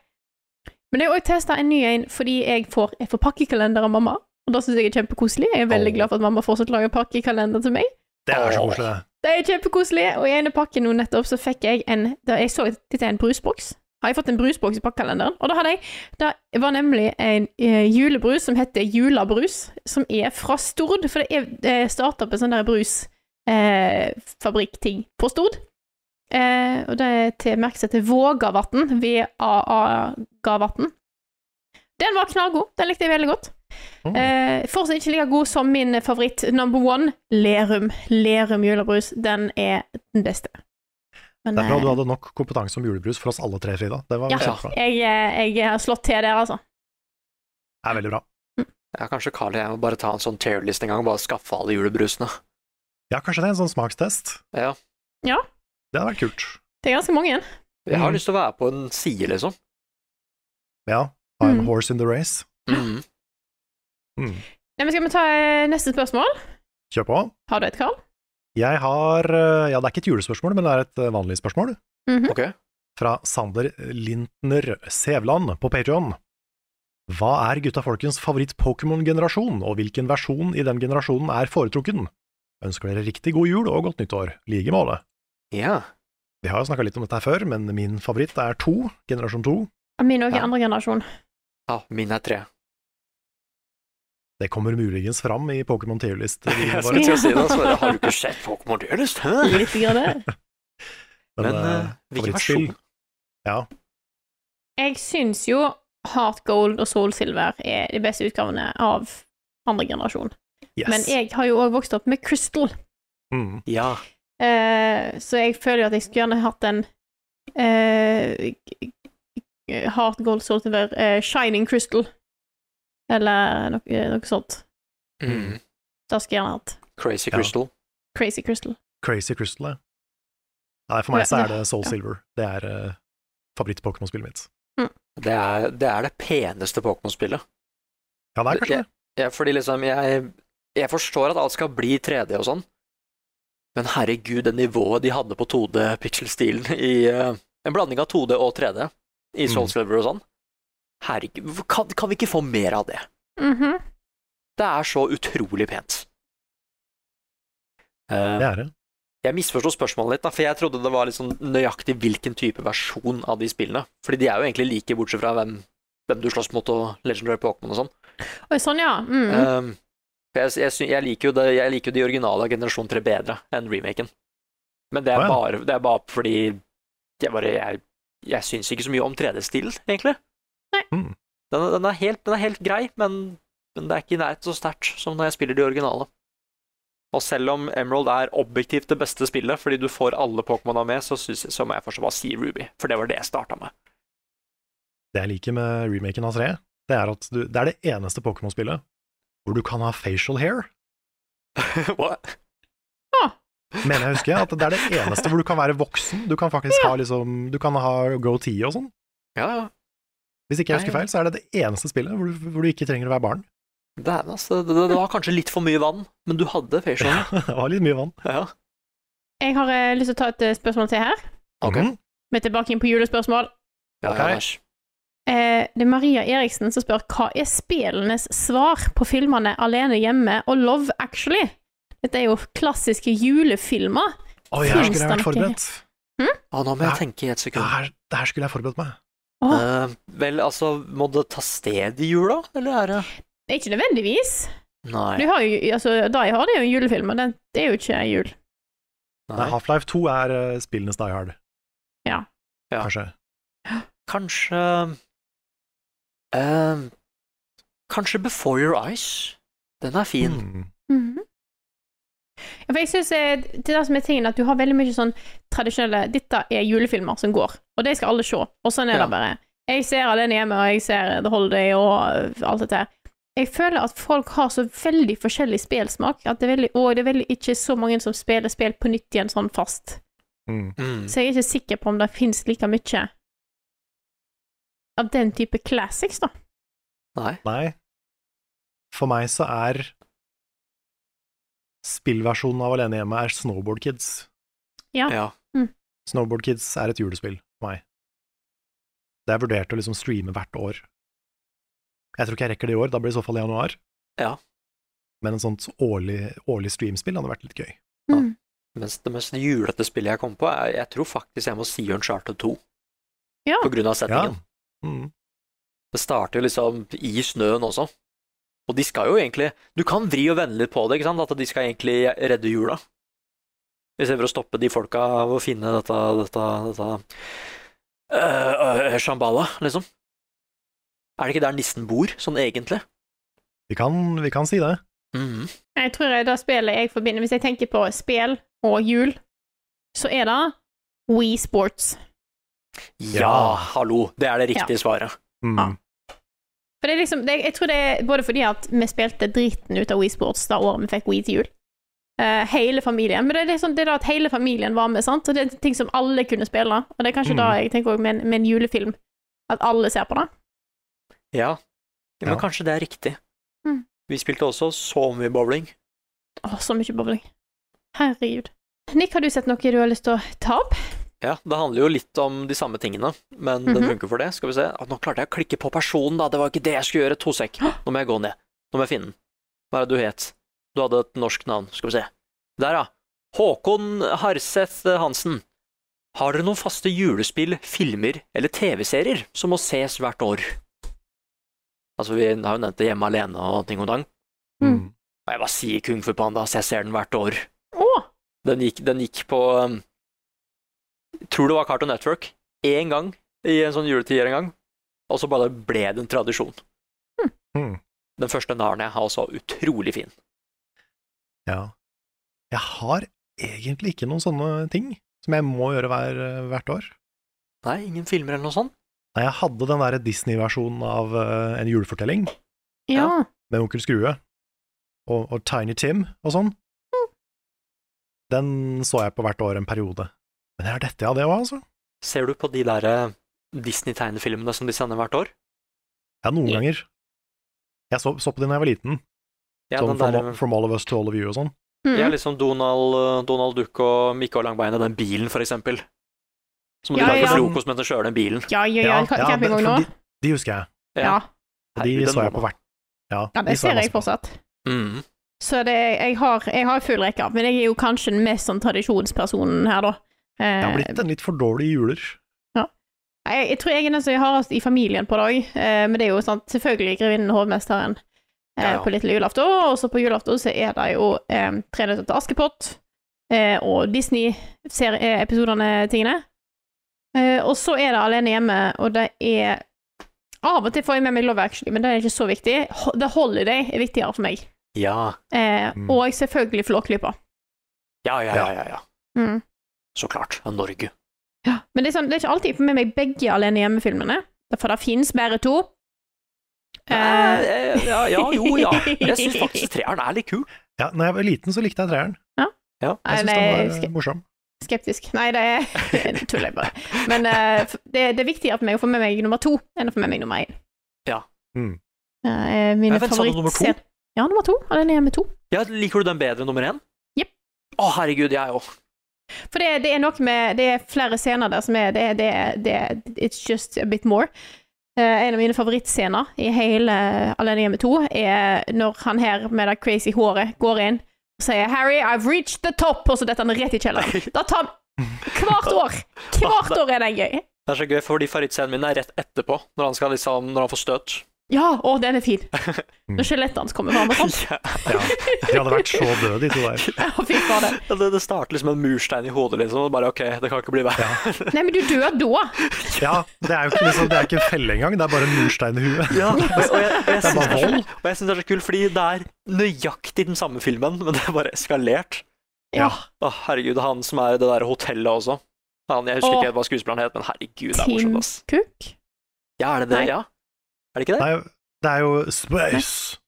A: Men jeg har òg testa en ny en fordi jeg får, jeg får pakkekalender av mamma. Og det syns jeg er kjempekoselig. Jeg er veldig glad for at mamma fortsatt lager pakkekalender til meg.
B: Det er så koselig, det.
A: Det er kjempekoselig. Og i ene pakken nå nettopp så fikk jeg en da Jeg så at dette er en brusboks. Har jeg fått en brusboks i pakkekalenderen? Og da hadde jeg Det var nemlig en eh, julebrus som heter Julabrus, som er fra Stord. For det er eh, starta på en sånn der brusfabrikkting på Stord. Eh, og det er til merket heter Vågavatn. V-a-a-gavatn. Den var knallgod. Den likte jeg veldig godt.
B: Mm.
A: Eh, fortsatt ikke like god som min favoritt number one, Lerum. Lerum julebrus. Den er den beste. Men,
B: Det er bra
A: eh,
B: du hadde nok kompetanse om julebrus for oss alle tre, Frida. Det var
A: ja,
B: kjempebra.
A: jeg, eh, jeg har slått til der, altså.
B: Det er veldig bra.
C: Ja, kanskje Carl og jeg må bare ta en sånn tearlist en gang og bare skaffe alle julebrusene.
B: Ja, kanskje det er en sånn smakstest.
C: Ja.
A: Ja,
B: Det hadde vært kult.
A: det er ganske mange.
C: Jeg
B: Mm.
C: har lyst til å være på en side, liksom.
B: Ja. Ha en
A: Mm.
B: horse in the race. Mm.
A: Nei, men skal vi ta eh, neste spørsmål?
B: Kjør på.
A: Har du et, Carl?
B: Jeg har eh, Ja, det er ikke et julespørsmål, men det er et eh, vanlig spørsmål.
A: Mhm.
C: Ok.
B: Fra Sander Lintner Sævland på Patreon. Hva er gutta folkens favoritt-Pokémon-generasjon, og hvilken versjon i den generasjonen er foretrukken? Ønsker dere riktig god jul og godt nyttår. I like måte.
C: Ja.
B: Vi har jo snakka litt om dette her før, men min favoritt er to, generasjon to.
A: Min òg er andre generasjon.
C: Ja, min er tre.
B: Det kommer muligens fram i Pokémon *laughs* Tierlist.
C: Jeg skulle til å si det, Sverre. Har du ikke sett Pokémon Duelist? Hæ?
A: *laughs* Litt grann det.
B: Men,
C: Men,
B: eh,
C: eh, hvilken
B: favorittspill?
C: versjon?
B: Ja.
A: Jeg syns jo Heart Gold og Soul Silver er de beste utgavene av andre generasjon.
B: Yes.
A: Men jeg har jo òg vokst opp med Crystal,
B: Mm.
C: Ja.
A: eh, så jeg føler jo at jeg skulle gjerne hatt en eh, Heart Gold Soul Silver eh, Shining Crystal, eller noe, noe sånt.
C: Mm.
A: Det skulle jeg gjerne hatt.
C: Crazy
B: Ja.
C: Crystal.
A: Crazy Crystal.
B: Crazy Crystal, ja. Nei, for meg
A: Ja,
B: så er
A: det-
B: det Soul
A: ja.
B: Silver. Det er eh, favoritt-Pokémon-spillet mitt.
C: Det er det, er det peneste Pokémon-spillet.
B: Ja, det er kanskje
C: Jeg, jeg, fordi liksom, jeg, jeg forstår at alt skal bli 3D og sånn, men herregud, det nivået de hadde på 2D-pixel-stilen i eh, En blanding av 2D og 3D i Soul
B: Mm.
C: Silver og sånn. Herregud, hvorfor kan, kan vi ikke få mer av det?
A: Mhm.
C: Det er så utrolig pent. Eh,
B: det. det er det.
C: Jeg misforsto spørsmålet litt, da, for jeg trodde det var litt sånn nøyaktig hvilken type versjon av de spillene. Fordi de er jo egentlig like, bortsett fra hvem, hvem du slåss mot og Legendary Pokémon og sånn.
A: Oi, sånn, ja. Mm.
B: Mm-hmm.
C: Um, for jeg, jeg, sy- jeg, liker jo det, jeg liker jo de originale av Generasjon 3 bedre enn remaken. Men det er,
B: Å, ja.
C: bare, det er bare fordi jeg bare Jeg, jeg syns ikke så mye om 3D-stilen, egentlig.
A: Nei.
B: Mm.
C: Den, er- den, er helt, den er helt grei, men, men det er ikke i nærheten så sterkt som når jeg spiller de originale. Og selv om Emerald er objektivt det beste spillet, fordi du får alle Pokémona med, så, synes, jeg- så må jeg fortsatt bare si Ruby, for det var det jeg starta med.
B: Det jeg liker med remaken av 3, det er at du, det er det eneste Pokémon-spillet hvor du kan ha facial hair.
C: *laughs* What?
B: Mener jeg husker at det er det eneste hvor du kan være voksen. Du kan faktisk ha liksom Du kan ha goatee og sånn.
C: Ja, ja.
B: Hvis ikke jeg husker
C: Ja, ja.
B: feil, så er det det eneste spillet hvor du, hvor du ikke trenger å være barn. *laughs*
C: Dæven, altså. Det, det, det var kanskje litt for mye vann, men du hadde facial. hair.
B: det var litt mye vann.
C: Ja.
A: Jeg har eh, lyst til å ta et eh, spørsmål til her.
C: Ok.
B: Mhm.
A: Vi er tilbake inn på julespørsmål.
C: Ja,
B: Ok.
C: ja, Lars.
A: Eh, det er Maria Eriksen som spør hva er spillenes svar på filmene Alene hjemme og Love Actually? Dette er jo klassiske julefilmer.
B: Å, jeg skulle jeg vært
A: Fullstendig.
B: forberedt.
C: Å, nå må jeg
B: Ja.
C: tenke i et
B: Det
C: sekund.
B: her, det her skulle jeg forberedt meg.
A: Åh,
C: Eh, vel, altså, må det ta sted i jula, eller er det
A: det er ikke nødvendigvis. Du
C: Nei.
A: har jo, altså, da jeg har det er jo en julefilm, og den det er jo ikke jul.
B: Nei,
C: Nei.
B: Half-Life 2 er eh, spillenes Die Hard.
A: Ja.
C: Ja.
B: Kanskje.
C: Kanskje eh, Kanskje Before Your Eyes? Den er fin.
B: Mm.
A: Mhm. Ja, for jeg synes eh, det er det som er tingen, at du har veldig mye sånn tradisjonelle Dette er julefilmer som går, og de skal alle se. Og sånn er
C: Ja.
A: det bare. Jeg ser Alene hjemme, og jeg ser The Holiday og eh, alt dette her. Jeg føler at folk har så veldig forskjellig spelsmak, at det er veldig, og det er veldig ikke så mange som spiller spill på nytt igjen sånn fast.
B: Mm.
C: Mm.
A: Så jeg er ikke sikker på om det finnes like mye av den type classics, da.
C: Nei.
B: Nei. For meg så er spillversjonen av Alene hjemme er Snowboard Kids.
A: Ja.
C: Ja.
B: Snowboard Kids er et julespill for meg. Det er vurdert å liksom streame hvert år. Jeg tror ikke jeg rekker det i år, da blir det i så fall i januar.
C: Ja.
B: Men en sånt årlig, årlig streamspill hadde vært litt gøy.
A: Mm.
C: Mens det mest julete spillet jeg kom på, er, jeg tror faktisk jeg må si Uncharted 2.
A: Ja.
C: På grunn av
B: Ja.
C: settingen.
B: Mm.
C: Det starter jo liksom i snøen også. Og de skal jo egentlig Du kan vri og vende litt på det, ikke sant? At de skal egentlig redde jula. Istedenfor å stoppe de folka av å finne dette dette, dette øh, øh, Shambhala, liksom. Er det ikke der nissen bor, sånn egentlig?
B: Vi, kan, vi kan si det.
C: Mhm.
A: Jeg tror det spillet jeg forbinder Hvis jeg tenker på spill og jul, så er det We Sports.
C: Ja, hallo. Det er det riktige svaret.
B: Mm.
A: For det er liksom, det, jeg tror det er både fordi at vi spilte driten ut av Wii Sports da året vi fikk Wii til jul. Eh, hele familien. Men det er, liksom, det er da at hele familien var med, sant? og det er ting som alle kunne spille. Og det er kanskje
C: Mm.
A: da jeg tenker også med, en- med en julefilm, at alle ser på det.
C: Ja. Ja, Men kanskje det er riktig.
A: Mm.
C: Vi spilte også så mye bowling.
A: Å, så mye bowling. Herregud. Nick, har du sett noe du har lyst til å ta opp?
C: Ja, det handler jo litt om de samme tingene, men den
A: Mhm.
C: funker for det. Skal vi se. Å, nå klarte jeg å klikke på personen, da. Det var ikke det jeg skulle gjøre. To sekk. Nå må jeg gå ned. Nå må jeg finne den. Hva er det du het? Du hadde et norsk navn. Skal vi se. Der, ja. Håkon Harseth Hansen. Har dere noen faste julespill, filmer eller TV-serier som må ses hvert år? Altså, vi har jo nevnt det hjemme alene og ting og tang.
B: Mm.
C: Og jeg bare sier Kung Fu Panda, så jeg ser den hvert år.
A: Å!
C: Den gikk, den gikk på um, Tror det var Cartoon Network. Én gang i en sånn juletid en gang. Og så bare ble det en tradisjon.
B: Mm.
C: Den første naren jeg har, også utrolig fin.
B: Ja. Jeg har egentlig ikke noen sånne ting som jeg må gjøre hver, hvert år.
C: Nei, ingen filmer eller noe sånt?
B: Nei, jeg hadde den der Disney-versjonen av eh, en julefortelling
A: Ja.
B: med Onkel Skrue og, og Tiny Tim og sånn. Den så jeg på hvert år en periode. Men det er dette jeg hadde, òg, altså.
C: Ser du på de der eh, Disney-tegnefilmene som de sender hvert år?
B: Ja, noen ganger. Jeg så, så på det da jeg var liten.
C: Ja,
B: sånn
C: den
B: from,
C: der-
B: from All of Us to All of You og sånn.
A: Mm.
C: Ja, liksom Donald, eh, Donald Duck og Mikke og Langbeinet, den bilen, for eksempel. Så må
A: Ja,
C: du lage
A: ja.
C: frokost mens du kjører den bilen.
A: Ja, ja, ja. Ka-
B: det-
A: Campingvogn
B: for
A: nå?
B: de, de husker jeg.
A: Ja.
B: Og de
C: Herregud, den
B: så jeg
C: må
B: på hvert Ja,
A: ja,
B: de
A: det
B: så
A: ser jeg
B: masse på.
A: fortsatt.
C: Mm.
A: Så det, jeg, har, jeg har full rekke av, men jeg er jo kanskje den mest sånn tradisjonspersonen her, da. Eh,
B: Jeg har blitt en litt for dårlig juler.
A: jeg, jeg tror jeg er den som er hardest i familien på det òg, eh, men det er jo sant, selvfølgelig grevinnen hovmesteren eh,
E: Ja, ja.
A: på lille julaften. Og så på julaften så er det jo eh, Tre nøtter til Askepott eh, og Disney-episodene, tingene. Eh, og så er det Alene hjemme, og det er Av og til får jeg med meg Love Actually, men det er ikke så viktig. Ho- The Holiday er viktigere for meg.
C: Ja.
A: Eh,
C: Mm.
A: Og selvfølgelig Flåklypa.
C: Ja, ja, ja, ja, ja.
A: Mm.
C: Så klart. Ja, Norge.
A: Men det er, sånn, det er ikke alltid jeg får med meg begge Alene hjemme-filmene. For det fins bare to.
C: Eh, eh, ja, ja, jo, ja. Jeg syns
A: *laughs*
C: faktisk treeren er litt kul.
B: Ja, når jeg var liten, så likte jeg treeren.
C: Ja.
B: Jeg syns
A: Nei,
B: den var
A: jeg
B: eh, morsom.
A: Skeptisk. Nei, det er *laughs* det tuller jeg bare. Men eh, f- det, det er viktigere for meg å få med meg nummer to enn å få med meg nummer én.
C: Ja.
B: Mm.
A: Eh, eh,
C: Ja,
A: mine
C: vent, sa du nummer to?
A: favorittscener Ja, nummer to. Alene hjemme to.
C: Ja, liker du den bedre enn nummer én?
A: Jepp.
C: Å, herregud, jeg òg.
A: For det, det er noe med Det er flere scener der som er Det, det, det It's just a bit more. Eh, en av mine favorittscener i hele Alene hjemme 2 er når han her med det crazy håret går inn og sier 'Harry, I've reached the top', og så detter han rett i kjelleren. Da tar han Hvert år! Hvert år er den gøy.
C: Det er så gøy, fordi favorittscenen min er rett etterpå, når han, skal liksom, når han får støt.
A: Ja, å, den er fin.
C: Mm.
A: Når skjelettet hans kommer fram og
C: *laughs*
A: sånn.
C: Ja.
B: De hadde vært så døde, de to der.
A: Ja, fy fader.
C: Ja, det, det starter liksom en murstein i hodet, liksom. Og bare OK, det kan ikke bli verre.
A: Nei, men du dør da.
B: Ja, det er jo ikke, liksom, det er ikke en felle engang, det er bare en murstein i huet.
C: *laughs*
A: *laughs*
C: Ja, og, og jeg, og
B: Det
C: jeg
B: er
C: syns det,
B: bare
C: er så-
B: vold.
C: og jeg synes det er så kult, fordi det er nøyaktig den samme filmen, men det er bare eskalert.
A: Ja.
C: Å, herregud, han som er i det der hotellet også. Han, jeg husker
A: Åh.
C: ikke helt hva skuespilleren het, men herregud, det er
A: Tim
C: morsomt, ass.
A: Cook.
C: Ja, er det det?
A: Nei.
C: Ja. Er det ikke det?
B: Nei, det er jo space.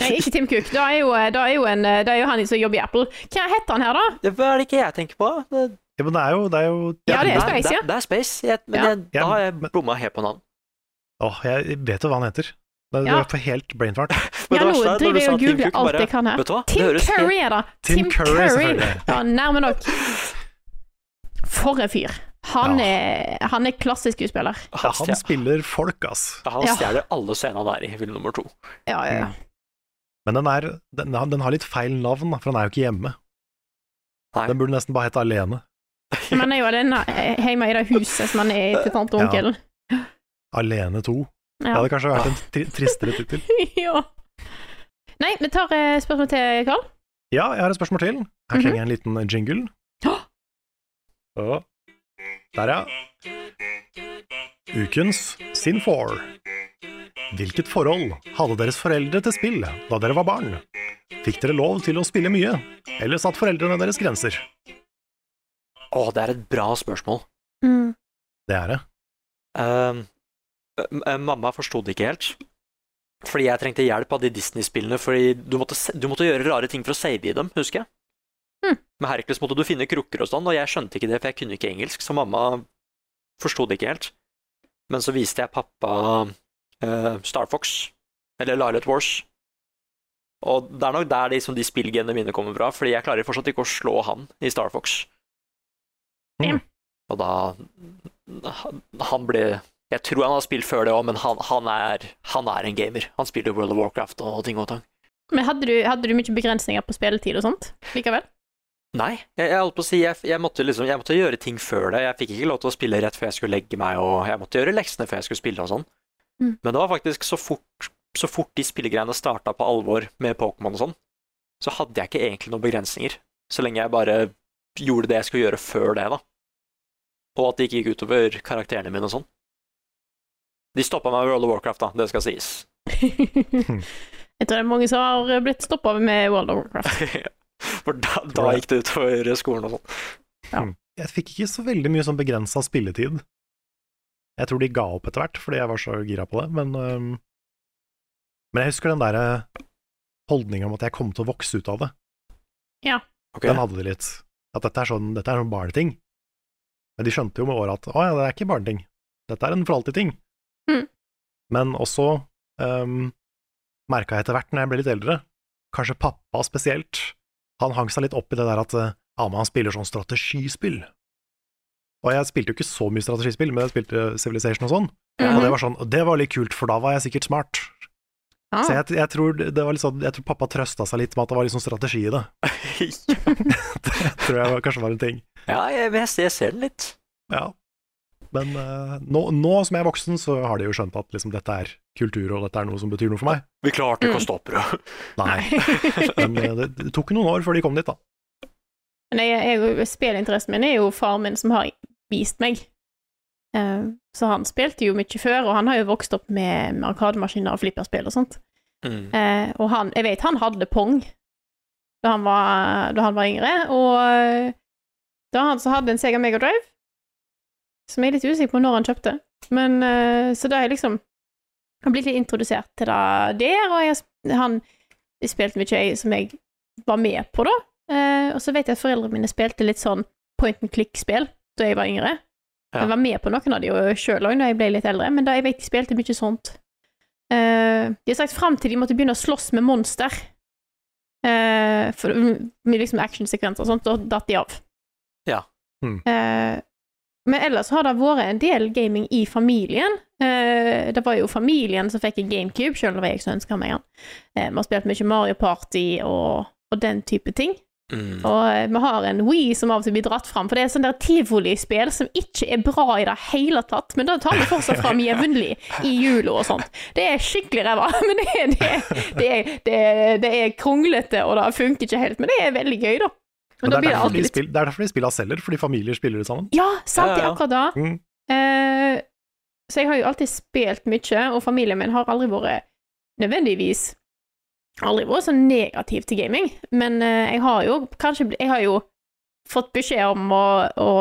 A: Nei, ikke Tim Cook. Da er jo, da er jo, en, eh, da er jo han som jobber i Apple. Hva heter han her, da?
C: *laughs* Det er det ikke jeg tenker på. Det,
B: Ja, men det er jo, det er jo
A: Ja, det er
C: det,
A: Space, ja.
C: det, det er Space, jeg, men
A: Ja.
C: jeg, da har jeg bomma helt på navn.
B: Åh, jeg vet jo hva han heter. Det er
A: Ja.
B: ja. for helt
A: *laughs*
B: brainfart.
C: Men
A: Ja,
C: det
A: nå
C: verste er når
A: driver
C: du
A: jeg
C: sa
A: og
C: Tim
A: googler
C: Cook,
A: alt
C: bare,
A: jeg kan her.
C: Vet du hva? Det
A: Tim
C: høres helt-
A: Curry er det!
B: Tim Curry, selvfølgelig.
A: Ja, nærme nok. For en fyr. Han,
B: Ja.
A: er, han er klassisk skuespiller.
B: Ja,
C: Han,
B: han
C: stjeler-
B: spiller folk, ass.
C: han
A: Ja.
C: stjeler alle scenene der i film nummer to.
A: Ja, ja,
C: Mm.
A: ja.
B: Men den, er, den, har- den har litt feil navn, da, for den er jo ikke hjemme.
C: Nei.
B: Den burde nesten bare hete Alene.
A: Men han er jo alene eh, hjemme i det huset som han er i til tante og
B: Ja.
A: onkelen.
B: Alene 2. Det
A: Ja.
B: hadde kanskje vært en tri tristere tittel.
A: *laughs* ja. Nei, vi tar eh, spørsmål til Karl.
B: Ja, jeg har et spørsmål til. Her
A: Mhm.
B: trenger jeg en liten jingle. Å. Der, ja. Ukens Sin 4. Hvilket forhold hadde deres foreldre til spill da dere var barn? Fikk dere lov til å spille mye, eller satt foreldrene deres grenser?
C: Å, det er et bra spørsmål.
A: Mm.
B: Det er det.
C: Ehm, m- m- mamma forsto det ikke helt. Fordi jeg trengte hjelp av de Disney-spillene, fordi du måtte, se- du måtte gjøre rare ting for å save i dem, husker jeg.
A: Hmm.
C: Med Hercules måtte du finne krukker og sånn, og jeg skjønte ikke det, for jeg kunne ikke engelsk, så mamma forsto det ikke helt. Men så viste jeg pappa eh, Star Fox, eller Lilet Wars. Og det er nok der liksom de spillgenene mine kommer fra, fordi jeg klarer fortsatt ikke å slå han i Star Fox.
A: Mm.
C: Og da han- Han ble Jeg tror han har spilt før det òg, men han, han, er, han er en gamer. Han spiller World of Warcraft og ting og tang.
A: Men hadde du, hadde du mye begrensninger på spilletid og sånt likevel?
C: Nei, jeg, jeg holdt på å si jeg, jeg, måtte liksom, jeg måtte gjøre ting før det. Jeg fikk ikke lov til å spille rett før jeg skulle legge meg, og jeg måtte gjøre leksene før jeg skulle spille og sånn.
A: Mm.
C: Men det var faktisk så fort, så fort de spillegreiene starta på alvor med Pokémon og sånn, så hadde jeg ikke egentlig noen begrensninger. Så lenge jeg bare gjorde det jeg skulle gjøre før det, da. Og at det ikke gikk utover karakterene mine og sånn. De stoppa meg med World of Warcraft, da, det skal sies. *laughs*
A: Jeg tror det er mange som har blitt stoppa med World of Warcraft.
C: For da, da gikk det utover skolen og sånn.
B: Hmm. Jeg fikk ikke så veldig mye sånn begrensa spilletid. Jeg tror de ga opp etter hvert, fordi jeg var så gira på det, men øhm, Men jeg husker den derre holdninga om at jeg kom til å vokse ut av det.
A: Ja.
C: Ok.
B: Den hadde de litt. At dette er sånn, dette er sånn barneting. Men de skjønte jo med året at å ja, det er ikke barneting. Dette er en for alltid-ting.
A: Mm.
B: Men også um, merka jeg etter hvert, når jeg ble litt eldre, kanskje pappa spesielt, han hang seg litt opp i det der at eh, ja, men han spiller sånn strategispill. Og jeg spilte jo ikke så mye strategispill, men jeg spilte Civilization og sånn. Og
A: Mhm.
B: det var sånn, og det var litt kult, for da var jeg sikkert smart.
A: Ah.
B: Så jeg, jeg, tror det det var litt sånn, jeg tror pappa trøsta seg litt med at det var litt sånn strategi i det. det tror jeg var, kanskje var en ting.
C: Ja, jeg, jeg, ser- jeg ser den litt.
B: Ja. Men eh, nå, nå som jeg er voksen, så har de jo skjønt at liksom, dette er kultur, og dette er noe som betyr noe for meg.
C: Vi klarte ikke å
A: Mm.
C: stoppe det.
B: Nei.
A: *laughs*
B: Men eh, det, det tok noen år før de kom dit, da.
A: Men jeg, jeg, spillinteressen min er jo faren min som har vist meg. Eh, så han spilte jo mye før, og han har jo vokst opp med med arkademaskiner og flipperspill og sånt.
C: *laughs* Mm.
A: Eh, og han, jeg vet han hadde pong da han var, da han var yngre, og eh, da han så hadde en Sega Mega Drive, som jeg er litt usikker på når han kjøpte, men eh, så da har jeg liksom han blitt litt introdusert til det der, og jeg, har sp- han spilte mye jeg, som jeg var med på da, eh, og så vet jeg at foreldrene mine spilte litt sånn point and click-spill da jeg var yngre.
C: Ja.
A: Jeg var med på noen av de jo sjøl òg da jeg ble litt eldre, men da jeg vet de spilte mye sånt. Eh, de har sagt fram til de måtte begynne å slåss med monster. Eh, for, med liksom actionsekvenser og sånt, da datt de av.
C: Ja.
B: Mm.
A: Eh, men ellers har det vært en del gaming i familien. Eh, det var jo familien som fikk en GameCube, selv om det var jeg som ønska meg den. Eh, vi har spilt mye Mario Party og, og den type ting.
C: Mm.
A: Og eh, vi har en Wii som av og til blir dratt fram, for det er sånn der tivolispill som ikke er bra i det hele tatt, men det tar vi fortsatt fram jevnlig i jula og sånt. Det er skikkelig ræva, *laughs* men det er, det, er, det, er, det, er, det er kronglete, og det funker ikke helt, men det er veldig gøy, da. Men
B: Men
A: da
B: det,
A: blir
B: er
A: det
B: derfor de
A: alltid litt
B: spill, det er derfor de spiller selger, fordi familier spiller det sammen.
A: Ja, sant,
B: Ja,
A: det er
B: ja.
A: akkurat da.
B: Mm.
A: Eh, så jeg har jo alltid spilt mye, og familien min har aldri vært nødvendigvis aldri vært så negativ til gaming, men eh, jeg har jo kanskje bl- Jeg har jo fått beskjed om å, å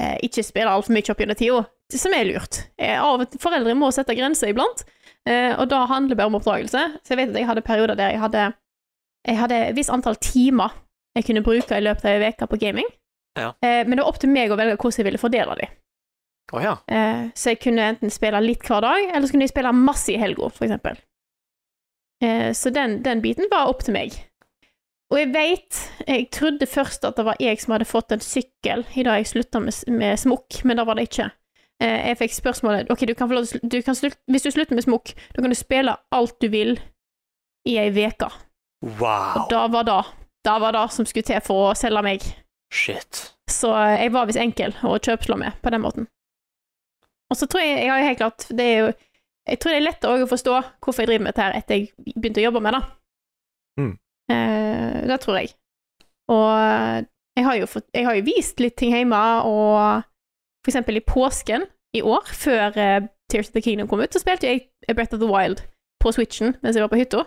A: eh, ikke spille altfor mye opp gjennom tida, som er lurt. Eh, av og til- foreldre må sette grenser iblant, eh, og da handler det bare om oppdragelse. Så jeg vet at jeg hadde perioder der jeg hadde jeg hadde et visst antall timer jeg kunne bruke i løpet av ei uke på gaming,
C: Ja.
A: eh, men det var opp til meg å velge hvordan jeg ville fordele de.
C: Å ja.
A: Eh, så jeg kunne enten spille litt hver dag, eller så kunne jeg spille masse i helga, for eksempel. Eh, så den, den biten var opp til meg. Og jeg veit Jeg trodde først at det var jeg som hadde fått en sykkel i dag jeg slutta med, s- med smokk, men det var det ikke. Eh, jeg fikk spørsmålet Ok, du kan få lov til, å sl- du kan slutt, Hvis du slutter med smokk, da kan du spille alt du vil i ei uke.
C: Wow.
A: Og da var det Da var det som skulle til for å selge meg.
C: Shit.
A: Så eh, jeg var visst enkel å kjøpslå med på den måten. Og så tror jeg jeg har jo helt klart det er jo, Jeg tror det er lett også å forstå hvorfor jeg driver med dette her etter jeg begynte å jobbe med det.
B: Mm.
A: Eh, det tror jeg. Og jeg har, jo fått, jeg har jo vist litt ting hjemme, og for eksempel i påsken i år, før eh, Tears of the Kingdom kom ut, så spilte jeg Breath of the Wild på Switchen mens jeg var på hytta.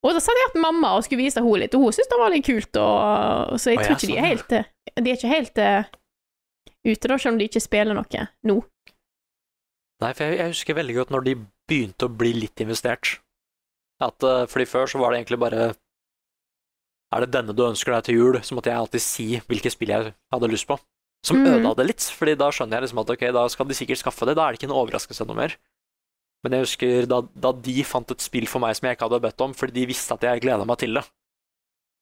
A: Og da satt jeg med mamma og skulle vise henne litt, og hun syntes det var litt kult, og, og så jeg
C: Å,
A: tror
C: ja,
A: ikke de
C: sånn,
A: er helt eh, De er ikke helt eh, ute, da, selv om de ikke spiller noe nå.
C: Nei, for jeg, jeg husker veldig godt når de begynte å bli litt investert. At, eh, fordi før så var det egentlig bare Er det denne du ønsker deg til jul? Så måtte jeg alltid si hvilke spill jeg hadde lyst på. Som
A: Mm.
C: ødela det litt, fordi da skjønner jeg liksom at ok, da skal de sikkert skaffe det. Da er det ikke en overraskelse noe mer. Men jeg husker da, da de fant et spill for meg som jeg ikke hadde bedt om, fordi de visste at jeg gleda meg til det.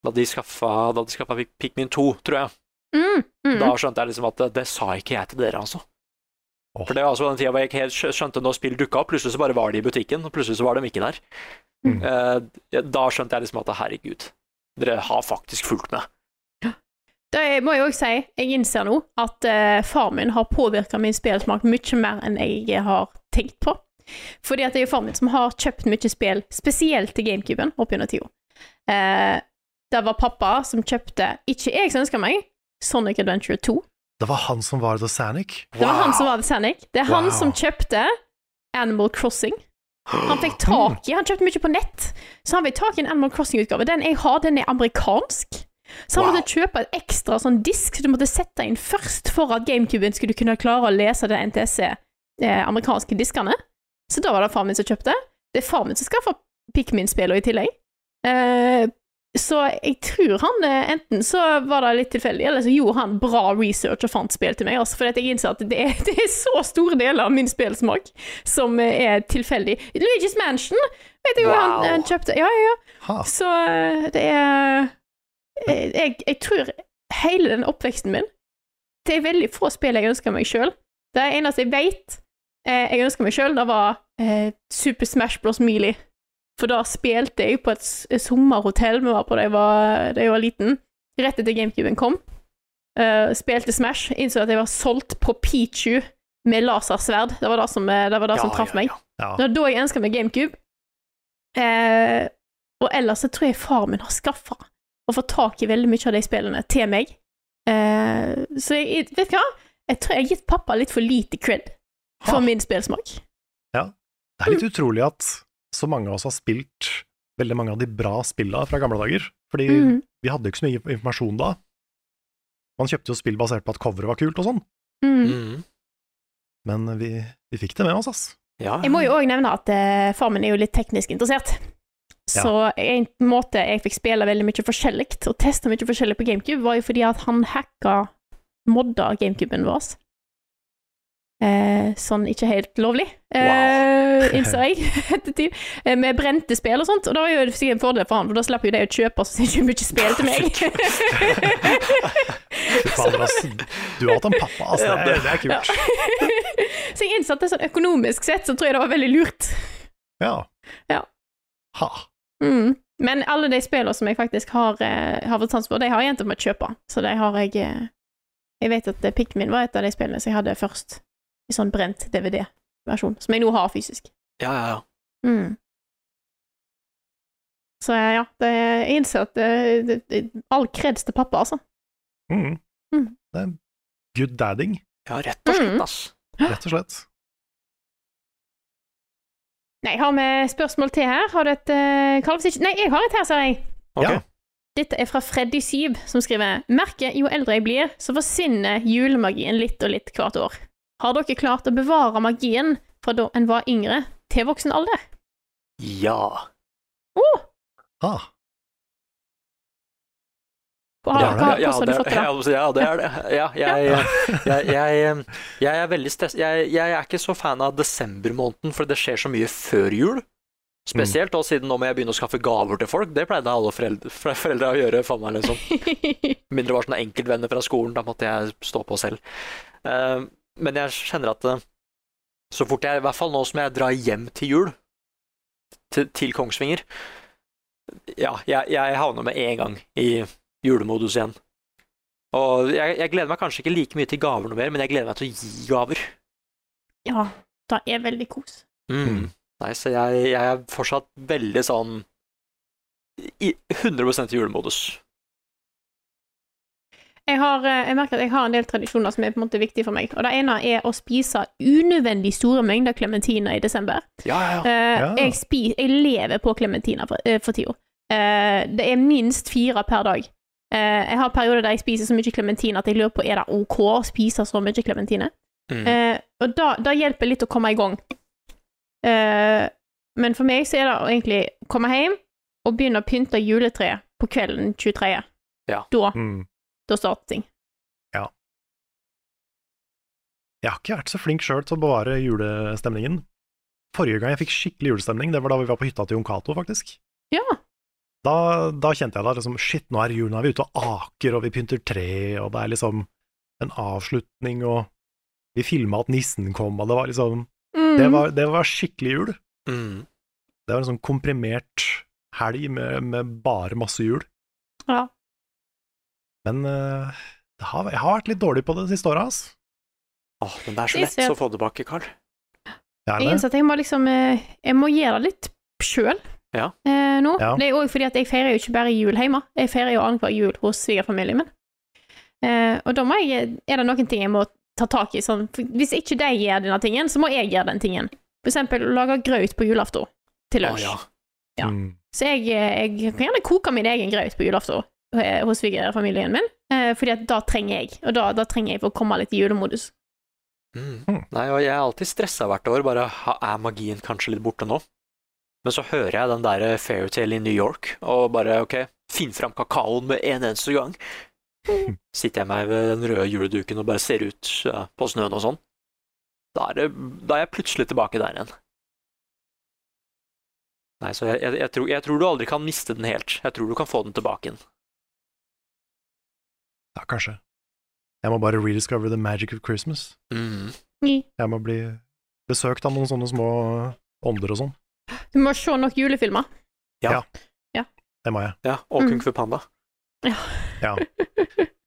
C: Da de skaffa, da de skaffa Pik- Pikmin 2, tror jeg.
A: Mm, mm.
C: Da skjønte jeg liksom at det, det sa ikke jeg til dere, altså. For det var altså den tida hvor jeg ikke helt skjø- skjønte når spill dukka opp, plutselig så bare var de i butikken, og plutselig så var de ikke der.
A: Mm.
C: Eh, da skjønte jeg liksom at herregud, dere har faktisk fulgt med.
A: Da jeg- må jeg òg si, jeg innser nå at eh, far min har påvirka min spillsmak mye mer enn jeg har tenkt på. Fordi at det er jo far min som har kjøpt mye spill, spesielt til GameCuben, opp gjennom tida. Eh, det var pappa som kjøpte, ikke jeg som ønska meg, Sonic Adventure 2.
B: Det var han som var The Sanic.
A: Det var han som var The Sanic. Det er
B: Wow.
A: han som kjøpte Animal Crossing. Han
B: *gasps* Mm.
A: fikk tak i Han kjøpte mye på nett, så han fikk tak i en Animal Crossing-utgave. Den jeg har, den er amerikansk. Så han måtte kjøpe et ekstra sånn disk som du måtte sette inn først for at GameCuben skulle kunne klare å lese de NTSC-amerikanske E, eh, diskene. Så da var det faren min som kjøpte. Det er faren min som skaffa Pikmin-spillene i tillegg. Eh, så jeg tror han eh, Enten så var det litt tilfeldig, eller så gjorde han bra research og fant spill til meg. Altså, for at jeg innser at det er, *laughs* det er så store deler av min spillsmak som eh, er tilfeldig. Luigi's Mansion vet jeg jo
I: Wow.
A: han, han kjøpte. Ja, ja, ja. Så eh, det er jeg, jeg, jeg tror hele den oppveksten min Det er veldig få spill jeg ønsker meg sjøl. Det eneste jeg veit eh, jeg ønsker meg sjøl, det var eh, Super Smash Bros. Melee. For da spilte jeg på et s- et sommerhotell vi var på da jeg var, da jeg var liten, rett etter GameCuben kom. Eh, spilte Smash, innså at jeg var solgt på Pichu med lasersverd. Det var det som, eh, det var det som traff meg.
B: Ja.
A: Det var da jeg ønska meg GameCube. Eh, og ellers så tror jeg faren min har skaffa og fått tak i veldig mye av de spillene til meg. Eh, så jeg, vet du hva? Jeg tror jeg har gitt pappa litt for lite cred for min spillsmak.
B: Ja. Det er litt utrolig at så mange av oss har spilt veldig mange av de bra spilla fra gamle dager. Fordi
A: Mhm.
B: vi hadde jo ikke så mye informasjon da. Man kjøpte jo spill basert på at coveret var kult og sånn,
A: mm.
C: Mm.
B: men vi, vi fikk det med oss, ass.
A: Jeg må jo òg nevne at eh, far min er jo litt teknisk interessert.
B: Ja.
A: Så en måte jeg fikk spille veldig mye forskjellig og teste mye forskjellig på GameCube, var jo fordi at han hacka modda GameCuben vår. Eh, sånn ikke helt lovlig, eh, innså jeg *laughs* ettertid. Eh, med brente spill og sånt, og da var jo det sikkert en fordel for han, for da slapp jo de å kjøpe så sinnssykt mye spill til meg. *laughs*
B: Fy fader, ass. Du har hatt en pappa, altså. ass.
A: Ja,
B: Det,
A: det-
B: er- det er kult.
A: *laughs* så jeg innså at det sånn økonomisk sett så tror jeg det var veldig lurt.
B: Ja.
A: Ja.
B: Ha.
A: Mm. Men alle de spillene som jeg faktisk har, eh, har fått sans for, de har jeg endt opp med å kjøpe. Så de har jeg eh, Jeg vet at eh, Pikmin var et av de spillene som jeg hadde først, i sånn brent DVD-versjon, som jeg nå har fysisk.
C: Ja, ja, ja.
A: Mm. Så eh, ja, det, jeg innser at eh, det, det, all kreds til pappa, altså.
B: Mm.
A: Mm.
B: Det er good dadding,
C: Ja, rett og slett, ass.
B: rett og slett.
A: Nei, har vi spørsmål til her? Har du et eh, Karl, hvis ikke Nei, jeg har et her, ser jeg.
B: Ja.
A: Dette er fra Freddy Syv, som skriver Merker jo eldre jeg blir, så forsvinner julemagien litt og litt hvert år. Har dere klart å bevare magien fra da en var yngre, til voksen alder?
C: Ja.
B: Ha.
A: Hva har, hva,
C: ja,
A: hvordan har du fått det?
C: Ja,
A: da?
C: altså, ja, det er det. Ja, jeg, jeg, jeg, jeg er veldig stress... Jeg, jeg er ikke så fan av desembermåneden, for det skjer så mye før jul. Spesielt og siden nå må jeg begynne å skaffe gaver til folk. Det pleide alle foreldre, fore- foreldre å gjøre for meg. liksom. Mindre det var sånne enkeltvenner fra skolen, da måtte jeg stå på selv. Eh, men jeg kjenner at eh, så fort jeg, i hvert fall nå som jeg drar hjem til jul, til, til Kongsvinger Ja, jeg, jeg havner med en gang i julemodus igjen. Og jeg, jeg gleder meg kanskje ikke like mye til gaver noe mer, men jeg gleder meg til å gi gaver.
A: *laughs*
C: Mm.
A: Ja, det er veldig kos.
C: Nei, så jeg, jeg er fortsatt veldig sånn i 100 i julemodus.
A: Jeg, har, eh, jeg merker at jeg har en del tradisjoner som er på en måte viktige for meg. Og det ene er å spise unødvendig store mengder klementiner i desember.
C: Ja, ja,
A: Eh,
C: ja.
A: jeg, spi- jeg lever på klementiner for, eh, for tida. Eh, det er minst fire per dag. Eh, jeg har perioder der jeg spiser så mye klementin at jeg lurer på er det OK å spise så mye klementine.
C: Mm.
A: Eh, og da, da hjelper det litt å komme i gang. Eh, men for meg så er det å egentlig komme hjem og begynne å pynte juletreet på kvelden 23.
C: Ja.
A: Da,
B: Mm.
A: da starter ting.
B: Jeg har ikke vært så flink sjøl til å bevare julestemningen. Forrige gang jeg fikk skikkelig julestemning, det var da vi var på hytta til Jon Cato, faktisk.
A: Ja.
B: Da, da kjente jeg da liksom Shit, nå er det jul, nå er vi ute og aker, og vi pynter tre, og det er liksom en avslutning, og vi filma at nissen kom, og det var liksom det,
A: Mm.
B: var, det var skikkelig jul.
C: Mm.
B: Det var en sånn komprimert helg med, med bare masse jul.
A: Ja.
B: Men eh, det har, jeg har vært litt dårlig på det de siste åra, altså.
C: Åh, men det er så
A: Det er
C: lett
A: søt.
C: å få tilbake, Karl.
A: Jeg innser at jeg må liksom eh, Jeg må gjøre det litt sjøl
C: Ja.
A: eh, nå.
B: Ja.
A: Det er òg fordi at jeg feirer jo ikke bare jul hjemme. Jeg feirer jo annenhver jul hos svigerfamilien min. Eh, og da må jeg, er det noen ting jeg må ta tak i. Sånn, for hvis ikke de gjør denne tingen, så må jeg gjøre den tingen. For eksempel lage grøt på julaften til
C: Å
A: lunsj.
C: ja.
A: Ja.
B: Mm.
A: Så jeg, eh, jeg kan gjerne koke min egen grøt på julaften eh, hos svigerfamilien min, eh, fordi at da trenger jeg. Og da, da trenger jeg for å komme litt i julemodus.
C: Mm.
B: Mm.
C: Nei, og jeg er alltid stressa hvert år, bare ha- er magien kanskje litt borte nå? Men så hører jeg den der eh, fairytale i New York, og bare ok, finn fram kakaoen med en eneste gang.
B: Mm.
C: Sitter jeg meg ved den røde juleduken og bare ser ut ja, på snøen og sånn. Da er, det, da er jeg plutselig tilbake der igjen. Nei, så jeg, jeg, jeg, tror, jeg tror du aldri kan miste den helt. Jeg tror du kan få den tilbake igjen.
B: Ja, kanskje. Jeg må bare rediscover the magic of Christmas.
C: Mm.
A: Mm.
B: Jeg må bli besøkt av noen sånne små ånder og sånn.
A: Du må se nok julefilmer.
B: Det må jeg.
C: Ja, og
A: Mm.
C: Kung Fu Panda.
A: *laughs*
B: Ja.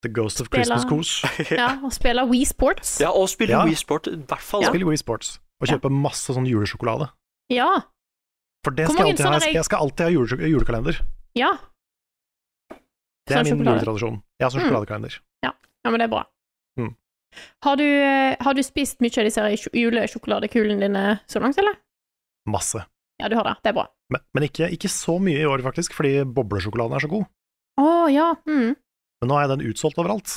B: The Ghost of
A: Spela-
B: Christmas
C: *laughs*
B: Goose.
A: Ja, og spille Wii Sports.
C: Ja, og spille
B: Ja.
C: Wii Sport, i hvert fall.
B: Spill Wii Sports og kjøpe masse sånn julesjokolade.
A: Ja.
B: For det
A: Hvor
B: skal
A: mange
B: jeg alltid ha.
A: sånne er-
B: Jeg skal alltid ha julesjok- julekalender.
A: Ja.
B: Det er
A: Sånn
B: min
A: sjokolade.
B: juletradisjon. Jeg har sånn
A: Mm.
B: sjokoladekalender.
A: ja, men det er bra.
B: Mm.
A: Har, du, eh, har du spist mye av disse her sj- julesjokoladekulene dine så langt, eller?
B: Masse.
A: Ja, du har det. Det er bra.
B: Men, men ikke, ikke så mye i år, faktisk, fordi boblesjokoladen er så god.
A: Å ja. Mm.
B: Men nå er den utsolgt overalt.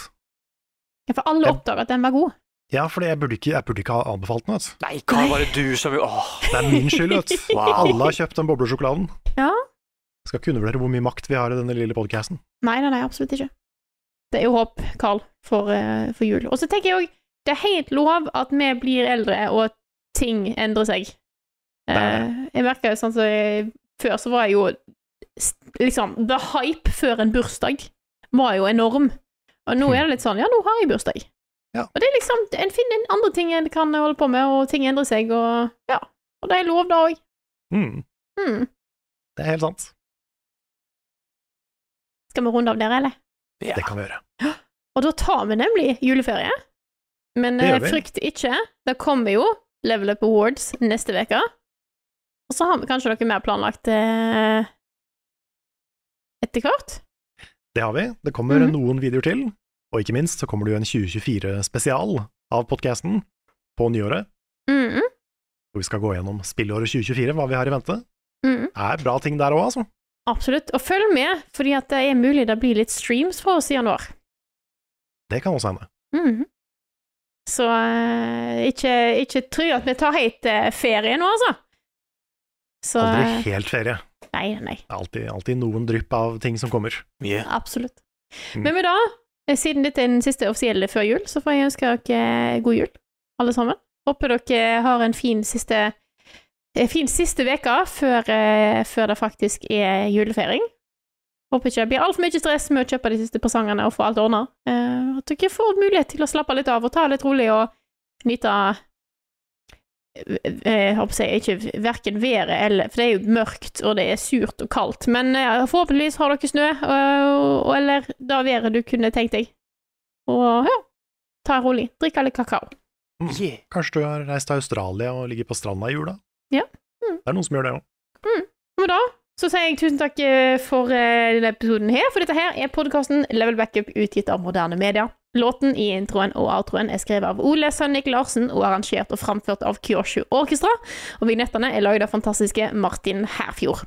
A: Ja, For alle
B: Jeg-
A: oppdager at den var god.
B: Ja, fordi jeg burde ikke, jeg burde ikke ha anbefalt den, vet du.
C: Nei, Karl, var det du som Åh.
B: Det er min skyld, vet du.
C: Wow.
B: Alle har kjøpt den boblesjokoladen.
A: Ja.
B: Skal ikke undervurdere hvor mye makt vi har i denne lille podcasten.
A: Nei, nei, nei, absolutt ikke. Det er jo håp, Carl, for, eh, for jul. Og så tenker jeg òg det er helt lov at vi blir eldre, og at ting endrer seg. Eh, jeg merker jo sånn som jeg- Før så var jeg jo s- liksom The hype før en bursdag var jo enorm. Og nå er det litt sånn Ja, nå har jeg bursdag.
B: Ja.
A: Og det er liksom En finner en andre ting en kan holde på med, og ting endrer seg, og ja. Og det er lov, da òg.
B: Mm,
A: Mm.
B: det er helt sant.
A: Skal vi runde av der, eller?
C: Ja.
B: Det kan vi gjøre.
A: Og da tar vi nemlig juleferie. Men
B: Det gjør
A: eh,
B: vi.
A: frykt ikke, det kommer jo Level Up Awards neste uke. Og så har vi kanskje noe mer planlagt eh, etter hvert.
B: Det har vi. Det kommer
A: Mhm.
B: noen videoer til, og ikke minst så kommer det jo en 2024-spesial av podkasten på nyåret,
A: Mm
B: hvor vi skal gå gjennom spillåret 2024, hva vi har i vente.
A: mm.
B: Det er bra ting der òg, altså.
A: Absolutt. Og følg med, fordi at det er mulig det blir litt streams fra oss i januar.
B: Det kan også hende.
A: Mhm. Så eh, ikke, ikke tro at vi tar helt eh, ferie nå, altså. Så
B: Aldri
A: eh,
B: helt ferie.
A: Nei, nei.
B: Det er alltid, alltid noen drypp av ting som kommer.
C: Mye.
A: Absolutt.
B: Mm.
A: Men med da, eh, siden dette er den siste offisielle før jul, så får jeg ønske dere eh, god jul, alle sammen. Håper dere har en fin siste eh, Fin siste veka før, eh, før det faktisk er julefeiring. Håper ikke det blir altfor mye stress med å kjøpe de siste presangene og få alt ordna. Eh, at dere får mulighet til å slappe litt av og ta det litt rolig og nyte eh, eh, håper jeg, ikke verken været eller For det er jo mørkt, og det er surt og kaldt. Men eh, forhåpentligvis har dere snø, og, og, eller det været du kunne tenkt deg. Og ja, ta det rolig. Drikk litt kakao.
B: Mm.
C: Yeah.
B: Kanskje du har reist til Australia og ligger på stranda i jula?
A: Ja. Mm.
B: Det er noen som gjør det òg.
A: Men da så sier jeg tusen takk eh, for eh, denne episoden her, for dette her er podkasten Level Backup utgitt av Moderne Media. Låten i introen og outroen er skrevet av Ole Sønnik Larsen og arrangert og framført av Kyoshu Orkestra, og vignettene er laget av fantastiske Martin Herfjord.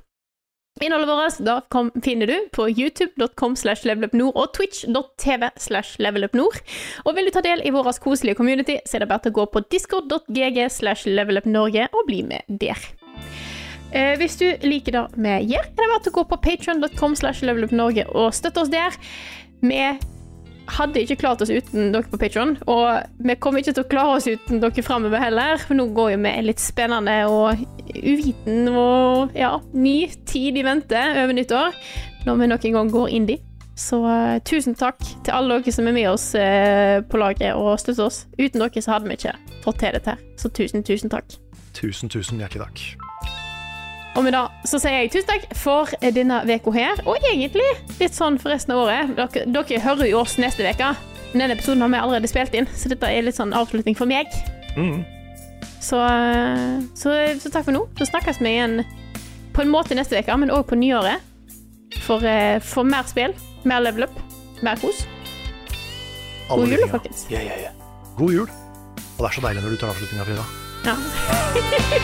A: Innholdet vårt da kom, finner du på youtube.com slash levelupnord og twitch.tv slash levelupnord. Og vil du ta del i vår koselige community, så er det bare til å gå på discord.gg slash levelupnorge og bli med der. Eh, hvis du liker det vi gjør, er det bare til å gå på patreon.com slash levelupnorge og støtte oss der. Vi hadde ikke klart oss uten dere på Patreon, og vi kommer ikke til å klare oss uten dere framover heller. For nå går jo vi en litt spennende og uviten og ja, ny tid i vente over nyttår, når vi noen gang går indie. Så eh, tusen takk til alle dere som er med oss eh, på laget og støtter oss. Uten dere så hadde vi ikke fått til dette her, så tusen, tusen takk.
B: Tusen, tusen hjertelig takk.
A: Og med det så sier jeg tusen takk for denne uka her, og egentlig litt sånn for resten av året. Dere, dere hører jo oss neste uke. Men denne episoden har vi allerede spilt inn, så dette er litt sånn avslutning for meg.
B: Mm.
A: Så, så, så takk for nå. Så snakkes vi igjen på en måte neste uke, men òg på nyåret. For, eh, for mer spill, mer level up, mer kos.
B: Alle
A: God jul,
B: linjer.
A: folkens.
B: God jul. Og det er så deilig når du tar avslutninga, Frida.
A: Ja.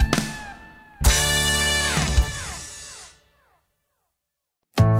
I: Mhm.